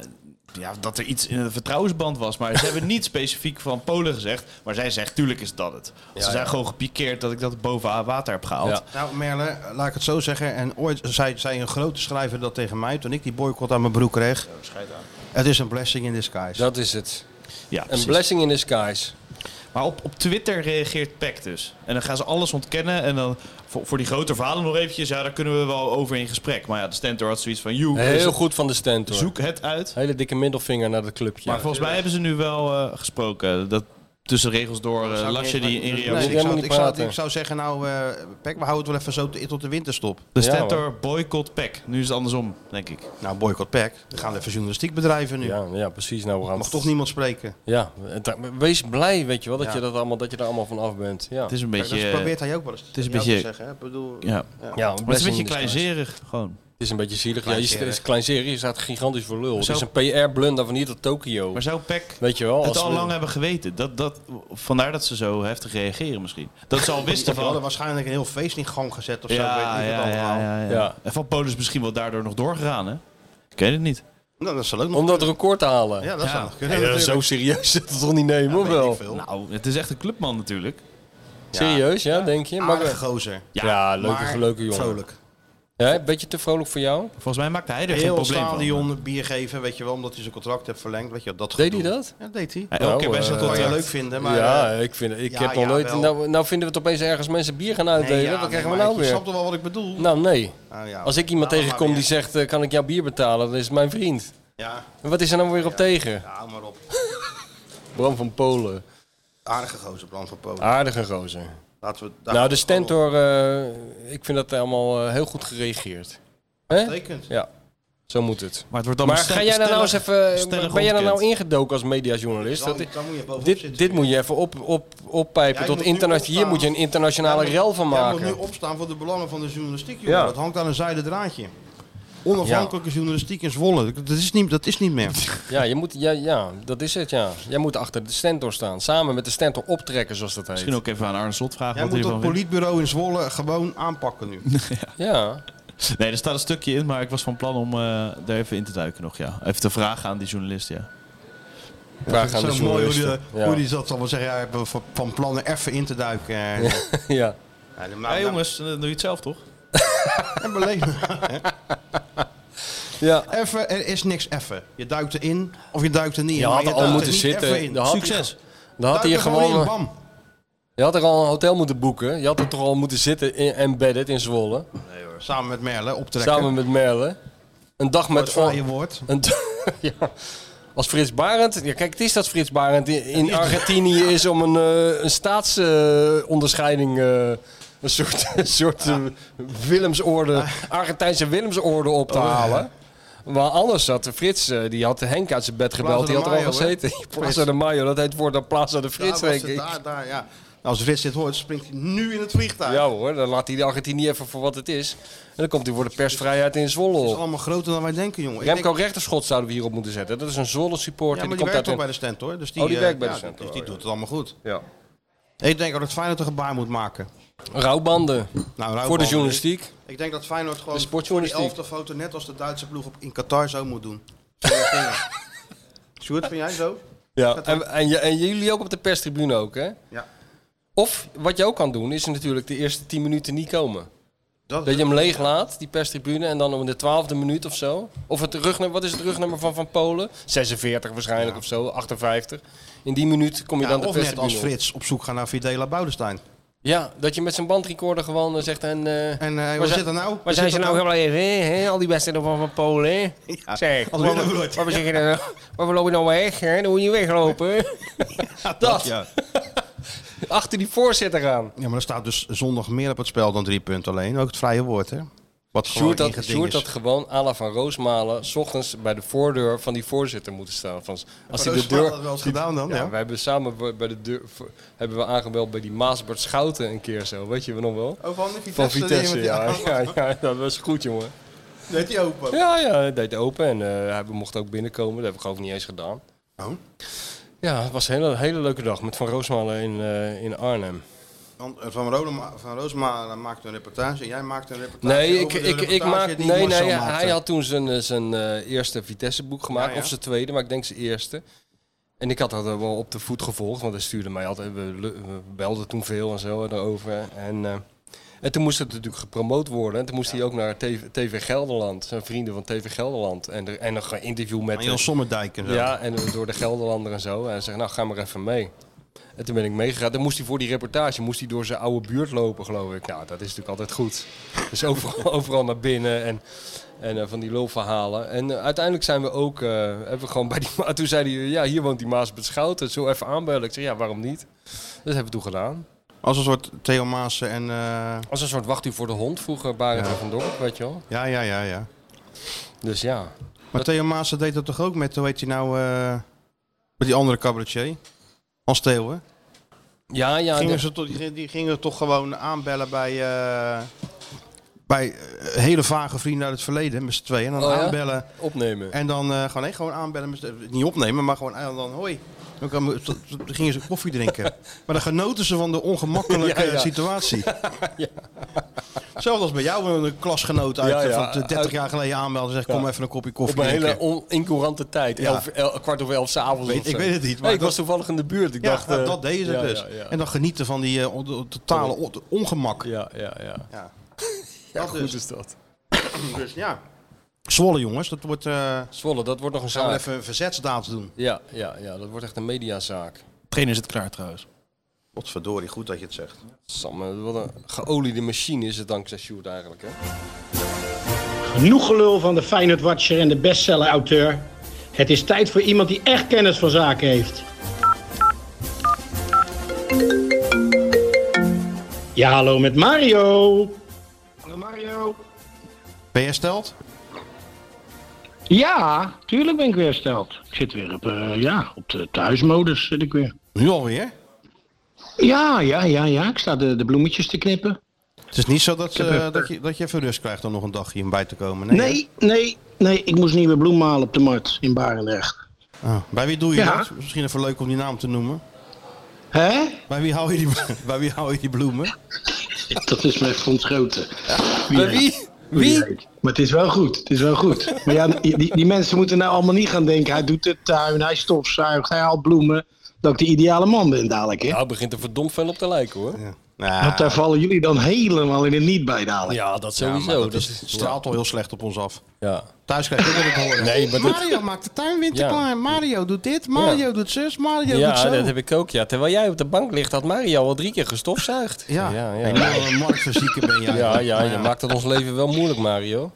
G: ja, dat er iets in een vertrouwensband was. Maar ze hebben niet specifiek van Polen gezegd. Maar zij zegt, tuurlijk is dat het. ze zijn gewoon gepikeerd dat ik dat boven water heb gehaald.
F: Ja.
E: Nou, Merle, laat ik het zo zeggen. En ooit zei, zei een grote schrijver dat tegen mij toen ik die boycott aan mijn broek kreeg. Het is een blessing in disguise.
F: Dat is het.
G: Ja,
F: Een
G: precies.
F: blessing in disguise.
G: Maar op, op Twitter reageert Peck dus. En dan gaan ze alles ontkennen. En dan voor, voor die grote verhalen nog eventjes. Ja, daar kunnen we wel over in gesprek. Maar ja, de Stentor had zoiets van... You,
F: Heel goed van de stand hoor.
G: Zoek het uit.
F: Hele dikke middelvinger naar het clubje.
G: maar volgens mij hebben ze nu wel eh, gesproken. Dat tussen regels door eh, las je die in Rio.
E: Nou, Nee,
F: moet
E: ik,
F: helemaal
E: zou,
F: niet
E: ik, zou,
F: praten.
E: ik zou zeggen, nou, eh Pek, we houden het wel even zo te- tot de winterstop.
G: De
F: Ja,
G: Stentor boycott Peck. Nu is het andersom, denk ik.
E: Nou, boycott Pek. We gaan even journalistiek bedrijven nu.
F: Ja, ja, precies. Nou, we gaan
E: Mag toch niemand spreken.
F: Ja, het- wees blij, weet je wel, dat,
E: Ja.
F: je, dat, allemaal, dat je er allemaal van af bent. Ja,
G: Het is een
E: Kijk,
G: beetje...
E: dat
G: eh,
E: probeert hij ook wel eens het
G: is een beetje-
E: zeggen. Hè? Ik bedoel,
G: ja.
F: ja,
G: Maar het is een beetje
F: klein
G: kleinzerig, gewoon.
F: Het is een beetje zielig. Ja, je, st- het is
E: Kleinzerig.
F: kleinzerig, je staat gigantisch voor lul.
G: Zo-
F: Het is een PR-blunder van hier tot Tokio.
G: Maar zou Peck
F: Weet je wel,
G: het
F: als
G: al
F: we-
G: lang hebben geweten? Dat, dat, vandaar dat ze zo heftig reageren misschien. Dat ze al
E: Ze
G: wisten van...
E: hadden waarschijnlijk een heel feest in gang gezet of zo.
G: Ja,
E: weet ik het
G: ja,
E: allemaal.
G: ja, ja, ja.
F: Ja.
G: En van Polen is misschien wel daardoor nog doorgegaan, hè? Ik weet het niet.
E: Nou, dat zal ook nog...
F: Om dat record te halen.
E: Ja, dat
G: Ja.
E: zou nog kunnen.
F: Nee, dat is zo
E: natuurlijk.
F: serieus dat het toch niet nemen, of
E: Weet ik
F: wel?
E: veel.
G: Nou, het is echt een clubman natuurlijk.
F: Serieus, ja, denk je? Maar
E: Aardige gozer.
F: ja, leuke,
E: maar
F: leuke jongen.
E: Vrolijk.
F: Ja, een beetje te vrolijk voor jou?
G: Volgens mij maakt hij er geen
E: Heel het
G: probleem van.
E: stadion bier geven, weet je wel, omdat hij zijn contract heeft verlengd. Weet je, wel, dat
F: Deed hij
E: gedoe.
F: dat?
E: Ja, deed hij. Dus
G: Elke keer bij
F: eh,
G: zo'n
E: Dat kan je
G: contract.
E: leuk vinden, maar...
F: ja,
E: eh,
F: ik, vind, ik
E: ja,
F: heb nog
E: ja,
F: nooit...
E: wel.
F: Nou, nou vinden we het opeens ergens mensen bier gaan
E: nee,
F: uitdelen.
E: ja,
F: Wat
E: nee,
F: krijgen we
E: maar
F: nou
E: ik-
F: weer?
E: Je snapt toch wel wat ik bedoel?
F: Nou, nee.
E: Nou, ja.
F: Als ik iemand
E: Nou, maar
F: tegenkom die
E: weer.
F: zegt, eh, kan ik jouw bier betalen? Dan is het mijn vriend.
E: Ja,
F: En Wat is er nou weer op tegen?
E: ja, hou maar op.
F: Bram van Polen.
E: Aardige gozer, Bram van Polen.
F: Aardige gozer.
E: Laten we daar
F: Ah. Nou, de Stentor, eh, ik vind dat allemaal eh, heel goed gereageerd. Hè?
E: Tekent.
F: Ja, zo moet het.
G: Maar het wordt dan
F: Maar ga jij daar nou eens even.
G: stellig
F: Ben jij daar nou
G: ontkend.
F: ingedoken als mediajournalist?
E: Dan,
F: Dat-
E: dan moet je bovenop
F: Dit,
E: zitten.
F: dit moet je even op, op, oppijpen
E: Jij
F: tot
E: moet nu
F: interna-
E: opstaan.
F: Hier moet je een internationale
E: Jij moet-
F: rel van
E: Jij
F: maken.
E: moet nu opstaan voor de belangen van de journalistiek, jongen.
F: Ja.
E: Dat hangt aan een zijden draadje. Onafhankelijke journalistiek in Zwolle. Dat is niet, dat is niet meer.
F: Ja, je moet, ja, ja, dat is het, ja. Jij moet achter de stentor staan. Samen met de stentor optrekken, zoals dat heet.
G: Misschien ook even aan Arne Slot vragen
E: Jij
G: wat hij
E: moet
G: ervan
E: dat
G: vindt.
E: politbureau in Zwolle gewoon aanpakken nu.
F: Ja.
G: Nee, er staat een stukje in, maar ik was van plan om eh, daar even in te duiken nog, ja. Even te vragen aan die journalist, ja.
F: Vraag aan
E: Zo
F: de
E: mooi hoe die, eh,
F: journalisten. Ja.
E: hoe die dat dan wel zeggen. Ja, hebben we van- van plannen even in te duiken. Eh, Ja.
F: ja.
E: dan- dan-
G: Hé jongens, dan doe je het zelf toch?
E: En beleven.
F: ja.
E: Even, er is niks effen. Je duikt erin of je duikt er niet in.
F: Je
E: maar
F: had er al
E: duikt
F: moeten
E: er niet even in.
F: zitten. Dan had
G: Succes.
F: je- Dan had
E: Duik
F: hij
E: er gewoon in,
F: gewoon...
E: bam.
F: Je had er al een hotel moeten boeken. Je had er toch al moeten zitten in embedded in Zwolle.
E: Samen met Merle optrekken.
F: Samen met Merle. Een dag met...
E: met je woord.
F: Een t- ja. Als Frits Barend... Ja, kijk, het is dat Frits Barend in- in Argentinië is om een, eh, een staatsonderscheiding... eh, een soort, een soort eh, Willemsorde, Argentijnse Willemsorde op te
E: Oh,
F: halen. Maar anders had Frits, eh, die had Henk uit zijn bed gebeld,
E: Plaza
F: die
E: de
F: had er al
E: Mayo, hè?
F: gezeten. Plaza de Mayo, dat heet voor dan Plaza de Frits,
E: Daar was
F: denk
E: het,
F: ik.
E: daar, daar, ja. Nou, Als Frits dit hoort, springt hij nu in het vliegtuig.
F: Ja hoor, dan laat hij de Argentinië even voor wat het is. En dan komt hij voor de persvrijheid in Zwolle
E: Het is
F: op.
E: allemaal groter dan wij denken, jongen. Ik
F: Remco
E: denk-
F: Rechterschot zouden we hierop moeten zetten. Dat is een Zwolle supporter.
E: ja, maar
F: die
E: die
F: komt
E: werkt
F: uit
E: ook bij
F: een...
E: de stand, hoor. Dus die,
F: Oh, die
E: eh,
F: werkt bij de
E: ja,
F: stand,
E: Dus
F: oh,
E: die doet
F: ja.
E: het allemaal goed.
F: ja.
E: Ik denk ook dat Feyenoord een gebaar moet maken.
F: Rouwbanden.
E: Nou, Rauwbal-
F: Voor de journalistiek.
E: Ik denk dat Feyenoord gewoon
F: De sportjournalistiek.
E: die elfde foto net als de Duitse ploeg op, in Qatar zo moet doen. Vinger, vinger. Sjoerd, vind jij zo?
F: Ja. En, en, je- en jullie ook op de perstribune ook, hè?
E: Ja.
F: Of wat je ook kan doen, is natuurlijk de eerste 10 minuten niet komen.
E: Dat,
F: Dat je hem leeg laat, die perstribune, en dan om de twaalfde minuut of zo. Of het rugnummer, wat is het rugnummer van Van Polen? 46 waarschijnlijk of zo, 58. In die minuut kom je
E: Ja,
F: dan de
E: of net
F: perstribune
E: als
F: op.
E: Frits op zoek gaan naar Videla Boudestein.
F: Ja, dat je met zijn bandrecorder gewoon eh, zegt en... eh,
E: En eh
F: waar
E: waar zit er nou?
F: Waar zijn ze nou gebleven, hè? hè? Al die wedstrijden van, van Polen, hè?
E: Ja,
F: Zeg,
E: als winnen
F: waarom-
E: we het.
F: waarom zeg je dat nou? Waarom loop je nou weg, hè? Dan moet je weglopen. hè? dat,
E: Ja.
F: achter die voorzitter aan.
E: ja, maar er staat dus zondag meer op het spel dan drie punten alleen. Ook het vrije woord, hè? Wat gewoon
F: Sjoerd dat,
E: ingeding
F: Sjoerd
E: is.
F: dat gewoon à la Van Roosmalen... s ochtends bij de voordeur van die voorzitter moeten staan. Van, als hij de
E: Roosmalen
F: deur...
E: had Oh, dat wel eens gedaan dan, ja.
F: We hebben samen bij- bij de deur... voor- hebben we aangebeld bij die Maasbert Schouten een keer zo. Weet je nog wel?
E: Oh, van de Vitesse.
F: Van Vitesse,
E: die-
F: ja. Ja, ja. Dat was goed, jongen.
E: Deed hij open.
F: Ja, ja, hij deed open en eh, hij mocht ook binnenkomen. Dat heb ik ook niet eens gedaan.
E: Oh.
F: Ja, het was een hele, hele leuke dag met Van Roosmalen in, eh, in Arnhem.
E: Want, eh, Van, Rodema, van Roosma maakte een reportage en jij maakte een reportage.
F: Nee, ik,
E: over de
F: ik, ik
E: reportage
F: maak,
E: die
F: nee,
E: Marcel
F: nee
E: maakte.
F: hij had toen zijn, eh, zijn eh, eerste Vitesse-boek gemaakt.
E: Ja, ja.
F: Of zijn tweede, maar ik denk zijn eerste. En ik had dat wel op de voet gevolgd, want hij stuurde mij altijd. We, lu- we belden toen veel en zo erover. En, eh, en toen moest het natuurlijk gepromoot worden. En toen moest hij ook naar TV, TV Gelderland, zijn vrienden van TV Gelderland. En, er, en nog een interview met
E: Aan
F: eh,
E: Jan Sommerdijk en zo.
F: Ja, en eh, door de Gelderlander en zo. En hij zegt, nou ga maar even mee. En toen ben ik meegegaan. Dan moest hij voor die reportage moest hij door zijn oude buurt lopen, geloof ik. Nou, dat is natuurlijk altijd goed. Dus overal, overal naar binnen en, en eh, van die lulverhalen. En eh, uiteindelijk zijn we ook, eh, hebben we gewoon bij die... ma- Toen zei hij, ja, hier woont die Maas Schouten. Zo even aanbellen. Ik zeg, ja, waarom niet? Dat hebben we toen gedaan.
E: Als een soort Theo Maassen en... eh,
F: Als een soort wacht u voor de hond vroeger, Barend
E: Ja.
F: en van Dorp, weet je wel.
E: ja, ja, ja, ja.
F: Dus ja.
E: Maar Theo Maassen deed dat toch ook met, hoe heet hij nou, eh, met die andere cabaretier? Hans Theo, hè?
F: Ja, ja.
E: gingen
F: de-
E: ze toch, die, die gingen toch gewoon aanbellen bij, eh, bij eh, hele vage vrienden uit het verleden, met z'n tweeën. En dan
F: Oh ja?
E: aanbellen
F: opnemen.
E: en dan eh, gewoon, nee, gewoon aanbellen, met z'n- niet opnemen, maar gewoon en dan hoi. Dan kwamen- t- t- toen gingen ze koffie drinken. Maar dan genoten ze van de ongemakkelijke
F: Ja, ja.
E: situatie. Hetzelfde als bij jou een klasgenoot uit
F: Ja,
E: van
F: ja.
E: 30
F: Uit-
E: jaar geleden aanmelden en zeggen kom
F: Ja.
E: even een kopje
F: Op
E: koffie
F: een
E: drinken.
F: hele on- incoherente tijd.
E: Ja.
F: Elf, el- kwart over elf s'avonds.
E: Weet- ik weet het niet, maar
F: ik
E: dat-
F: was toevallig in de buurt. Ik
E: Ja,
F: dacht,
E: nou,
F: eh,
E: dat deden ze
F: ja,
E: dus.
F: Ja, ja.
E: En dan genieten van die eh, on- de- totale on- ongemak.
F: ja, ja, ja.
E: Ja.
F: Ja,
E: Dat
F: goed
E: dus.
F: is dat.
E: Dus ja. Zwolle jongens, dat wordt... eh,
F: Zwolle, dat wordt nog een
E: gaan we
F: zaak.
E: even een verzetsdaad doen.
F: Ja, ja, ja, dat wordt echt een mediazaak.
G: Trainer zit klaar trouwens.
E: Godverdorie, goed dat je het zegt.
F: Sam, wat een geoliede machine is het dankzij Sjoerd eigenlijk. Hè?
H: Genoeg gelul van de Feyenoord Watcher en de bestseller-auteur. Het is tijd voor iemand die echt kennis van zaken heeft. Ja, hallo met Mario. Hallo Mario.
E: Ben je hersteld?
H: Ja, tuurlijk ben ik weer hersteld. Ik zit weer op, eh, ja, op de thuismodus zit ik weer.
E: Nu alweer?
H: Ja, ja, ja, ja. Ik sta de, de bloemetjes te knippen.
E: Het is niet zo dat,
H: heb
E: eh,
H: even-
E: dat, je, dat je even rust krijgt om nog een dagje in bij te komen. Nee. hè?
H: Nee, nee, nee. Ik moest nieuwe bloemen halen op de markt in Barendrecht.
E: Ah, bij wie doe je
H: Ja.
E: dat? Misschien even leuk om die naam te noemen.
H: Hè?
E: Bij wie hou je die, bij wie hou je die bloemen?
H: Dat is met Fons Grote.
F: Bij wie? Wie?
H: Maar het is wel goed, het is wel goed. Maar ja, die, die mensen moeten nou allemaal niet gaan denken... hij doet de tuin, hij stofzuigt, hij haalt bloemen... dat ik de ideale man ben dadelijk, hè?
F: Nou, het begint er verdomd veel op te lijken hoor.
E: Ja.
H: Want
F: eh,
H: daar vallen jullie dan helemaal in het niet bij dadelijk.
F: Ja, dat
E: Ja, maar
F: sowieso.
E: dat,
F: dat
E: is, straalt al heel slecht op ons af.
F: ja.
E: Thuis krijg je ook altijd horen.
F: Nee, maar dat-
E: Mario maakt de tuin
F: winterklaar.
E: Mario doet dit,
F: Mario
E: doet zus, Mario
F: Ja, dat heb ik ook. Ja. Terwijl jij op de bank ligt, had Mario al drie keer gestofzuigd.
E: Ja,
F: ja,
E: En
F: ja.
E: nou, een marktfysieker ben jij.
F: Ja, ja, je maakt het ons leven wel moeilijk, Mario.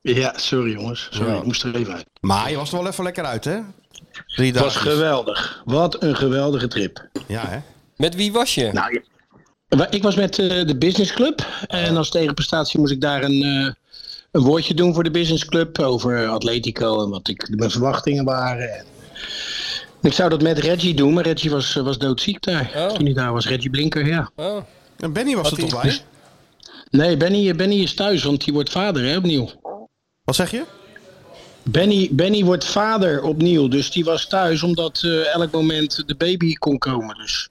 H: Ja, sorry jongens. Sorry,
F: Ja.
H: ik moest er even uit.
E: Maar je was er wel even lekker uit, hè? Drie
H: Het was
E: dagen.
H: geweldig. Wat een geweldige trip.
E: Ja, hè?
F: Met wie was je?
H: Nou, ja. Wa- ik was met eh, de Business Club. En als tegenprestatie moest ik daar een, eh, een woordje doen voor de Business Club. Over Atletico en wat ik, mijn verwachtingen waren. En ik zou dat met Reggie doen, maar Reggie was, eh, was doodziek daar.
F: Oh.
H: Toen hij daar was, Reggie Blinker, ja.
F: Oh,
E: En Benny was
F: Had
E: er
F: hij-
E: toch bij?
H: Nee, Benny, eh, Benny is thuis, want die wordt vader hè, opnieuw.
E: Wat zeg je?
H: Benny, Benny wordt vader opnieuw, dus die was thuis omdat eh, elk moment de baby kon komen. Dus.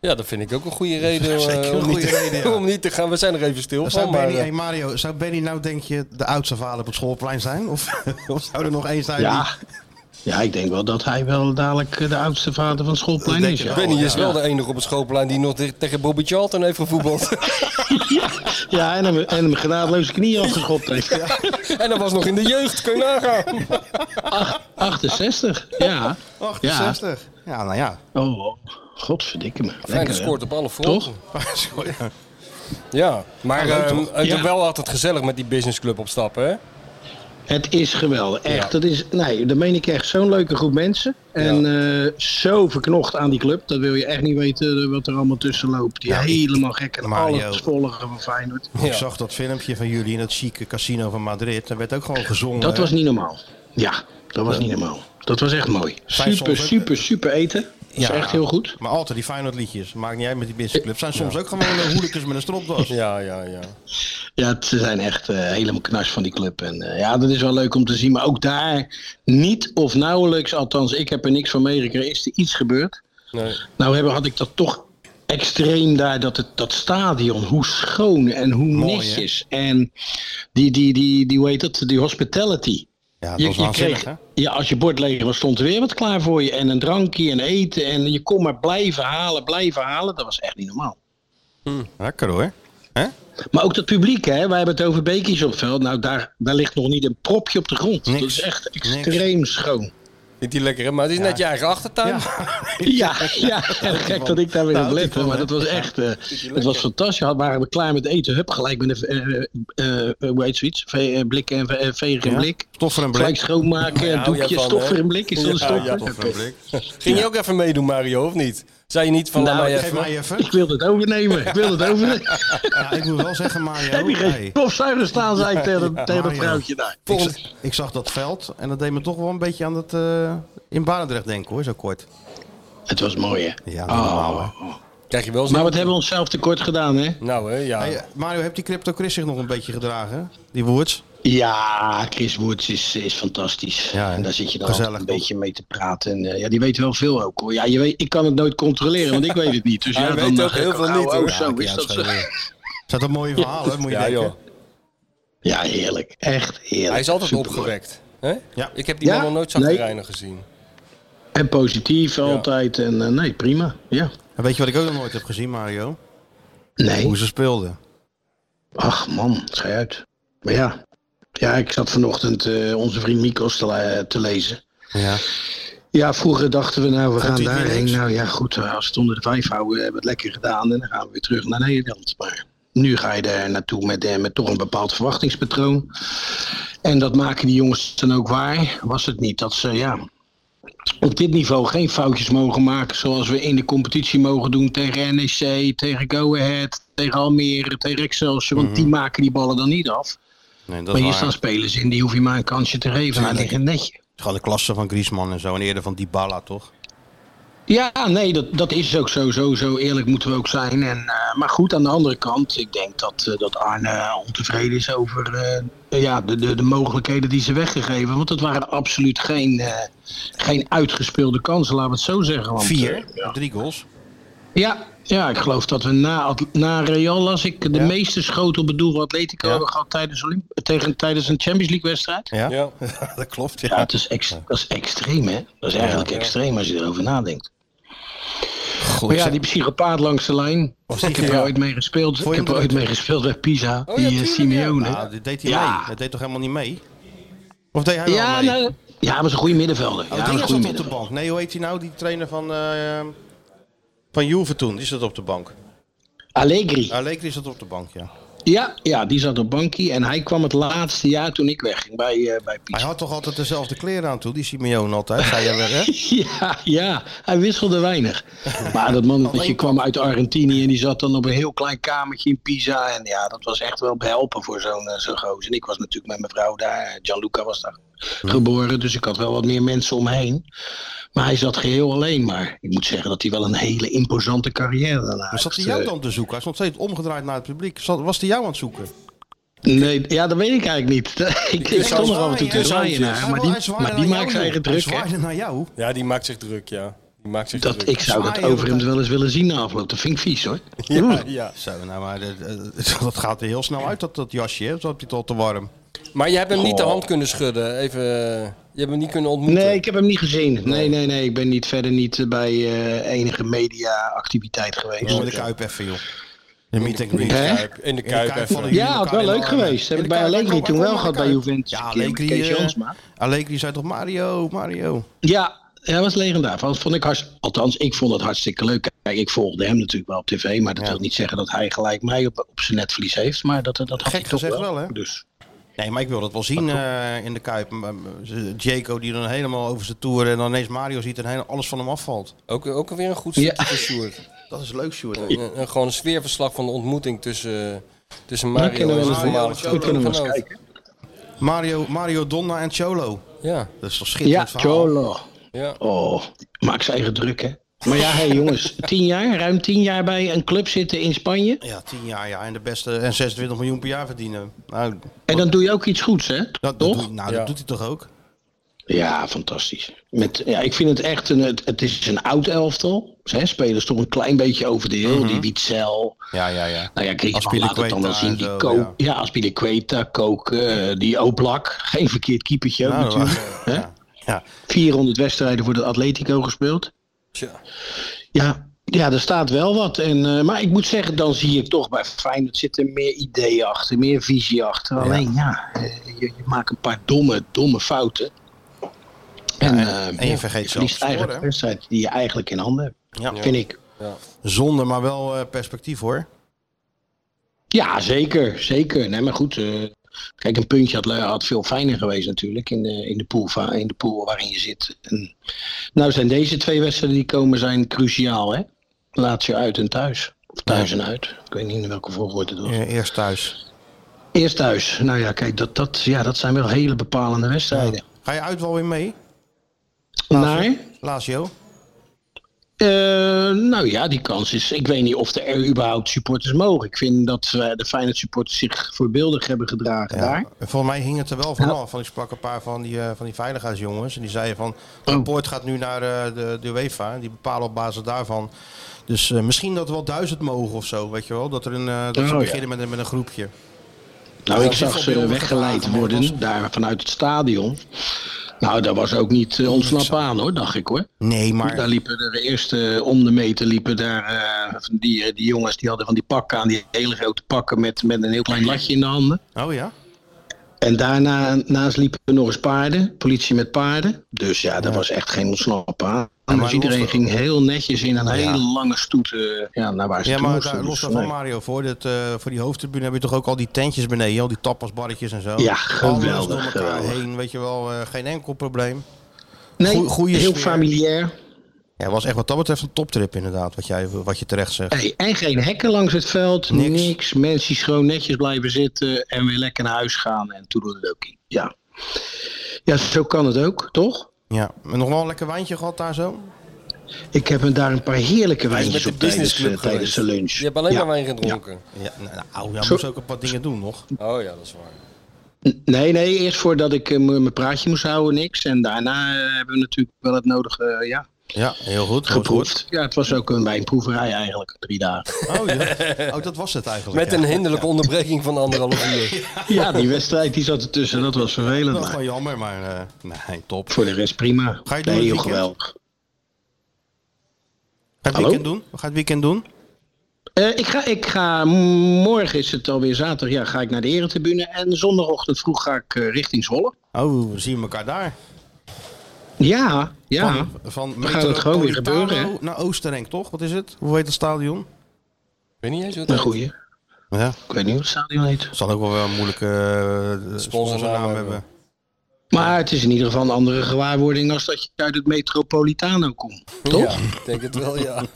F: ja, dat vind ik ook een goede reden, eh,
E: Zeker een
F: om,
E: goede
F: niet te,
E: reden, ja.
F: om niet te gaan. We zijn er even stil
E: Zou
F: van, maar...
E: Benny,
F: eh,
E: hey Mario, zou Benny nou denk je de oudste vader op het schoolplein zijn? Of, of zou er nog één zijn?
H: Ja. ja, ik denk wel dat hij wel dadelijk eh, de oudste vader van het schoolplein
E: Dat denk
H: is.
E: ik
H: Ja.
E: wel.
F: Benny is
H: ja.
F: wel de enige op het schoolplein die nog te- tegen Bobby Charlton heeft gevoetbald.
H: Ja, en hem, en hem genadeloos knie afgeschopt heeft.
F: en dat was nog in de jeugd, kun je nagaan.
H: Ach, 68, ja.
E: Die 68. Ja, nou ja.
H: Oh, oh, godverdikke me.
F: Hij
H: Lekker, hè?
F: scoort op alle
H: Toch?
F: fronten. Ja, maar ehm het
H: Ja.
F: wel altijd gezellig met die businessclub op stap, hè?
H: Het is geweldig, echt.
F: Ja.
H: Dat is, nee, dat meen ik echt. Zo'n leuke groep mensen. En eh, zo verknocht aan die club. Dat wil je echt niet weten eh, wat er allemaal tussen loopt. Die helemaal gek en
E: Mario.
H: alles volgen van Feyenoord.
E: Ik
F: Ja.
E: zag dat filmpje van jullie in het chique casino van Madrid. Daar werd ook gewoon gezongen.
H: Dat
E: hè?
H: was niet normaal. Ja, dat was niet normaal. Dat was echt mooi.
E: Zijn
H: Super,
E: soms ook-
H: super, super eten. Dat is
E: Ja.
H: echt heel goed.
E: Maar altijd die Feyenoord liedjes. Maakt niet uit met die businessclub. Zijn soms ook gewoon eh, hooligans met een stropdas.
F: Ja, ja, ja.
H: Ja, het- ze zijn echt eh, helemaal knars van die club. En eh, ja, dat is wel leuk om te zien. Maar ook daar niet of nauwelijks, althans ik heb er niks van meegekregen, is er iets gebeurd.
F: Nee.
H: Nou hebben, had ik dat toch extreem daar, dat, het, dat stadion, hoe schoon en hoe
E: Mooi,
H: netjes. En die, die, die, die, hoe heet dat, die hospitality.
E: Ja, dat
H: Je,
E: was
H: je
E: waanzinnig,
H: kreeg,
E: hè?
H: ja, als je bord leeg was, stond er weer wat klaar voor je. En een drankje en eten. En je kon maar blijven halen, blijven halen. Dat was echt niet normaal.
E: Lekker hoor.
H: Maar ook dat publiek, hè? Wij hebben het over beekjes op het veld. Nou, daar, daar ligt nog niet een propje op de grond.
E: Niks.
H: Dat is echt
E: Niks.
H: extreem schoon.
F: Vindt hij lekker, hè? Maar het is net je eigen achtertuin.
H: Ja, ja. gek dat ik daar weer
E: Daar houdt
H: op
E: hij
H: lette.
E: van,
H: Maar
E: hè?
H: dat was echt. eh, het was fantastisch. Had, waren we klaar met eten. Hup, gelijk met een. eh, eh, eh, hoe heet zoiets? Ve- eh, blikken en ve- eh, vegen en
E: Ja.
H: blik.
E: Stoffer en
H: Gelijk
E: blik.
H: schoonmaken,
F: Ja, hou jij
H: doekje,
F: van,
H: stoffer
F: hè?
H: en blik. Is dat een
F: Ja,
H: stoffer?
F: ja,
E: Stoffer en blik.
F: Ging je ook even meedoen, Mario, of niet? Zei je niet van,
H: Nou,
F: laat mij
E: Geef
F: even...
E: mij even.
H: Ik wil het overnemen. Ik wil het overnemen.
E: Ja, ik moet wel zeggen, Mario.
H: Heb je
E: hey,
H: geen stofzuiger staan, zei ik tegen, tegen dat
E: Mario.
H: vrouwtje daar.
E: ik, zag, ik zag dat veld en dat deed me toch wel een beetje aan het eh, in Barendrecht denken hoor, zo kort.
H: Het was mooi, hè? Oh.
E: Ja, normaal hè.
F: Krijg je wel zin?
H: Maar wat hebben we onszelf tekort gedaan, hè?
F: Nou, hè, ja.
E: Hey, Mario, hebt die Crypto Chris zich nog een beetje gedragen? Die Woods?
H: Ja, Chris Woods is, is fantastisch.
E: Ja, hè?
H: en daar zit je dan
E: Gezellig,
H: altijd een
E: toch?
H: beetje mee te praten. En, eh, ja, die weet wel veel ook hoor. Ja, je weet, ik kan het nooit controleren, want ik weet het niet. Dus
F: Hij
H: ja,
F: weet
H: dan,
F: ook
H: eh,
F: heel
H: oh,
F: veel niet,
H: oh,
F: hoor.
H: zo
E: Ja,
H: is
E: ja,
H: dat
E: zo,
H: zo.
E: eh, Zat een mooie verhaal, hè, moet je
F: ja,
E: denken.
F: joh.
H: Ja, heerlijk. Echt heerlijk.
F: Hij is altijd
H: Supermooi.
F: opgewekt. Hè?
E: Ja.
F: Ik heb die
H: Ja?
F: man nog nooit
H: Nee.
F: zagrijnig gezien.
H: En positief altijd. En eh, nee, prima. Ja.
E: En weet je wat ik ook nog nooit heb gezien, Mario? Hoe
H: Nee.
E: ze speelden.
H: Ach man, schei uit. Maar ja. Ja, ik zat vanochtend eh, onze vriend Mikos te, le- te lezen.
E: Ja.
H: Ja, vroeger dachten we, nou, we gaan
E: hij het niet
H: daarheen.
E: eens?
H: Nou ja, goed, eh, als we het onder de vijf houden, hebben we het lekker gedaan. En dan gaan we weer terug naar Nederland. Maar nu ga je daar naartoe met, eh, met toch een bepaald verwachtingspatroon. En dat maken die jongens dan ook waar. Was het niet dat ze, ja... op dit niveau geen foutjes mogen maken zoals we in de competitie mogen doen tegen NEC, tegen Go Ahead, tegen Almere, tegen Excelsior. Want die maken die ballen dan niet af.
E: Nee, Mhm. dat
H: Maar
E: is
H: hier
E: waar.
H: staan spelers in, die hoef je maar een kansje te geven. Hij ligt in het netje.
E: Het is gewoon de klasse van Griezmann en zo. En eerder van Dybala, toch?
H: Ja, nee, dat, dat is ook zo, zo, zo eerlijk moeten we ook zijn. En, eh, maar goed, aan de andere kant, ik denk dat, eh, dat Arne ontevreden is over eh, ja, de, de, de mogelijkheden die ze weggegeven. Want het waren absoluut geen, eh, geen uitgespeelde kansen, laten we het zo zeggen. Want,
E: Vier.
H: eh, ja.
E: Drie goals.
H: Ja, ja, ik geloof dat we na, At- na Real las ik de meeste schoten op het doel van Atletico
E: Ja.
H: hebben gehad tijdens, Olymp- tegen, tijdens een Champions League wedstrijd.
E: Ja,
F: Ja.
E: dat klopt.
H: Ja,
E: Ja.
H: het is ex- dat is extreem, hè? Dat is eigenlijk extreem als je erover nadenkt.
E: Goed,
H: Maar ja,
E: zeg-
H: die psychopaat langs de lijn. Ik heb er ooit mee gespeeld.
E: nou- je
H: Ik heb
E: hem
H: er ooit
E: leuk?
H: mee gespeeld bij Pisa.
F: Oh, ja,
H: die eh,
F: tuurlijk, ja.
H: Simeone.
E: Nou, dit deed hij
H: Ja.
E: mee. Dat deed toch helemaal niet mee? Of deed hij
H: ja,
E: wel mee?
H: nou, ja, hij was een goede middenvelder.
E: Oh,
H: ja, hij
E: die
H: was een
E: zat
H: goede
E: op de
H: middenvelder.
E: bank. Nee, hoe heet hij nou? Die trainer van, eh van Juve toen. Die zat op de bank.
H: Allegri.
E: Allegri zat op de bank, ja.
H: Ja, ja, die zat op bankie. En hij kwam het laatste jaar toen ik wegging bij, eh, bij Pisa.
E: Hij had toch altijd dezelfde kleren aan toe, die Simeone altijd, zei jij weer, hè?
H: Ja, ja, hij wisselde weinig. Maar dat mannetje kwam uit Argentinië en die zat dan op een heel klein kamertje in Pisa. En ja, dat was echt wel behelpen voor zo'n eh, zo'n gozer. En ik was natuurlijk met mijn vrouw daar. Gianluca was daar
E: Hm.
H: geboren, dus ik had wel wat meer mensen om me heen. Maar hij zat geheel alleen. Maar ik moet zeggen dat hij wel een hele imposante carrière daarna
E: Maar zat hij
H: heeft,
E: jou
H: eh,
E: dan te zoeken? Hij is nog steeds omgedraaid naar het publiek. Zat- Was hij jou aan het zoeken?
H: Nee, ja, dat weet ik eigenlijk niet. ik ik stond nog af en toe te zwaaien naar hem,
E: Hij
H: maar
E: wil-
H: die,
E: hij zwaaide
H: maar die
E: naar
H: maakt
E: jou,
H: zijn eigen
E: joh.
H: druk.
E: Hij
H: hè.
E: zwaaide naar jou.
F: Ja, die maakt zich druk, ja. Die maakt zich
H: Dat,
F: druk.
H: ik zou dat
E: Zwaaien,
H: overigens
E: dat-
H: wel eens willen zien na afloop. Dat vind ik vies hoor.
F: Ja, ja.
E: Zo, nou maar dat, eh, dat gaat er heel snel uit, dat, dat jasje. hè? Zo heb je het al te warm.
F: Maar je hebt hem niet de hand kunnen schudden. Even, eh, je hebt hem niet kunnen ontmoeten.
H: Nee, ik heb hem niet gezien. Nee, nee, nee. Ik ben niet verder niet eh, bij eh, enige media-activiteit geweest.
E: Zo in de kuip even, joh. De meet and greet.
H: Hè?
F: In de Kuip even.
E: vallen
F: Ja,
E: jullie
H: het
E: elkaar
H: wel
E: in de
H: leuk
E: armen.
H: geweest. Heb
E: In
H: ik
E: de
H: bij
E: Kuip,
H: Allegri
E: kom,
H: toen
E: kom,
H: wel
E: kom,
H: gehad
E: kom.
H: bij Juventus.
E: Ja,
H: Een keer met
E: Allegri,
H: Kees
E: eh,
H: Jansma.
E: Allegri zei toch Mario, Mario.
H: Ja, hij was legendarisch. Dat vond ik hartst- Althans, ik vond het hartstikke leuk. Kijk, ik volgde hem natuurlijk wel op tv. Maar dat wil niet zeggen dat hij gelijk mij op, op zijn netvlies heeft. Maar dat, dat had
E: Gek
H: hij toch
E: gezegd wel, hè?
H: Dus.
E: Nee, maar ik wil dat wel zien eh, in de Kuip. M- m- z- Jaco die dan helemaal over zijn toer en dan ineens Mario ziet en heel- alles van hem afvalt.
F: Ook, ook weer een goed
H: Ja.
F: stukje voor Sjoerd.
E: Dat is leuk, Sjoerd.
F: Een- een- gewoon een sfeerverslag van de ontmoeting tussen, tussen
H: Dan
F: Mario
H: kunnen
F: en zijn
H: we, wel-
F: voormalig
H: we kunnen wel eens
F: teamgenoot.
H: kijken.
E: Mario, Mario Donna en Cholo.
F: Ja,
E: Dat is toch
H: Ja,
E: schitterend verhaal.
H: Cholo.
F: ja.
H: Oh, maak zijn eigen druk, hè? Maar ja, hey, jongens, tien jaar, ruim tien jaar bij een club zitten in Spanje.
E: Ja, tien jaar ja. En de beste en 26 miljoen per jaar verdienen. Nou,
H: En dan doe je ook iets goeds, hè?
E: dat, dat,
H: Toch?
E: doet, nou,
F: Ja.
E: dat doet hij toch ook?
H: Ja, fantastisch. Met, ja, ik vind het echt een, het, het is een oud elftal. Hè, spelers toch een klein beetje over de heel. Die Witzel.
E: Mhm. Ja, ja, ja.
H: Nou ja, Griezmann laat het dan wel
E: Azpilicueta
H: zien.
E: en
H: Die
E: zo,
H: Ko-
E: ja.
H: ja. Aspilicueta, Kook, eh, die Oblak. Geen verkeerd keepertje ook
E: Nou, dat
H: natuurlijk. hè?
E: Ja.
H: 400 wedstrijden voor de Atletico gespeeld.
F: Tja.
H: Ja, ja er staat wel wat. En, eh, maar ik moet zeggen, dan zie ik toch bij Feyenoord zitten meer ideeën achter, meer visie achter. Alleen ja, eh, je, je maakt een paar domme, domme fouten. En, eh,
E: en je vergeet zelf te
H: verliest
E: scoren,
H: eigenlijk
E: hè?
H: een wedstrijd die je eigenlijk in handen hebt,
E: Ja.
H: vind ik.
E: Zonde, maar wel eh, perspectief hoor.
H: Ja, zeker, zeker. Nee, maar goed, eh, kijk, een puntje had, eh, had veel fijner geweest natuurlijk in de, in, de pool, va- in de pool waarin je zit. En, nou zijn deze twee wedstrijden die komen zijn cruciaal, hè? Lazio uit en thuis. Of thuis en uit. Ik weet niet in welke volgorde het was.
E: Eh, eerst thuis.
H: Eerst thuis. Nou ja, kijk, dat, dat, ja, dat zijn wel hele bepalende wedstrijden.
E: Ga je uit wel weer mee?
H: Maar,
E: Lazio?
H: eh, nou ja, die kans is... Ik weet niet of er überhaupt supporters mogen. Ik vind dat eh, de Feyenoord supporters zich voorbeeldig hebben gedragen daar.
E: Volgens mij hing het er wel vanaf. Want ik sprak een paar van die, eh, van die veiligheidsjongens. En die zeiden van, de
H: Oh.
E: rapport gaat nu naar eh, de, de UEFA. En die bepalen op basis daarvan. Dus eh, misschien dat er wel duizend mogen of zo. Weet je wel? Dat, er een, eh, dat
H: Oh,
E: ze
H: ja.
E: beginnen met, een- met een groepje.
H: Nou,
E: Ja,
H: ik
E: dat is
H: zag
E: wel
H: ze
E: beeldig
H: weggeleid
E: gedragen, maar
H: worden
E: dat was-
H: daar vanuit het stadion. Nou, daar was ook niet eh, ontsnap aan hoor, dacht ik hoor.
E: Nee,
H: Daar
E: maar...
H: liepen er eerst eh, om de meter liepen daar eh, van die, eh, die jongens die hadden van die pakken aan, die hele grote pakken met, met een heel klein latje in de handen.
E: Oh ja?
H: En daarna naast liepen er nog eens paarden, politie met paarden. Dus ja, daar was echt geen ontsnappen aan.
E: maar
H: dus iedereen
E: los-
H: ging heel netjes in een hele lange stoet eh, ja, naar waar ze
E: Ja,
H: toe
E: maar
H: moesten.
E: daar, los
H: Dus,
E: daarvan
H: nee.
E: Mario, voor, dit, eh, voor die hoofdtribune heb je toch ook al die tentjes beneden, al die tapasbarretjes en zo.
H: Ja, geweldig,
E: Alles door elkaar
H: geweldig.
E: heen, weet je wel, eh, geen enkel probleem.
H: Nee,
E: Goeie- goeie
H: heel
E: sfeer.
H: familiair.
E: Ja, was echt wat dat betreft een toptrip inderdaad, wat, jij, wat je terecht zegt.
H: Hey, en geen hekken langs het veld,
E: Niks.
H: niks. Mensen die gewoon netjes blijven zitten en weer lekker naar huis gaan en toedeledokie. Ja. ja, zo kan het ook, toch?
E: Ja. En nog wel een lekker wijntje gehad daar zo?
H: Ik heb hem daar een paar heerlijke
F: Hij is met
H: wijntjes
F: de
H: op tijdens,
F: businessclub
H: eh, tijdens de
F: geweest.
H: lunch.
F: Je hebt alleen
H: Ja.
F: maar wijn gedronken.
E: Ja, nou, nou ja,
H: Zo-
E: moest ook een paar dingen doen nog.
F: Oh ja, dat is waar.
H: Nee, nee, eerst voordat ik eh, mijn mijn praatje moest houden, niks. En daarna eh, hebben we natuurlijk wel het nodige eh, ja,
E: Ja, heel goed. heel
H: geproefd. Ja, het was ook een wijnproeverij eigenlijk, drie dagen.
E: goed. Oh, ja. oh, dat was het eigenlijk.
F: Met
E: ja.
F: een hinderlijke onderbreking van anderhalf uur.
H: ja, die wedstrijd die zat ertussen, dat was vervelend.
E: Dat is
H: maar
E: wel jammer, maar eh, nee, top. Ga
H: voor de rest prima.
E: Ga je het doen
H: nee,
E: dit
H: joh,
E: weekend?
H: geweldig.
E: je het
H: Hallo?
E: weekend doen? Ga je het weekend doen?
H: Eh, ik, ga, ik ga, morgen is het alweer zaterdag, ja, ga ik naar de eretribune. En zondagochtend vroeg ga ik eh, richting Zwolle.
E: Oh, we zien elkaar daar.
H: Ja, ja.
E: Van, van
H: Dan gaat het gewoon weer
E: Metropolitano
H: gebeuren, hè?
E: Naar Oostenrijk, toch? Wat is het? Hoe heet het stadion?
F: Ik weet niet eens wat
H: een
F: dat
H: goeie.
E: Ja,
H: Ik weet niet hoe het stadion heet.
E: zal ook wel weer een moeilijke eh, sponsornaam hebben.
H: Maar het is in ieder geval een andere gewaarwording als dat je uit het Metropolitano komt. Toch?
F: Ja, ik denk het wel, ja.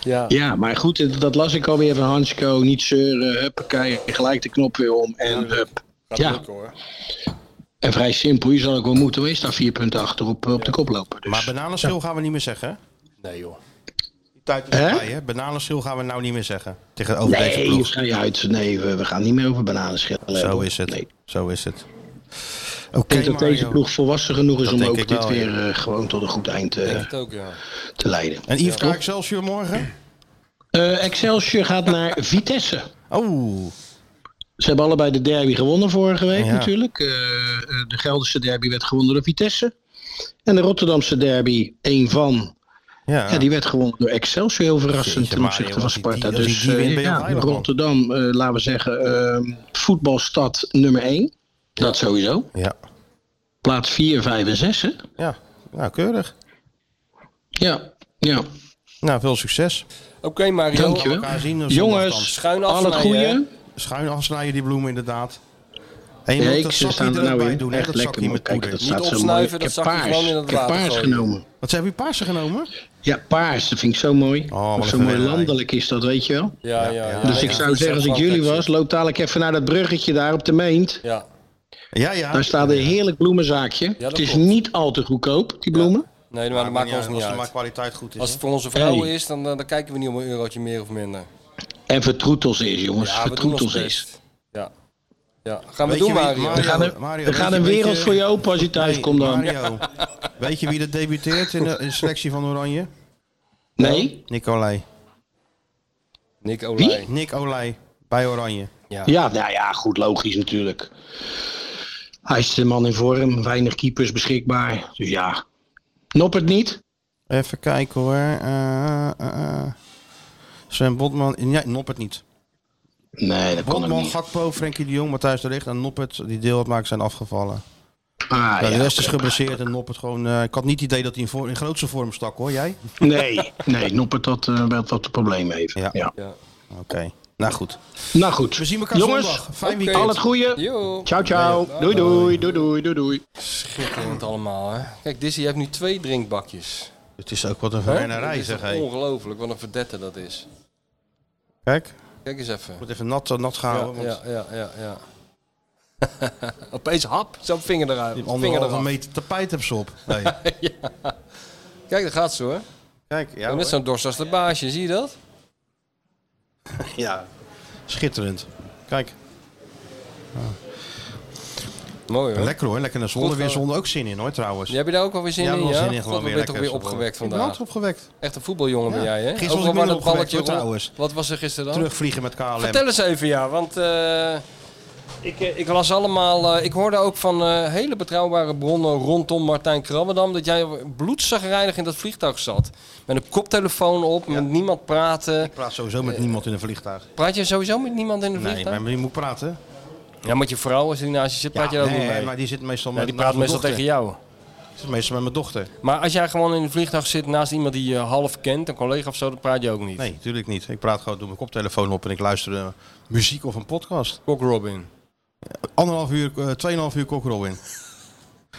F: ja.
H: Ja, maar goed, dat- dat las ik alweer van Hansco. Niet zeuren, huppakee, gelijk de knop weer om. En, hup.
F: Gaat
H: Ja.
F: lukken, hoor.
H: en vrij simpel, je zal ook wel moeten. Wees daar vier punten achter op, op de koploper. Dus.
E: Maar bananenschil gaan we niet meer zeggen. hè?
F: Nee joh.
E: Die tijd is
H: Hè?
E: voorbij, hè? Bananenschil gaan we nou niet meer zeggen. Tegen over deze
H: nee,
E: ploeg.
H: ga je uit. Nee, we, we gaan niet meer over bananenschillen. hebben.
E: Zo is het.
H: Nee.
E: Zo is het. Oké,
H: Ik denk dat deze
E: Mario.
H: ploeg volwassen genoeg is
E: Dat
H: om
E: denk
H: ook
E: ik
H: dit
E: wel, ja.
H: weer eh, gewoon tot een goed eind eh,
F: Ik denk het ook, ja.
H: te leiden.
E: En Yves, ga Excelsior morgen?
H: Eh, Excelsior gaat naar Vitesse.
E: Oh,
H: Ze hebben allebei de derby gewonnen vorige week
E: Ja.
H: natuurlijk. Eh, eh, de Gelderse derby werd gewonnen door Vitesse. En de Rotterdamse derby, één van,
E: ja.
H: Ja, die werd gewonnen door Excelsior heel verrassend
E: Jeetje,
H: ten
E: Mario,
H: opzichte van
E: als die-
H: Sparta.
E: als die
H: dus
E: die
H: eh,
E: wint, ben je al
H: ja,
E: heilig, man.
H: Rotterdam, eh, laten we zeggen, eh, voetbalstad nummer 1. Dat sowieso.
E: ja.
H: Plaats 4, 5 en 6. Hè?
E: Ja, nou keurig.
H: Ja, ja.
E: Nou, veel succes.
F: Oké Mario.
H: Dankjewel.
E: Elkaar zien. op zondag
H: Jongens,
F: Schuin
H: al het
F: afsnijden, hè?
H: goede.
E: dan. Schuin afsnijden die bloemen inderdaad. En je
H: Nee,
E: moet
H: ik
E: dat
H: ze
E: zakje
H: staan
E: er
H: er
E: ook
H: nou
E: bij
H: in.
E: doen. hè?
H: Echt
E: dat
H: lekker
E: zakje
H: man.
E: met
H: Kijk, dat
E: poeder.
H: staat zo mooi.
F: opsnuiven,
H: Ik
F: dat
H: heb
F: zakje
H: paars.
F: gewoon in het
H: Ik heb
F: water
H: paars
F: gooien.
H: genomen.
E: Wat ze hebben je paarse genomen?
H: Ja, paars. Dat vind ik zo mooi.
E: Oh, wat
H: Ook
E: een
H: zo mooi
E: vervelend.
H: landelijk is dat, weet je wel.
F: Ja, ja, ja.
H: dus
F: ja.
H: ik zou zeggen, als ik jullie was, loop dadelijk even naar dat bruggetje daar op de meent.
F: Ja.
E: Ja, ja.
H: Daar staat een heerlijk bloemenzaakje.
F: dat
H: het is
F: klopt.
H: niet al te goedkoop, die bloemen.
F: Nee, maar dat maakt ons niet
E: Als de
F: uit.
E: kwaliteit goed is.
F: Als het voor onze vrouwen
H: Hey.
F: is, dan, eh, dan, dan kijken we niet om een eurotje meer of minder.
H: En vertroetels is, jongens.
F: Ja, we doen ons
H: vertroetels
F: best.
H: is.
F: Ja. ja. Gaan we
E: Weet
F: doen,
E: je wie-
F: Mario.
E: Mario-
H: We gaan, er,
E: Mario,
H: we
E: weet
H: gaan
E: je-
H: een
E: weet
H: wereld
E: je-
H: voor je open als je thuis
E: Hey,
H: komt dan.
E: Mario, weet je wie er debuteert in de, in de selectie van Oranje?
H: Nee?
E: Nicolai.
F: Nick Olij.
E: Nick Olij bij Oranje.
H: Ja, nou ja, goed, logisch natuurlijk. Hij is de man in vorm, weinig keepers beschikbaar. Dus ja. Noppert niet?
E: Even kijken hoor. Eh, eh, eh. Sven Botman. Nee, Noppert niet.
H: Nee, dat kan ook
E: Botman,
H: niet.
E: Gakpo, Frenkie de Jong, Matthijs de Ligt en Noppert, die deel uitmaken, zijn afgevallen.
H: Ah,
E: Ja,
H: ja,
E: de rest is
H: oké.
E: geblesseerd en Noppert gewoon... eh, ik had niet het idee dat hij in, voor, in grootste vorm stak hoor, jij?
H: Nee, nee, Noppert dat eh, wel wat een probleem heeft.
E: Ja.
H: Ja.
F: Ja.
E: Oké, nou goed.
H: Nou goed.
E: We zien elkaar
H: Jongens,
E: zondag. Fijn
F: Oké.
E: weekend.
H: al het goede.
F: Yo.
H: Ciao, ciao. Doei, doei, doei, doei, doei, doei.
F: Schitterend allemaal, hè. Kijk, Dizzy heeft nu twee drinkbakjes.
E: Het is ook wat een
F: Hè?
E: vernerij
F: Dat is
E: zeg
F: toch
E: hé.
F: Ongelooflijk, wat een verdette dat is.
E: Kijk, ik
F: Kijk eens even.
E: moet even nat, eh, nat gaan hoor,
F: Ja,
E: want
F: ja, ja, ja. ja. Opeens hap, zo'n vinger eruit.
E: die
F: vinger
E: anderhalve
F: eraf.
E: meter tapijt heb ze op. Nee.
F: Kijk, daar gaat ze hoor.
E: Kijk, ja,
F: En net
E: hoor.
F: zo'n dorst als de baasje, zie je dat?
E: ja. Schitterend. Kijk,
F: Mooi hoor.
E: lekker hoor. Lekker naar Zwolle.
F: Goed,
E: Weer
F: eh,
E: Zwolle ook zin in hoor trouwens.
F: Jij Heb je daar ook wel weer zin
E: Ja,
F: in?
E: wel
F: Ja,
E: zin in, gewoon
F: God,
E: weer
F: ben je toch
E: lekker eh,
F: weer opgewekt
E: Ik ben altijd
F: vandaag.
E: opgewekt.
F: Echt een voetbaljongen ben
E: Ja.
F: jij, hè?
E: Gisteren was
F: Overal
E: ik
F: waar
E: minder
F: dat balletje
E: opgewekt, hoor,
F: rolt.
E: trouwens.
F: Wat was er gisteren dan?
E: Terugvliegen met KLM.
F: Vertel eens even, ja, want eh, ik, eh, ik las allemaal, eh, ik hoorde ook van eh, hele betrouwbare bronnen rondom Martijn Krabbendam dat jij bloedzagrijnig in dat vliegtuig zat. Met een koptelefoon op, met niemand praten.
E: Ik praat sowieso met niemand in een vliegtuig.
F: Praat je sowieso met niemand in de
E: Nee,
F: Eh. vliegtuig?
E: maar je moet praten.
F: Ja, met je vrouw, als die naast je zit, praat je daar ook
E: nee,
F: niet mee.
E: maar die zit meestal
F: Ja,
E: met
F: die
E: naast
F: praat
E: mijn
F: meestal
E: dochter.
F: tegen jou.
E: Zit Meestal met mijn dochter.
F: Maar als jij gewoon in het vliegtuig zit naast iemand die je half kent, een collega of zo, dan praat je ook niet.
E: Nee, natuurlijk niet. Ik praat gewoon, doe mijn koptelefoon op en ik luister eh, muziek of een podcast.
F: Cock Robin.
E: Anderhalf uur, eh, tweeënhalf uur cockerel in.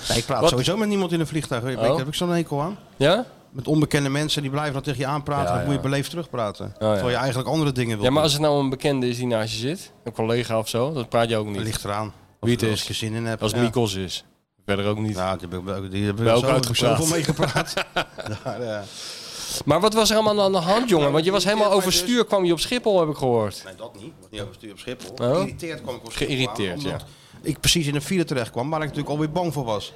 E: Nee, ik praat
F: Wat?
E: sowieso met niemand in een vliegtuig. Ik-
F: Oh.
E: Daar heb ik zo'n hekel aan.
F: Ja?
E: Met onbekende mensen, die blijven dan tegen je aanpraten.
F: Ja,
E: dan moet je
F: ja.
E: beleefd terugpraten.
F: ja.
E: Terwijl je eigenlijk andere dingen wil
F: Ja, maar als het nou een bekende is die naast je zit, een collega of zo, dat praat je ook
E: doen.
F: niet.
E: ligt eraan. Of
F: Wie het
E: je er
F: is.
E: wel eens zin in hebt.
F: Als
E: ja.
F: Mikos is. Verder ook niet.
E: Ja, die heb ik, die heb ik
F: Bij
E: zo,
F: elkaar uitgepraat.
E: zoveel eh, mee gepraat. Ja, ja.
F: Maar wat was er allemaal aan de hand,
E: Nou,
F: jongen? Want je was helemaal overstuur, kwam je op Schiphol, heb ik gehoord.
E: dus- Nee, dat niet. Niet over stuur op Schiphol.
F: Oh.
E: Geïrriteerd kwam ik op Schiphol
F: Geïrriteerd,
E: aan, omdat Ik precies in een file terecht kwam, waar ik natuurlijk alweer bang voor was.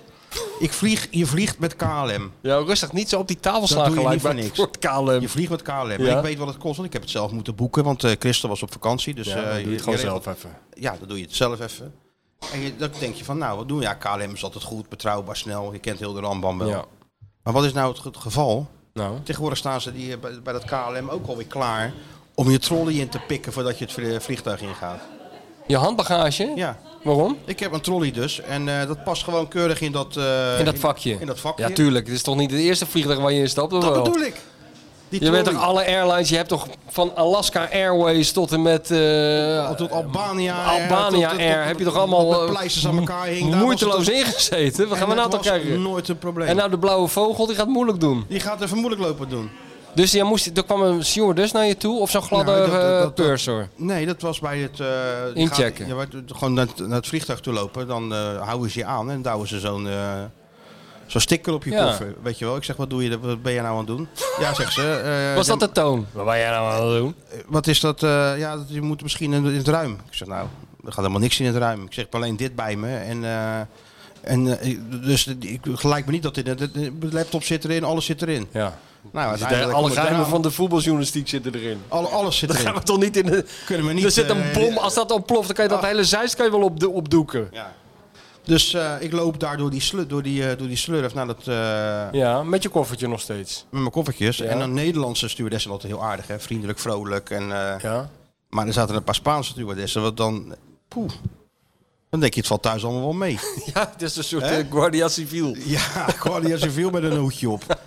E: Ik vlieg, je vliegt met KLM.
F: Ja, rustig, niet zo op die tafel slaan
E: doe je
F: gelijk
E: niet voor
F: bij
E: niks.
F: voor het KLM.
E: Je vliegt met KLM.
F: Ja.
E: Ik weet wat het kost, want ik heb het zelf moeten boeken. Want eh Christel was op vakantie. Dus
F: Ja,
E: eh,
F: doe je het gewoon
E: regelt-
F: zelf even.
E: Ja, dan doe je het zelf even. En je, dan denk je van, nou, wat doen we? Ja, KLM is altijd goed, betrouwbaar, snel. Je kent heel de rambam wel.
F: Ja.
E: Maar wat is nou het, het geval?
F: Nou,
E: Tegenwoordig staan ze die, eh, bij, bij dat KLM ook alweer klaar om je trolley in te pikken voordat je het vlie- vliegtuig ingaat.
F: je handbagage?
E: Ja.
F: Waarom?
E: Ik heb een trolley dus en eh, dat past gewoon keurig in dat... eh,
F: In dat vakje.
E: In dat vakje.
F: Ja, tuurlijk. Het is toch niet het eerste vliegtuig waar je in stapt? of
E: Dat
F: wel?
E: bedoel ik. Die
F: Je bent
E: trolley.
F: toch alle airlines, je hebt toch van Alaska Airways tot en met eh,
E: tot Albania, Air,
F: Albania
E: tot- tot-
F: Air,
E: tot-
F: heb je
E: tot-
F: toch allemaal
E: met
F: eh,
E: pleisters aan elkaar hing. Daar was
F: moeiteloos
E: het ook-
F: ingezeten? Wat gaan we
E: en
F: nou
E: het
F: toch
E: was
F: kijken?
E: nooit een probleem.
F: En nou de blauwe vogel, die gaat moeilijk doen.
E: Die gaat even moeilijk lopen doen.
F: Dus ja, moest, er kwam een stewardess naar je toe of zo'n gladde
E: Nou, dat- dat-
F: eh,
E: dat-
F: purser?
E: Nee, dat was bij het... eh, die
F: Inchecken.
E: gaat- ja, maar het- gewoon naar, het- naar het vliegtuig toe lopen. Dan eh, houden ze je aan en douwen ze zo'n... eh, Zo'n sticker op je
F: Ja.
E: koffer, weet je wel. Ik zeg, wat, doe je, wat ben je nou aan het doen? Ja, zegt ze. eh,
F: Was
E: ja,
F: dat de toon? Wat ben jij nou aan het doen?
E: Wat is dat? eh, ja, dat- je moet misschien in, in het ruim. Ik zeg, nou, er gaat helemaal niks in het ruim. Ik zeg, ik heb alleen dit bij me. En, eh, en eh, ik- dus ik gelijk me niet dat in het- de de laptop zit erin, alles zit erin.
F: Ja.
E: Nou, uiteindelijk
F: Alle
E: kom ik
F: geheimen
E: eraan.
F: van de voetbaljournalistiek zitten erin.
E: Alle- alles zit
F: Dat gaan
E: erin.
F: we toch niet in de...
E: Kunnen we niet,
F: er zit een
E: eh, Ah.
F: bom, als dat ontploft, dan kan je dat hele zeist kan je wel op opdoeken.
E: Ja. Dus eh, ik loop daar door die, slu door die, eh, door die slurf naar dat, eh,
F: Ja, met je koffertje nog steeds.
E: met mijn koffertjes.
F: Ja.
E: En dan Nederlandse stewardessen altijd heel aardig, hè? vriendelijk, vrolijk. En, eh,
F: Ja.
E: Maar er zaten een paar Spaanse stewardessen, wat dan... Poeh. Dan denk je, het valt thuis allemaal wel mee.
F: Ja, het is een soort eh, Guardia Civil.
E: Ja, Guardia Civil met een hoedje op.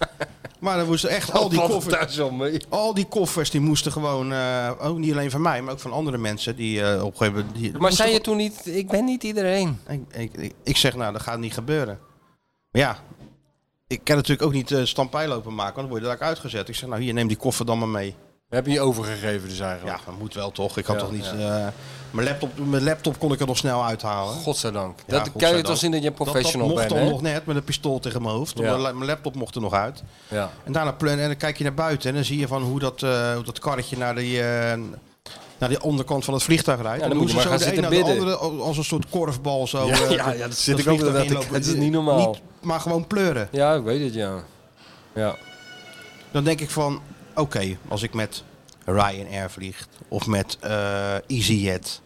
E: Maar dan moesten echt al die
F: Valt
E: koffers...
F: thuis eh. al mee.
E: Al die koffers die moesten gewoon, eh, ook niet alleen van mij, maar ook van andere mensen die eh, op een gegeven moment. die-
F: Maar
E: moesten
F: zei je toen niet, ik ben niet iedereen.
E: Ik, ik, ik, ik zeg, nou, dat gaat niet gebeuren. Maar ja, ik kan natuurlijk ook niet eh stampij lopen maken, want dan word je daar uitgezet. Ik zeg, nou, hier, neem die koffer dan maar mee.
F: Heb je je overgegeven dus eigenlijk?
E: Ja, dat moet wel toch. Ik had
F: Ja,
E: toch niet...
F: ja.
E: eh, mijn, laptop, mijn laptop kon ik er nog snel uithalen.
F: Godzijdank.
E: Ja,
F: dat kan je
E: godzijdank.
F: toch zien dat je een
E: Dat, dat
F: professional
E: mocht
F: bent,
E: dan
F: hè?
E: nog net, met een pistool tegen mijn hoofd.
F: Ja.
E: Mijn laptop mocht er nog uit.
F: Ja.
E: En daarna plan, en dan kijk je naar buiten en dan zie je van hoe dat, eh, hoe dat karretje naar die, eh, naar die onderkant van het vliegtuig rijdt.
F: Ja, dan
E: En
F: moet
E: hoe
F: je
E: ze
F: maar
E: zo
F: gaan
E: de
F: zitten
E: een naar de andere als een soort korfbal zo.
F: Ja,
E: eh,
F: ja, ja, dat zit ik
E: vliegtuig
F: ook inderdaad te
E: inlopen.
F: kijken. Dat is niet normaal.
E: Niet, maar gewoon pleuren.
F: ja, ik weet het, ja. Ja.
E: Dan denk ik van, oké, als ik met Ryanair vlieg of met eh EasyJet.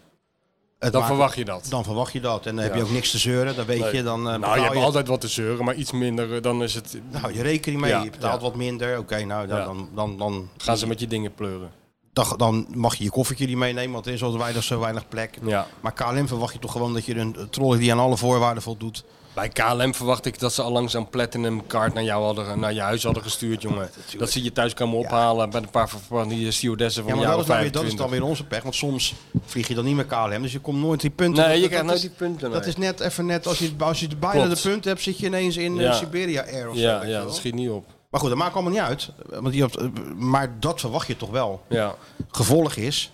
E: het
F: Dan
E: maakt-
F: verwacht je dat.
E: Dan verwacht je dat. En dan heb
F: Ja.
E: je ook niks te zeuren. Dan weet
F: Nee.
E: je, dan eh,
F: nou,
E: betaal
F: je hebt
E: je,
F: altijd wat te zeuren, maar iets minder, eh, dan is het...
E: nou, je rekening mee.
F: Ja,
E: je betaalt
F: ja.
E: wat minder. Oké, nou, dan,
F: Ja.
E: dan, dan, dan,
F: Gaan ze met je dingen pleuren.
E: dan, dan mag je je koffertje niet meenemen, want er is al weinig, zo weinig plek.
F: Ja.
E: Maar KLM verwacht je toch gewoon dat je een trolley die aan alle voorwaarden voldoet.
F: Bij KLM verwacht ik dat ze al langzaam platinum kaart naar jou hadden, naar je huis hadden gestuurd, jongen. Dat ze je thuis komen ophalen bij een paar van- van die stewardessen
E: Ja,
F: van
E: maar
F: jou.
E: dat is, dan weer, dat is dan weer onze pech, want soms vlieg je dan niet met KLM, dus je komt nooit die nou punten.
F: Nee,
E: Dat-
F: je
E: dat- dat is-
F: krijgt dus nooit die punten,
E: Dat
F: nee.
E: is net even net, als je, als je bijna
F: Klopt.
E: de punten hebt, zit je ineens in eh,
F: Ja.
E: Siberia Air of zo.
F: Ja,
E: weet je
F: ja
E: wel.
F: dat schiet niet op.
E: Maar goed, dat maakt allemaal niet uit. Want je hebt, eh, maar dat verwacht je toch wel.
F: Ja.
E: Gevolg is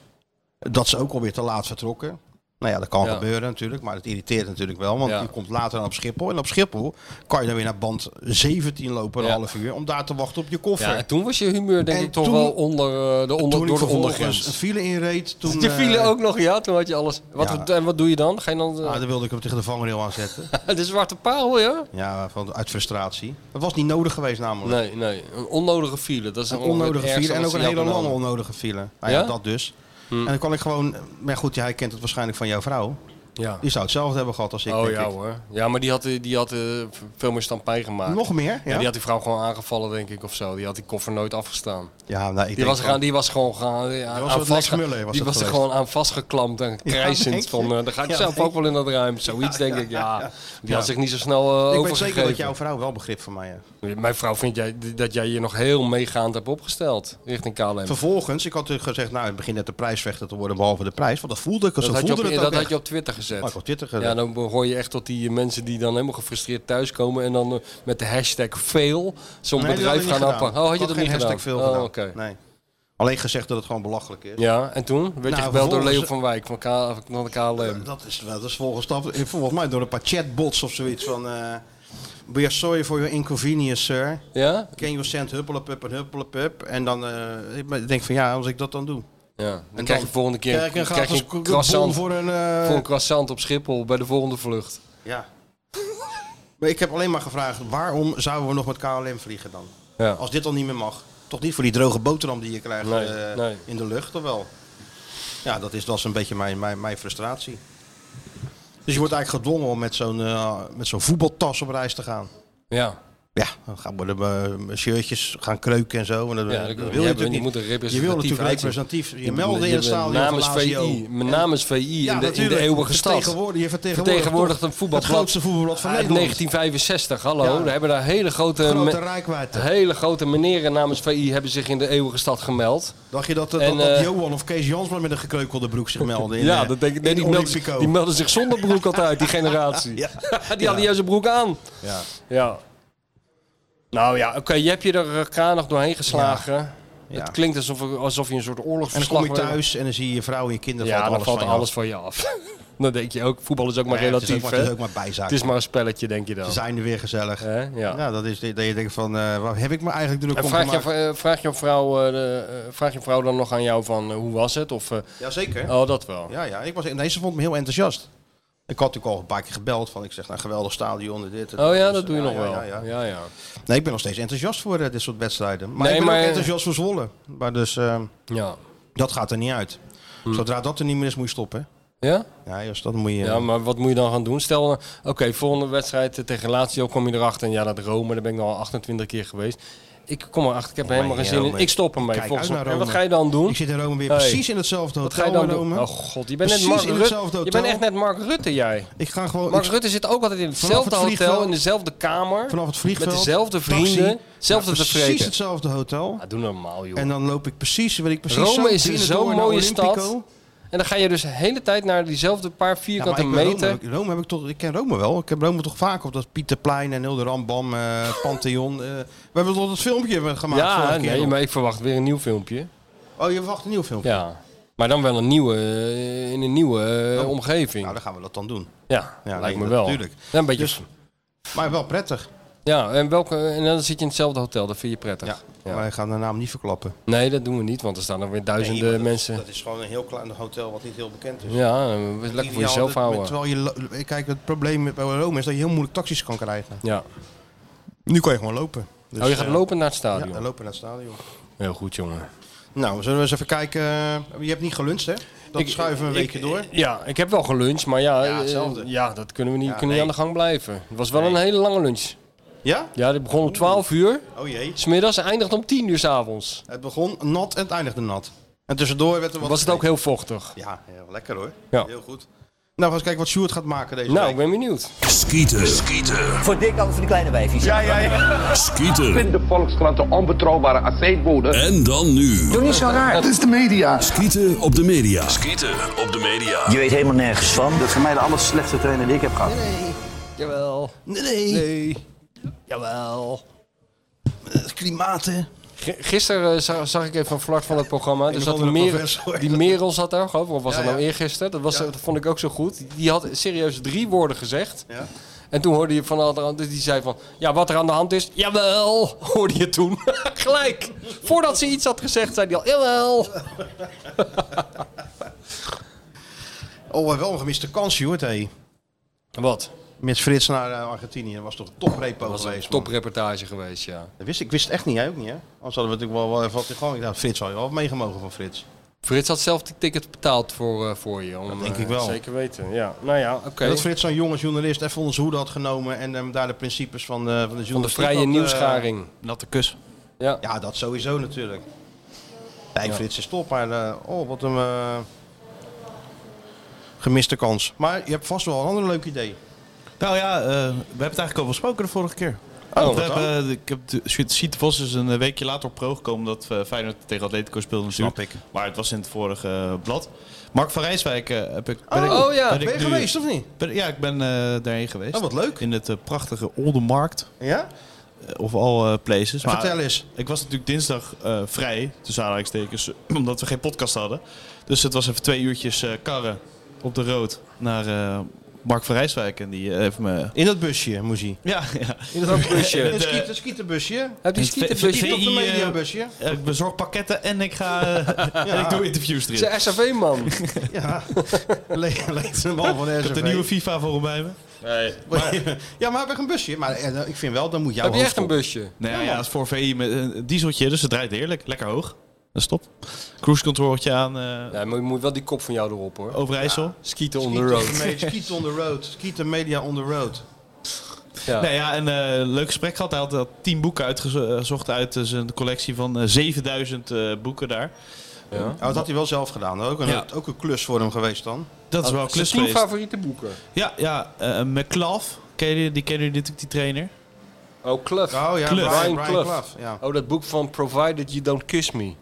E: dat ze ook alweer te laat vertrokken. Nou ja, dat kan
F: Ja.
E: gebeuren natuurlijk, maar dat irriteert natuurlijk wel. Want
F: Ja.
E: je komt later dan op Schiphol. En op Schiphol kan je dan weer naar band 17 lopen, een
F: Ja.
E: half uur, om daar te wachten op je koffer.
F: ja, en toen was je humeur denk
E: En
F: ik toch
E: toen-
F: wel onder, eh, de onder,
E: toen ik
F: door de
E: vervolgens een
F: ondergrens.
E: file inreed, toen...
F: Je file
E: eh,
F: ook nog, ja, toen had je alles. Wat,
E: Ja.
F: En wat doe je dan? Ga je dan
E: ah,
F: eh,
E: dan wilde ik hem tegen de vangrail aanzetten.
F: de zwarte paal, ja?
E: ja, van, uit frustratie. Dat was niet nodig geweest namelijk.
F: Nee, nee. Een onnodige file. Dat is
E: Een
F: ongeveer het
E: onnodige
F: ergste
E: file en
F: wat
E: ook een
F: ze jou
E: hele
F: kunnen
E: lange
F: doen.
E: onnodige file. Nou ja,
F: Ja? Hm.
E: dat dus. En dan kan ik gewoon... Maar goed, ja, hij kent het waarschijnlijk van jouw vrouw.
F: Ja.
E: Die zou hetzelfde hebben gehad als ik,
F: Oh
E: denk
F: ja
E: ik.
F: hoor. Ja, maar die had, eh, die had eh, veel meer stampij gemaakt.
E: Nog meer,
F: Ja,
E: ja.
F: die had die vrouw gewoon aangevallen, denk ik, of zo. Die had die koffer nooit afgestaan.
E: Ja, nou, ik
F: Die
E: denk
F: was,
E: van-
F: gaan, die was gewoon gaan, aan,
E: was
F: aan
E: wat
F: vastge-
E: Lex Muller was
F: die
E: dat
F: was er
E: geweest.
F: gewoon aan vastgeklampt en krijsend.
E: denk je?
F: van, eh dan ga ik
E: Ja,
F: zelf
E: denk
F: ook wel in dat ruim. Zoiets denk ik, ja. Die had zich niet zo snel eh,
E: ik weet
F: overgegeven.
E: zeker dat jouw vrouw wel begrip van mij eh. heeft.
F: Mijn vrouw vindt jij, dat jij je nog heel meegaand hebt opgesteld richting KLM.
E: Vervolgens, ik had natuurlijk gezegd, nou, het begint net de prijsvechter te worden, behalve de prijs. Want dat voelde ik, zo
F: dat had, je
E: voelde
F: op,
E: het ook
F: dat
E: echt.
F: had je op Twitter gezet.
E: Maar ik had Twitter gezet.
F: ja, dan hoor je echt tot die mensen die dan helemaal gefrustreerd thuiskomen en dan eh, met de hashtag fail zo'n
E: Nee, dat had ik
F: bedrijf
E: niet
F: gaan
E: gedaan.
F: aanpakken. Oh, had
E: Ik
F: je dat
E: geen
F: niet
E: hashtag
F: gedaan?
E: veel
F: oh,
E: gedaan.
F: oké.
E: Nee. Alleen gezegd dat het gewoon belachelijk is.
F: Ja, en toen werd je
E: Nou,
F: gebeld door Leo
E: vervolgens-
F: van Wijk van, K, van de KLM.
E: Dat is wel, dat is volgens, dat, volgens mij door een paar chatbots of zoiets van... eh We are sorry for your inconvenience, sir.
F: Ja?
E: Can you send huppelepup en huppelepup? En dan eh, ik denk van, ja, als ik dat dan doe.
F: Ja, dan,
E: dan
F: krijg je volgende keer
E: Krijg ik een
F: krijg je
E: gratis
F: een
E: bon
F: croissant, voor...
E: voor een... eh,
F: een croissant op Schiphol bij de volgende vlucht.
E: Ja. maar ik heb alleen maar gevraagd, waarom zouden we nog met KLM vliegen dan?
F: Ja.
E: Als dit al niet meer mag. Toch niet voor die droge boterham die je krijgt
F: Nee,
E: eh,
F: nee.
E: in de lucht, of wel? Ja, dat is, dat is een beetje mijn, mijn, mijn frustratie. Dus je wordt eigenlijk gedwongen om met zo'n eh, met zo'n voetbaltas op reis te gaan.
F: Ja,
E: Ja, dan gaan we de eh, shirtjes gaan kreuken en zo. En dat,
F: Ja,
E: dat
F: dat- ja,
E: wil
F: je
E: je natuurlijk
F: moet
E: niet.
F: een representatief
E: je wil natuurlijk
F: uitzien.
E: representatief. Je
F: Je
E: melden in
F: bent
E: het stadion van
F: namens
E: Lazio.
F: VI,
E: En-
F: namens VI in, de, in de
E: natuurlijk.
F: eeuwige stad.
E: Vertegenwoordig- je vertegenwoordigt,
F: Vertegenwoordigt
E: toch
F: een voetbalblad.
E: Het grootste voetbalblad van
F: Uit
E: Nederland.
F: 1965, hallo.
E: Ja.
F: We hebben daar hele grote,
E: Grote
F: me-
E: rijkwijd.
F: hele grote meneren namens VI hebben zich in de eeuwige stad gemeld.
E: Dacht je dat, dat,
F: En,
E: dat
F: eh,
E: Johan of Kees Jansman met een gekreukelde broek zich melden? In,
F: ja,
E: eh,
F: dat denk ik. Nee,
E: in
F: die, melden, zich-
E: Olympico?
F: die melden zich zonder broek altijd uit, die generatie.
E: Ja.
F: die hadden juist een broek aan.
E: Ja.
F: Ja. Nou ja, oké, je hebt je er kranig doorheen geslagen.
E: Ja.
F: Het klinkt alsof, alsof je een soort
E: En dan
F: oorlogsverslag...
E: kom je thuis en dan zie je je vrouw en je kinderen.
F: Ja,
E: valt alles van
F: dan valt
E: je
F: alles van je af. dan denk je ook, voetbal is ook
E: af.
F: maar
E: Ja, het is ook
F: relatief.
E: maar-
F: hè?
E: Het is ook maar bijzaak.
F: Het is maar een spelletje, denk je dan.
E: Ze zijn er weer gezellig.
F: Hè? Ja.
E: Ja, dat is dat je denkt van, eh, waar heb ik me eigenlijk druk
F: En
E: om
F: vraag je,
E: gemaakt?
F: eh, vraag, je vrouw, eh, de, eh, vraag je vrouw dan nog aan jou van eh, hoe was het? Of, eh,
E: Jazeker.
F: oh, dat wel.
E: Ja, ja. Ik was, nee, ze vond me heel enthousiast. Ik had natuurlijk al een paar keer gebeld van, ik zeg, nou, geweldig stadion en dit. en
F: Oh ja,
E: Dus,
F: dat doe je
E: ja,
F: nog
E: ja,
F: wel.
E: ja,
F: Ja,
E: ja.
F: ja.
E: Nee, ik ben nog steeds enthousiast voor eh, dit soort wedstrijden. Maar
F: Nee,
E: ik ben
F: maar-
E: ook enthousiast voor Zwolle. Maar dus, eh,
F: Ja.
E: dat gaat er niet uit.
F: Hm.
E: Zodra dat er niet meer is, moet je stoppen.
F: Ja?
E: Ja, dus dat moet je...
F: Ja, maar wat moet je dan gaan doen? Stel, eh, oké, volgende wedstrijd eh, tegen Lazio kom je erachter. En ja, dat Rome, daar ben ik nou al 28 keer geweest. Ik kom erachter, ik
E: Oh,
F: heb er helemaal geen zin in.
E: Rome.
F: Ik stop ermee.
E: Kijk
F: Volgens
E: uit
F: mij.
E: naar
F: En wat
E: Rome.
F: ga je dan doen?
E: Ik zit in Rome weer
F: Hey.
E: precies in hetzelfde
F: Wat ga
E: hotel
F: je dan
E: in
F: doen?
E: Rome.
F: Oh god, je bent, net
E: Precies
F: Mark,
E: in
F: Rutte.
E: hetzelfde
F: je bent
E: hotel.
F: echt net Mark Rutte, jij.
E: Ik ga gewoon
F: Mark
E: ik-
F: Rutte zit ook altijd in
E: Vanaf
F: hetzelfde
E: het vliegveld-
F: hotel, in dezelfde kamer.
E: vanaf het vliegveld.
F: Met dezelfde
E: taxi,
F: vrienden,
E: naar
F: zelfde
E: Precies
F: tevreden.
E: hetzelfde hotel.
F: Ja, Ah, doe normaal, joh.
E: En dan loop ik precies, weet ik precies zo
F: Rome is
E: binnen door
F: zo'n
E: naar
F: mooie
E: Olympico.
F: stad. En dan ga je dus de hele tijd naar diezelfde
E: Ja,
F: paar vierkante
E: maar ik ben Rome,
F: meter.
E: heb ik- Rome heb ik toch, ik ken Rome wel. Ik heb Rome toch vaak op dat Pieterplein en heel de Rambam, eh, Pantheon. eh, we hebben toch dat filmpje gemaakt
F: Ja,
E: vorige keer
F: nee,
E: nog.
F: maar ik verwacht weer een nieuw filmpje.
E: Oh, je wacht een nieuw filmpje?
F: Ja. Maar dan wel een nieuwe, eh, in een nieuwe eh, omgeving.
E: Nou, dan gaan we dat dan doen.
F: ja,
E: Ja,
F: lijkt
E: nee,
F: me
E: dat-
F: wel.
E: tuurlijk.
F: Ja, een beetje.
E: Dus- Maar wel prettig.
F: ja, en, welke, en dan zit je in hetzelfde hotel, dat vind je prettig.
E: Ja. Maar ik ga de naam niet verklappen.
F: Nee, dat doen we niet, want er staan er weer
E: Nee,
F: duizenden
E: maar dat-
F: eh, mensen.
E: Dat is gewoon een heel klein hotel wat niet heel bekend is.
F: ja, eh, lekker voor
E: Ideaal
F: jezelf
E: dat-
F: houden.
E: Terwijl je, lo- kijk, het probleem met bij Rome is dat je heel moeilijk taxis kan krijgen.
F: Ja.
E: Nu kan je gewoon lopen. Dus,
F: oh, je gaat
E: eh,
F: lopen naar het
E: Ja,
F: stadion.
E: dan lopen we naar het stadion.
F: Heel goed, jongen.
E: Nou, zullen we eens even kijken. eh, je hebt niet geluncht, hè? Dat schuiven we een weekje door.
F: eh, Ja, ik heb wel geluncht, maar ja,
E: Ja,
F: eh,
E: hetzelfde.
F: ja dat kunnen we niet,
E: Ja,
F: kunnen niet
E: nee.
F: aan de gang blijven. Het was wel een hele lange lunch.
E: Ja?
F: Ja, dit begon om 12 uur,
E: Oh jee.
F: smiddags en eindigt om 10 uur s'avonds.
E: Het begon nat en het eindigde nat. En tussendoor werd er wat
F: Was het ook heel vochtig.
E: Ja, heel lekker hoor.
F: Ja.
E: Heel goed. Nou, we eens kijken wat Sjoerd gaat maken deze
F: Nou, ik
E: week.
F: ben benieuwd.
I: Skieten.
J: Voor dik als voor de kleine wijfjes.
I: Skieten.
K: de Volkskrant de onbetrouwbare aceetbode.
I: En dan nu.
J: Doe niet zo raar.
I: Skieten op de media. Skieten op de media.
J: Je weet helemaal nergens van.
K: Dat is voor mij de aller slechtste trainer die ik heb gehad.
F: Jawel.
E: Nee,
F: Nee. Jawel.
E: het klimaat hè.
F: Gisteren eh, zag, zag ik even een vlak van het programma. Dus
E: of
F: dat die,
E: andere
F: Merel,
E: professor.
F: die Merel zat daar, geloof ik. Of was
E: Ja,
F: dat nou
E: ja.
F: eergisteren? Dat, was,
E: Ja.
F: dat vond ik ook zo goed. Die had serieus drie woorden gezegd.
E: Ja.
F: En toen hoorde je van de andere hand, dus die zei van, ja, wat er aan de hand is, jawel, hoorde je toen. Gelijk. Voordat ze iets had gezegd, zei hij al, jawel.
E: Oh, wel een gemiste kans Sjoerd hé.
F: Wat?
E: Met Frits naar eh, Argentinië. Dat was toch een toprepo
F: Dat was een
E: geweest. man.
F: topreportage geweest, ja.
E: Dat wist, ik- ik wist het echt niet, jij ook niet hè? Anders hadden we natuurlijk wel, wel even wat in gang. Ik dacht, Frits had je wel meegemogen van Frits.
F: Frits had zelf die ticket betaald voor, eh, voor je. Om,
E: Dat denk
F: eh,
E: ik wel.
F: Zeker weten, ja. Nou ja, oké.
E: Dat Frits zo'n jonge journalist even onder zijn hoede had genomen en hem daar de principes van, eh, van de journalistiek
F: Van de vrije
E: had, eh,
F: nieuwsgaring.
G: Natte kus.
F: Ja.
E: ja, dat sowieso natuurlijk. Nee, ik vind het top, maar eh, oh, wat een eh, gemiste kans. Maar je hebt vast wel een ander leuk idee.
G: Nou ja, eh, we hebben het eigenlijk al besproken de vorige keer.
E: Oh,
G: Want we
E: wat dan?
G: hebben, eh, ik heb de- Siet Siet Vos is een weekje later op pro gekomen dat eh, Feyenoord tegen Atletico speelde natuurlijk.
E: Snap ik.
G: Maar het was in het vorige eh, blad. Mark van Rijswijk eh, heb ik, ben ik...
E: Oh, ja,
G: ik
E: ben je
G: nu-
E: geweest of niet?
G: ben- ja, ik ben eh, daarheen geweest.
E: Oh, wat leuk.
G: In het eh, prachtige Oldenmarkt.
E: Ja?
G: eh, Of al eh, places. Maar
E: Vertel eens.
G: Ik was natuurlijk dinsdag eh, vrij, tussen aanhalingstekens, omdat we geen podcast hadden. Dus het was even twee uurtjes eh, karren op de rood naar eh, Mark van Rijswijk. En die eh, heeft me...
E: In dat busje, moest hij.
G: Ja, ja.
F: In dat busje.
E: Een
G: De-
E: skiet- een skietenbusje.
F: Heb je
G: Het
F: schieten
G: V-
E: Iets
G: VI,
E: op de
G: eh,
E: mediabusje.
G: Eh, Ik bezorg pakketten en ik ga eh, en ik doe interviews erin.
F: Zijn SAV-man.
E: Ja, Le- leed een man van de
G: Ik heb de
E: SRV.
G: nieuwe FIFA voor hem bij me.
F: Nee.
E: Ja, maar heb ik een busje? Maar eh, ik vind wel, dan moet jouw
F: Heb je echt een
E: hoofdkop-
F: busje?
G: Nee, ja, het is voor VI met eh, een dieseltje, dus het draait heerlijk. Lekker hoog. Dat is top. Cruise controltje aan eh,
F: Ja, maar je moet wel die kop van jou erop hoor.
G: Overijssel.
F: Skieten on the
E: Skieten on the
F: road.
E: road. Skieten on the road. Skieten media on the road.
F: Ja.
G: Nou ja, een eh, leuk gesprek gehad. Hij had eh, tien boeken uitgezocht uit eh, zijn collectie van eh, 7000 eh, boeken daar.
E: Oh, dat had hij wel zelf gedaan. Ook een,
G: Ja.
E: ook een klus voor hem geweest dan.
G: Dat is wel
F: Oh,
E: Oh,
F: Zijn
G: klus
F: tien
G: geweest.
F: favoriete boeken.
G: Ja, ja eh McClav, ken je die- die kennen jullie natuurlijk, die trainer.
F: Oh, Cluff.
E: Oh ja,
G: Clough.
E: Brian,
F: Brian
E: Brian
F: Clough.
E: Clough, Ja.
F: Oh, dat boek van Provided You Don't Kiss Me.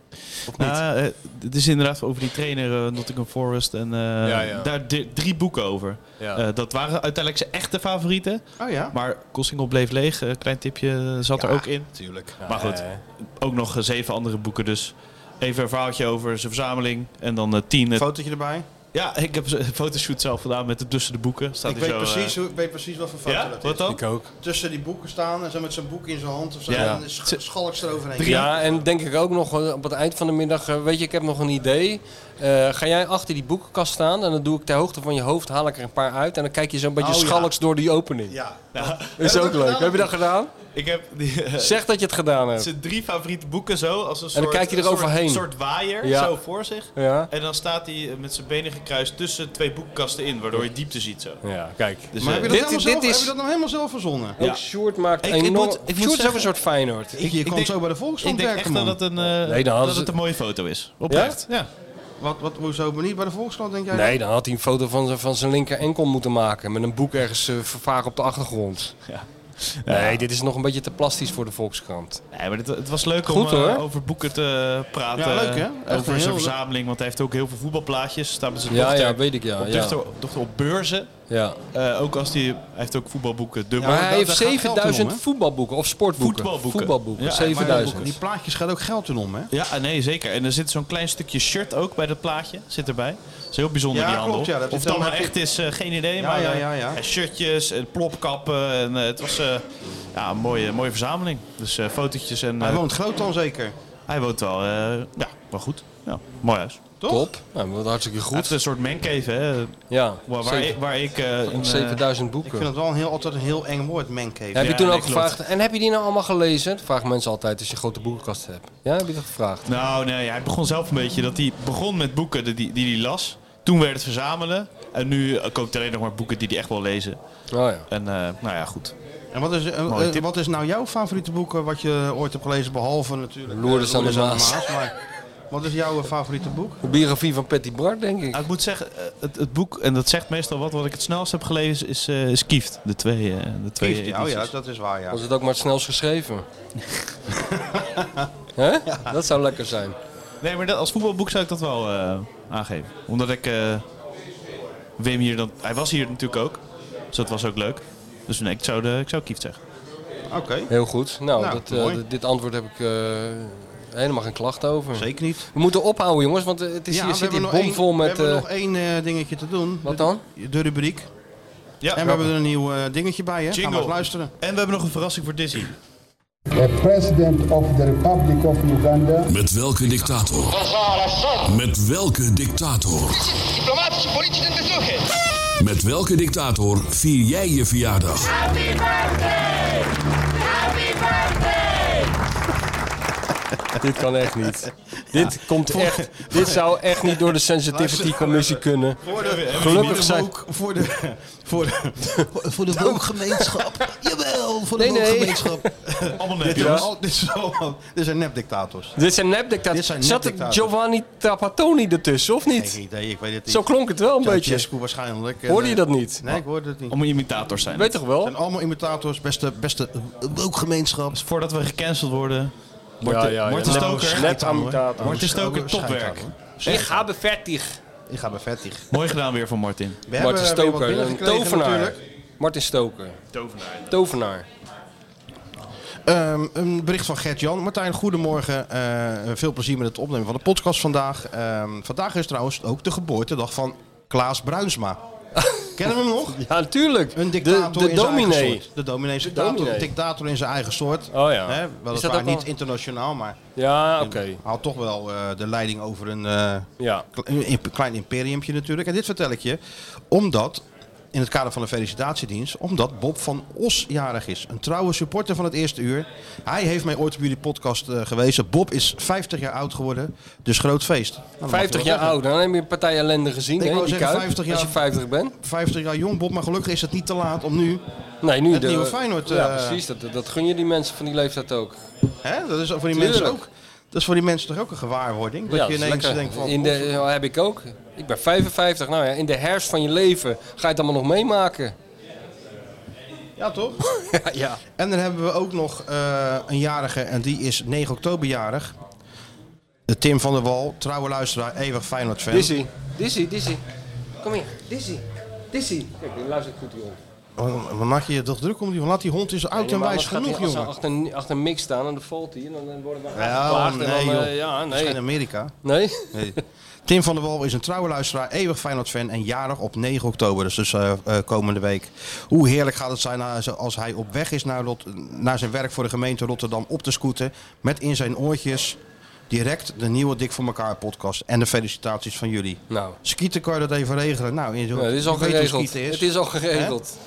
F: Of niet?
G: Nou, eh, het is inderdaad over die trainer eh, Nottingham Forest en eh,
F: Ja, ja.
G: daar di- drie boeken over.
F: Ja.
G: Eh, dat waren uiteindelijk zijn echte favorieten.
E: Oh ja.
G: Maar Kostingel bleef leeg. eh, klein tipje zat er ook in.
E: Tuurlijk.
G: maar goed,
F: eh.
G: ook nog eh, zeven andere boeken. Dus even een verhaaltje over zijn verzameling. En dan eh, tien. eh,
E: Fotootje erbij.
G: ja, ik heb een fotoshoot zelf gedaan met de tussen de boeken. Staat
E: Ik
G: hij
E: weet,
G: zo, eh,
E: precies, hoe, ik weet precies wat voor foto
G: ja,
E: dat is.
G: wat dan?
F: ook.
E: Tussen die boeken staan en zo met zijn boek in zijn hand of zo.
G: Ja.
E: En sch schalks eroverheen.
F: Ja, en denk ik ook nog eh, op het eind van de middag, eh, weet je, ik heb nog een idee. Eh, ga jij achter die boekenkast staan en dan doe ik ter hoogte van je hoofd, haal ik er een paar uit en dan kijk je zo'n beetje
E: Oh, ja.
F: schalks door die opening.
E: Ja.
F: Is
E: Heb
F: ook
E: je dat
F: leuk.
E: gedaan?
F: Heb je dat gedaan?
G: Ik heb die, eh,
F: Zeg dat je het gedaan hebt.
G: zijn drie favoriete boeken zo. Als een soort,
F: dan kijkt hij
G: een soort-
F: eroverheen.
G: soort waaier
F: Ja.
G: zo voor zich.
F: Ja?
G: En dan staat hij met zijn benen gekruist tussen twee boekkasten in, waardoor je diepte ziet zo.
F: Ja, kijk.
G: Dus,
E: Maar
G: eh,
E: heb je, dat
F: Dit-
E: helemaal zelf,
F: dit is-
E: heb je dat nou helemaal zelf verzonnen?
G: Ja.
F: Ook Sjoerd maakt
G: Ik- ik
F: enorm...
G: moet- ik moet
F: Sjoerd is ook
G: zeggen-
F: een soort Feyenoord.
E: Ik, je
G: ik
E: komt
G: denk-
E: zo bij de
G: ik
E: Volkskrant
G: denk echt
E: werken,
G: wel
E: man.
G: dat, een, eh,
F: Nee, dan hadden
G: dat
F: ze-
G: het een mooie foto is. Oprecht. Ja?
E: Wat, wat, hoezo maar niet bij de Volkskrant, denk jij?
F: Nee, dan had hij een foto van zijn, van zijn linker enkel moeten maken. Met een boek ergens eh, vaag op de achtergrond.
G: Ja.
F: Nee, dit is nog een beetje te plastisch voor de Volkskrant.
G: Nee, maar het, het was leuk om
F: Goed, hoor.
G: eh, over boeken te praten. eh,
E: Ja, leuk, hè? Echt een
G: over zijn
E: heel-
G: verzameling, want hij heeft ook heel veel voetbalplaatjes. Staat met zijn
F: Ja,
G: dochter,
F: ja, weet ik ja.
G: op
F: ja.
G: dochter, dochter op beurzen.
F: ja.
G: Eh, ook als hij, hij heeft ook voetbalboeken. Dubbel.
F: Maar
E: maar
F: hij
E: dat-
F: heeft
E: daar gaat geld om,
F: 7000
E: hè?
F: voetbalboeken of sportboeken.
G: Voetbalboeken. Ja, maar
E: Maar
F: 7000.
E: die plaatjes gaat ook geld in om, hè?
G: Ja, ah, nee, zeker. En er zit zo'n klein stukje shirt ook bij dat plaatje. Zit erbij. Dat is heel bijzonder,
E: Ja,
G: die handel.
E: klopt, ja, dat
G: of
E: is
G: het
E: dan
G: allemaal
E: heb je-
G: echt is, eh, geen idee.
E: Ja,
G: maar
E: ja,
G: eh,
E: ja, ja.
G: eh, shirtjes en plopkappen. En, eh, het was eh, ja, een mooie, mooie verzameling. Dus eh fotootjes. En,
E: Hij
G: eh,
E: woont groot dan zeker.
G: hij woont wel, eh, ja, wel goed. Ja, mooi huis.
E: Toch?
F: Top. Nou, wat hartstikke
G: Het is
F: goed.
G: een soort mancave, hè.
F: Ja,
G: Waar, waar, ik-
F: zeven-
G: waar ik... eh, in, eh,
F: 7000
E: Ik vind
F: boeken.
E: het wel een heel, altijd een heel eng woord, mancave.
F: Heb je
G: Ja,
F: toen
G: nee,
F: ook
G: klopt.
F: gevraagd, en heb je die nou allemaal gelezen? Dat vragen mensen altijd als je een grote boekenkast hebt. Ja, heb je dat gevraagd?
G: nou, nee, hij begon zelf een beetje dat hij begon met boeken die- die die hij las. Toen werd het verzamelen. En nu eh, koopt hij alleen nog maar boeken die hij echt wil lezen.
F: Oh ja.
G: En eh, nou ja, goed.
E: En wat is, eh,
G: Mooie
E: eh,
G: tip.
E: wat is nou jouw favoriete boek eh, wat je ooit hebt gelezen? Behalve natuurlijk...
F: Lourdes
E: eh,
F: aan de Maas.
E: Maar wat is jouw eh, favoriete boek?
F: De biografie van Patty Bart, denk ik.
G: Nou, ik moet zeggen, eh, het, het boek, en dat zegt meestal wat, wat ik het snelst heb gelezen, is, eh, is Kieft. De twee, eh, de twee
E: Kieft, ja, Oh
G: edities.
E: ja, dat is waar, ja.
F: Was het ook maar het snelst geschreven? Hè? Dat zou lekker zijn.
G: Nee, maar dat, als voetbalboek zou ik dat wel eh, aangeven. Omdat ik eh, Wim hier dan... Hij was hier natuurlijk ook, dus dat was ook leuk. Dus nee, ik zou, de, ik zou Kieft zeggen.
E: Oké.
F: Heel goed. Nou,
E: Nou,
F: dat, eh,
E: mooi.
F: d- dit antwoord heb ik eh, helemaal geen klacht over.
E: Zeker niet.
F: We moeten ophouden, jongens, want eh, het is hier
E: we
F: zit
E: hebben
F: hier
E: nog één-
F: bomvol met...
E: We hebben
F: eh,
E: nog één eh, dingetje te doen.
F: wat dan?
E: De, de rubriek.
G: Ja,
E: en we hebben er een nieuw eh, dingetje bij, hè? Gaan we
G: Jingle.
E: eens luisteren.
G: En we hebben nog een verrassing voor Dizzy.
L: The President of the Republic of Uganda
I: Met welke dictator? Met welke dictator?
M: Diplomatische politische bezoeken.
I: Met welke dictator vier jij je verjaardag?
M: Happy birthday! Happy birthday!
F: dit kan echt niet. Dit komt echt. Dit zou echt niet door de Sensitivity Commissie kunnen. Gelukkig zijn.
E: Voor de, voor de,
N: Voor de woongemeenschap. Jawel, voor de
E: Nee, nee.
N: woongemeenschap.
E: Allemaal
F: nep,
E: dit,
F: jongens.
E: is al- dit, is allemaal- dit zijn nepdictators.
F: Dit zijn nepdictators.
E: zijn
F: Zat er
E: nepdictators.
F: Giovanni Trapattoni ertussen, of niet?
E: Geen idee, ik weet het niet.
F: Zo klonk het wel een
E: Ja,
F: beetje.
E: Jesco waarschijnlijk. En,
F: Hoorde je
E: eh,
F: dat niet?
E: Nee, ik hoorde het niet.
G: Om imitators zijn.
F: Weet toch wel?
E: zijn allemaal imitators, beste, beste wookgemeenschap.
G: voordat we gecanceld worden.
F: Ja, ja, ja.
G: Morten
F: Net-
G: Stoker.
F: net aan elkaar.
G: Morten Stoker, topwerk.
F: Ik ga bevettig.
E: Ik ga bevettig.
G: Mooi gedaan weer van Martin.
E: We hebben weer
F: Martin
E: wat
F: Stoker, een
E: binnengekregen
F: tovenaar.
E: natuurlijk.
F: Martin Stoker. Tovenaar. Tovenaar.
E: Ehm, een bericht van Gert-Jan. Martijn, goedemorgen. Eh, veel plezier met het opnemen van de podcast vandaag. Ehm, vandaag is trouwens ook de geboortedag van Klaas Bruinsma. Kennen we hem nog?
F: Ja, natuurlijk.
E: Een dictator
F: de
E: in zijn eigen
F: dominee.
E: soort. De dominee is
F: De
E: een dictator,
F: dominee.
E: een dictator in zijn eigen soort.
F: Oh ja.
E: Hè,
F: Is
E: weliswaar
F: dat ook
E: niet
F: al-
E: internationaal, maar
F: Ja, oké.
E: haalt toch wel eh, de leiding over een eh,
F: Ja.
E: kle- een imp- klein imperiumpje natuurlijk. En dit vertel ik je omdat, in het kader van de felicitatiedienst, omdat Bob van Os jarig is. Een trouwe supporter van het eerste uur. Hij heeft mij ooit op jullie podcast eh, gewezen. Bob is 50 jaar oud geworden, dus groot feest. Nou, dan mag je
F: 50
E: wel
F: jaar
E: zeggen.
F: oud, dan heb je een partij ellende gezien.
E: Ik
F: hè,
E: wou
F: die
E: zeggen,
F: Kuip,
E: 50 jaar-
F: Als je 50 bent.
E: 50 jaar jong Bob, maar gelukkig is het niet te laat om nu...
F: Nee, nu
E: Het
F: de,
E: nieuwe Feyenoord,
F: Ja,
E: eh,
F: precies. Dat, dat gun je die mensen van die leeftijd ook.
E: Hè? Dat is voor die
F: Tuurlijk.
E: mensen ook... Dat is voor die mensen toch ook een gewaarwording? Dat
F: Ja,
E: je
F: is
E: ineens
F: lekker.
E: denkt van...
F: In de, ja, heb ik ook. Ik ben 55. Nou ja, in de herfst van je leven ga je het allemaal nog meemaken.
E: Ja, toch?
F: ja.
E: En dan hebben we ook nog eh, een jarige en die is 9 oktober jarig. De Tim van der Wal, trouwe luisteraar, eeuwig Feyenoord fan.
F: Dizzy. Dizzy, Dizzy. Kom hier. Dizzy. Dizzy. Kijk, die luistert goed die hond.
E: Wat Oh, maak je je toch druk om die hond? Laat die hond is oud en
F: normaal
E: wijs
F: gaat
E: genoeg,
F: hij- als hij
E: jongen.
F: achter, een- achter een mix staan en dan valt hij en dan eh, worden we
E: Ja,
F: aangeklaagd. en
E: nee,
F: dan, eh,
E: joh.
F: ja,
E: Dat is geen
F: nee.
E: Amerika.
F: Nee?
E: Nee. Tim van der Wal is een trouwe luisteraar, eeuwig Feyenoord fan en jarig op 9 oktober, dus, dus eh, eh, komende week. Hoe heerlijk gaat het zijn als- als hij op weg is naar, Rot- naar zijn werk voor de gemeente Rotterdam op te scooten met in zijn oortjes direct de nieuwe Dik voor elkaar podcast en de felicitaties van jullie.
F: Nou,
E: Skieten kan je dat even regelen. Nou, je,
F: ja, het is al
E: je weet hoe
F: geregeld.
E: skieten
F: Het is al geregeld.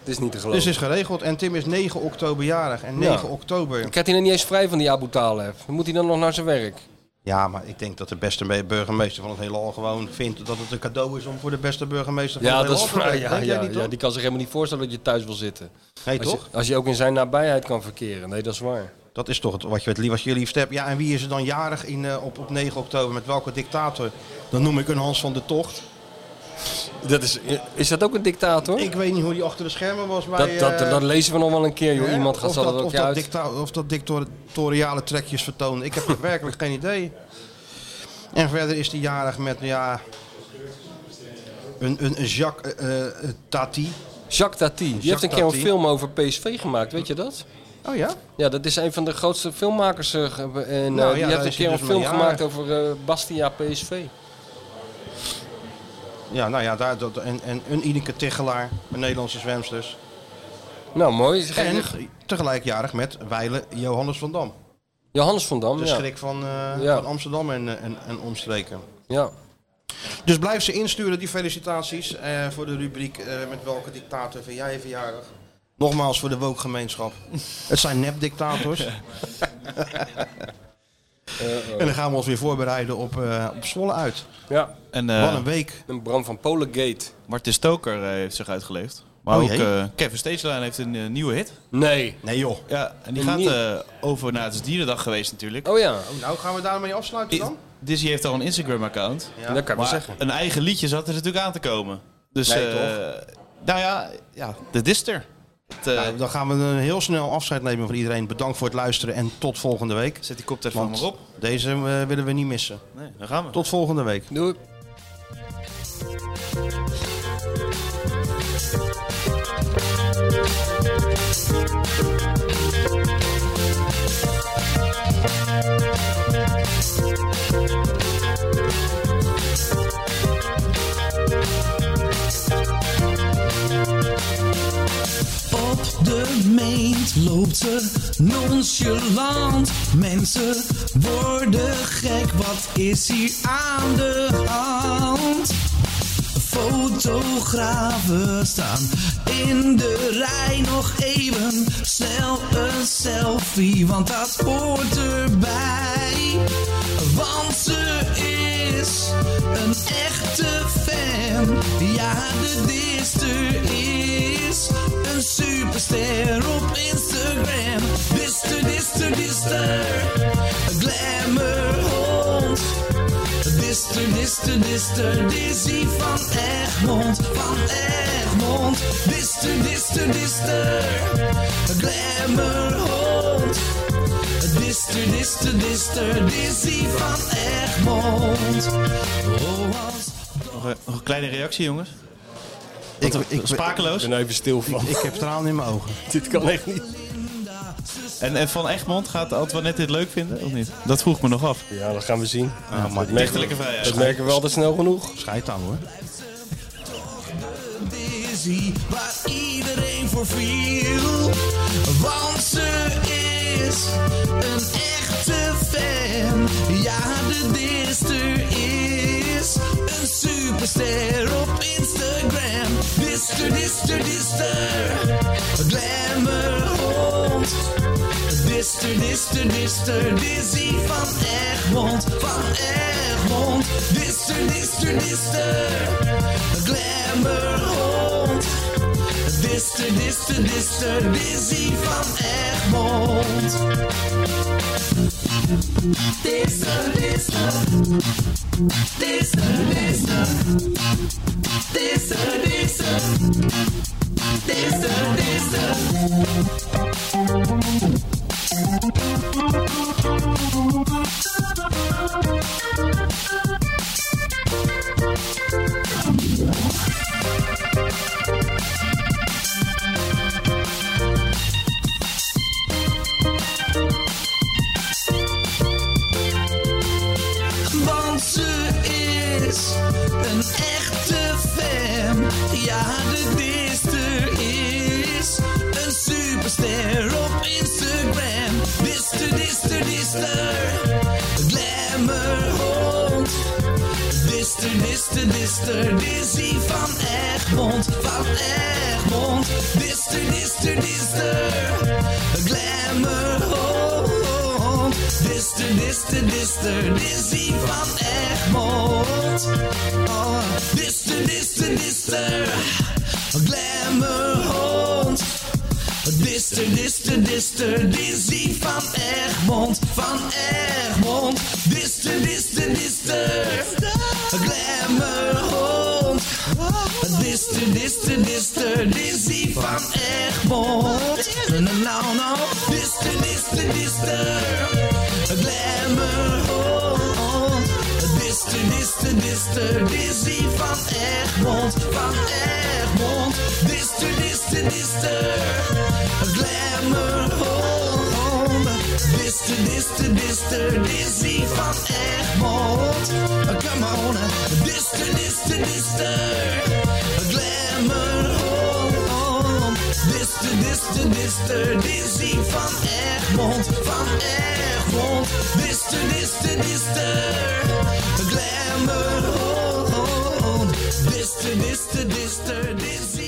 F: Het is niet te
E: Hè?
F: geloven.
E: Dus het is geregeld en Tim is 9 oktober jarig en 9
F: Ja.
E: oktober.
F: Krijgt hij dan niet eens vrij van die Abu Taleb? Moet hij dan nog naar zijn werk?
E: Ja, maar ik denk dat de beste me- burgemeester van het hele al gewoon vindt dat het een cadeau is om voor de beste burgemeester van
F: Ja,
E: het
F: dat
E: hele
F: is
E: land te
F: vrij.
E: werken.
F: Ja,
E: Denk
F: ja,
E: jij niet,
F: ja,
E: toch?
F: die kan zich helemaal niet voorstellen dat je thuis wil zitten.
E: Nee,
F: als
E: toch?
F: Je, als je ook in zijn nabijheid kan verkeren. Nee, dat is waar.
E: Dat is toch het, wat je het lief, als je liefst hebt. Ja, en wie is er dan jarig in, eh, op, op 9 oktober? Met welke dictator? Dan noem ik een Hans van de Tocht.
F: Dat is, is dat ook een dictator?
E: Ik weet niet hoe die achter de schermen was. eh, Maar,
F: dat, dat, dat lezen we nog wel een keer, joh. Iemand gaat
E: of
F: zal
E: dat,
F: dat
E: of
F: ook
E: dat,
F: uit.
E: dicta- of dat dictatoriale trekjes vertonen. Ik heb werkelijk geen idee. En verder is die jarig met ja, een, een, een Jacques eh, eh, Tati.
F: Jacques Tati. Die
E: Jacques
F: heeft een keer een
E: Tati.
F: film over PSV gemaakt, weet je dat?
E: Oh ja?
F: Ja, dat is een van de grootste filmmakers. eh, ge- en
E: ja,
F: eh, die
E: daar
F: heeft een
E: is hij
F: keer een
E: dus mee
F: film gemaakt
E: jarig.
F: over eh, Bastia PSV.
E: Ja, nou ja, daar, dat, en, en een Ineke Tichelaar, een Nederlandse zwemsters.
F: Nou, mooi. Is geen-
E: En tegelijk jarig met Weile Johannes van Dam.
F: Johannes van Dam,
E: De
F: ja.
E: schrik van, eh,
F: Ja.
E: van Amsterdam en, eh, en, en omstreken.
F: ja.
E: Dus blijf ze insturen, die felicitaties eh, voor de rubriek eh, met welke dictator vind jij verjaardag. Nogmaals voor de wookgemeenschap. Het zijn nep-dictators. en dan gaan we ons weer voorbereiden op, eh, op Zwolle uit.
F: Ja.
G: En, eh,
E: Wat een week.
F: Een Bram van Polengate.
G: Martin Stoker eh, heeft zich uitgeleefd. Maar
E: Oh
G: ook
E: jee.
G: eh, Kevin Steeslijn heeft een eh, nieuwe hit.
F: Nee.
E: Nee joh.
G: Ja, en die
F: Een
G: gaat
F: nieuw-
G: eh, over naar het is dierendag geweest natuurlijk.
F: Oh ja.
E: Nou, gaan we daarmee afsluiten dan?
G: Dizzy heeft al een Instagram-account.
E: Ja.
F: Dat kan ik wel
G: Maar
F: zeggen.
G: een eigen liedje zat er natuurlijk aan te komen. Dus,
F: Nee,
G: eh,
F: toch?
G: Nou ja, ja, dit is er. Het, eh,
E: Nou, dan gaan we een heel snel afscheid nemen van iedereen. Bedankt voor het luisteren en tot volgende week.
G: Zet die koptelefoon
E: Want
G: maar op.
E: deze eh, willen we niet missen.
G: Nee, dan gaan we.
E: Tot volgende week.
F: Doei.
D: Op de meent loopt ze nonchalant. Mensen worden gek, wat is hier aan de hand? Fotografen staan in de rij nog even snel een selfie, want dat hoort erbij. Want ze is een echte fan, ja de dister is een superster op Instagram. Dister, dister, dister, glamour hond. Dister, dister, dister, Dizzy van Egmond, van Egmond. Dister, dister, dister, Glamourhond. Dister, dister, dister, Dizzy van Egmond. Oh, als
G: Nog een, nog een kleine reactie, jongens.
E: Ik,
G: Wat-
E: ik-
G: sprakeloos.
E: ik
G: ben even stil van.
E: Ik heb tranen in mijn ogen.
F: Dit kan echt niet.
G: En, en Van Egmond gaat Antoinette dit leuk vinden, of niet? Dat vroeg ik me nog af.
F: Ja, dat gaan we zien.
G: maar
F: dat
G: dichterlijke vrijheid.
F: Dat merken we altijd snel genoeg.
E: Scheid aan hoor.
D: Dizzy, waar iedereen voor viel. Want ze is een echte fan. Ja, de dister is een superster op Instagram. Dister, dister, dister, glamourhond. Dister, dister, dister, Dizzy van Egmond, van Egmond. Dister, dister, dister. Glamourhond. Dister, dister, dister, Dizzy van Egmond. Dister, dister. Dister, dister. Dister, dister. Dister, dister. Want ze is een echte fan. Ja, de dister is een superster op Instagram. Dister, dister, dister. Glamourhond. Dister, dister, dister. Dizzy van Egmond. Van Egmond. Dister, dister, dister. oh, Glamourhond. Dister, dister, dister. Dizzy van Egmond. Oh, dister, dister, dister. Glamourhond. Dister, dister, dister, Dizzy van Egmond, van Egmond. Dister, dister, dister, Glamourhond. Dister, dister, dister, Dizzy van Egmond. Nou, nou, nou. Dister, dister, dister, Glamourhond. Dister, dister, dister, Dizzy van Egmond, van Egmond. Dister, dister, dister, Glamourhond. Dister, dister, dister, Dizzy van Egmond. Come on, dister, dister, dister, Glamourhond. Dister, dister, dister, Dizzy van Egmond, van er Egmond. Dister, dister, dister. oh, Glamour Dister, dister, dister, dizzy er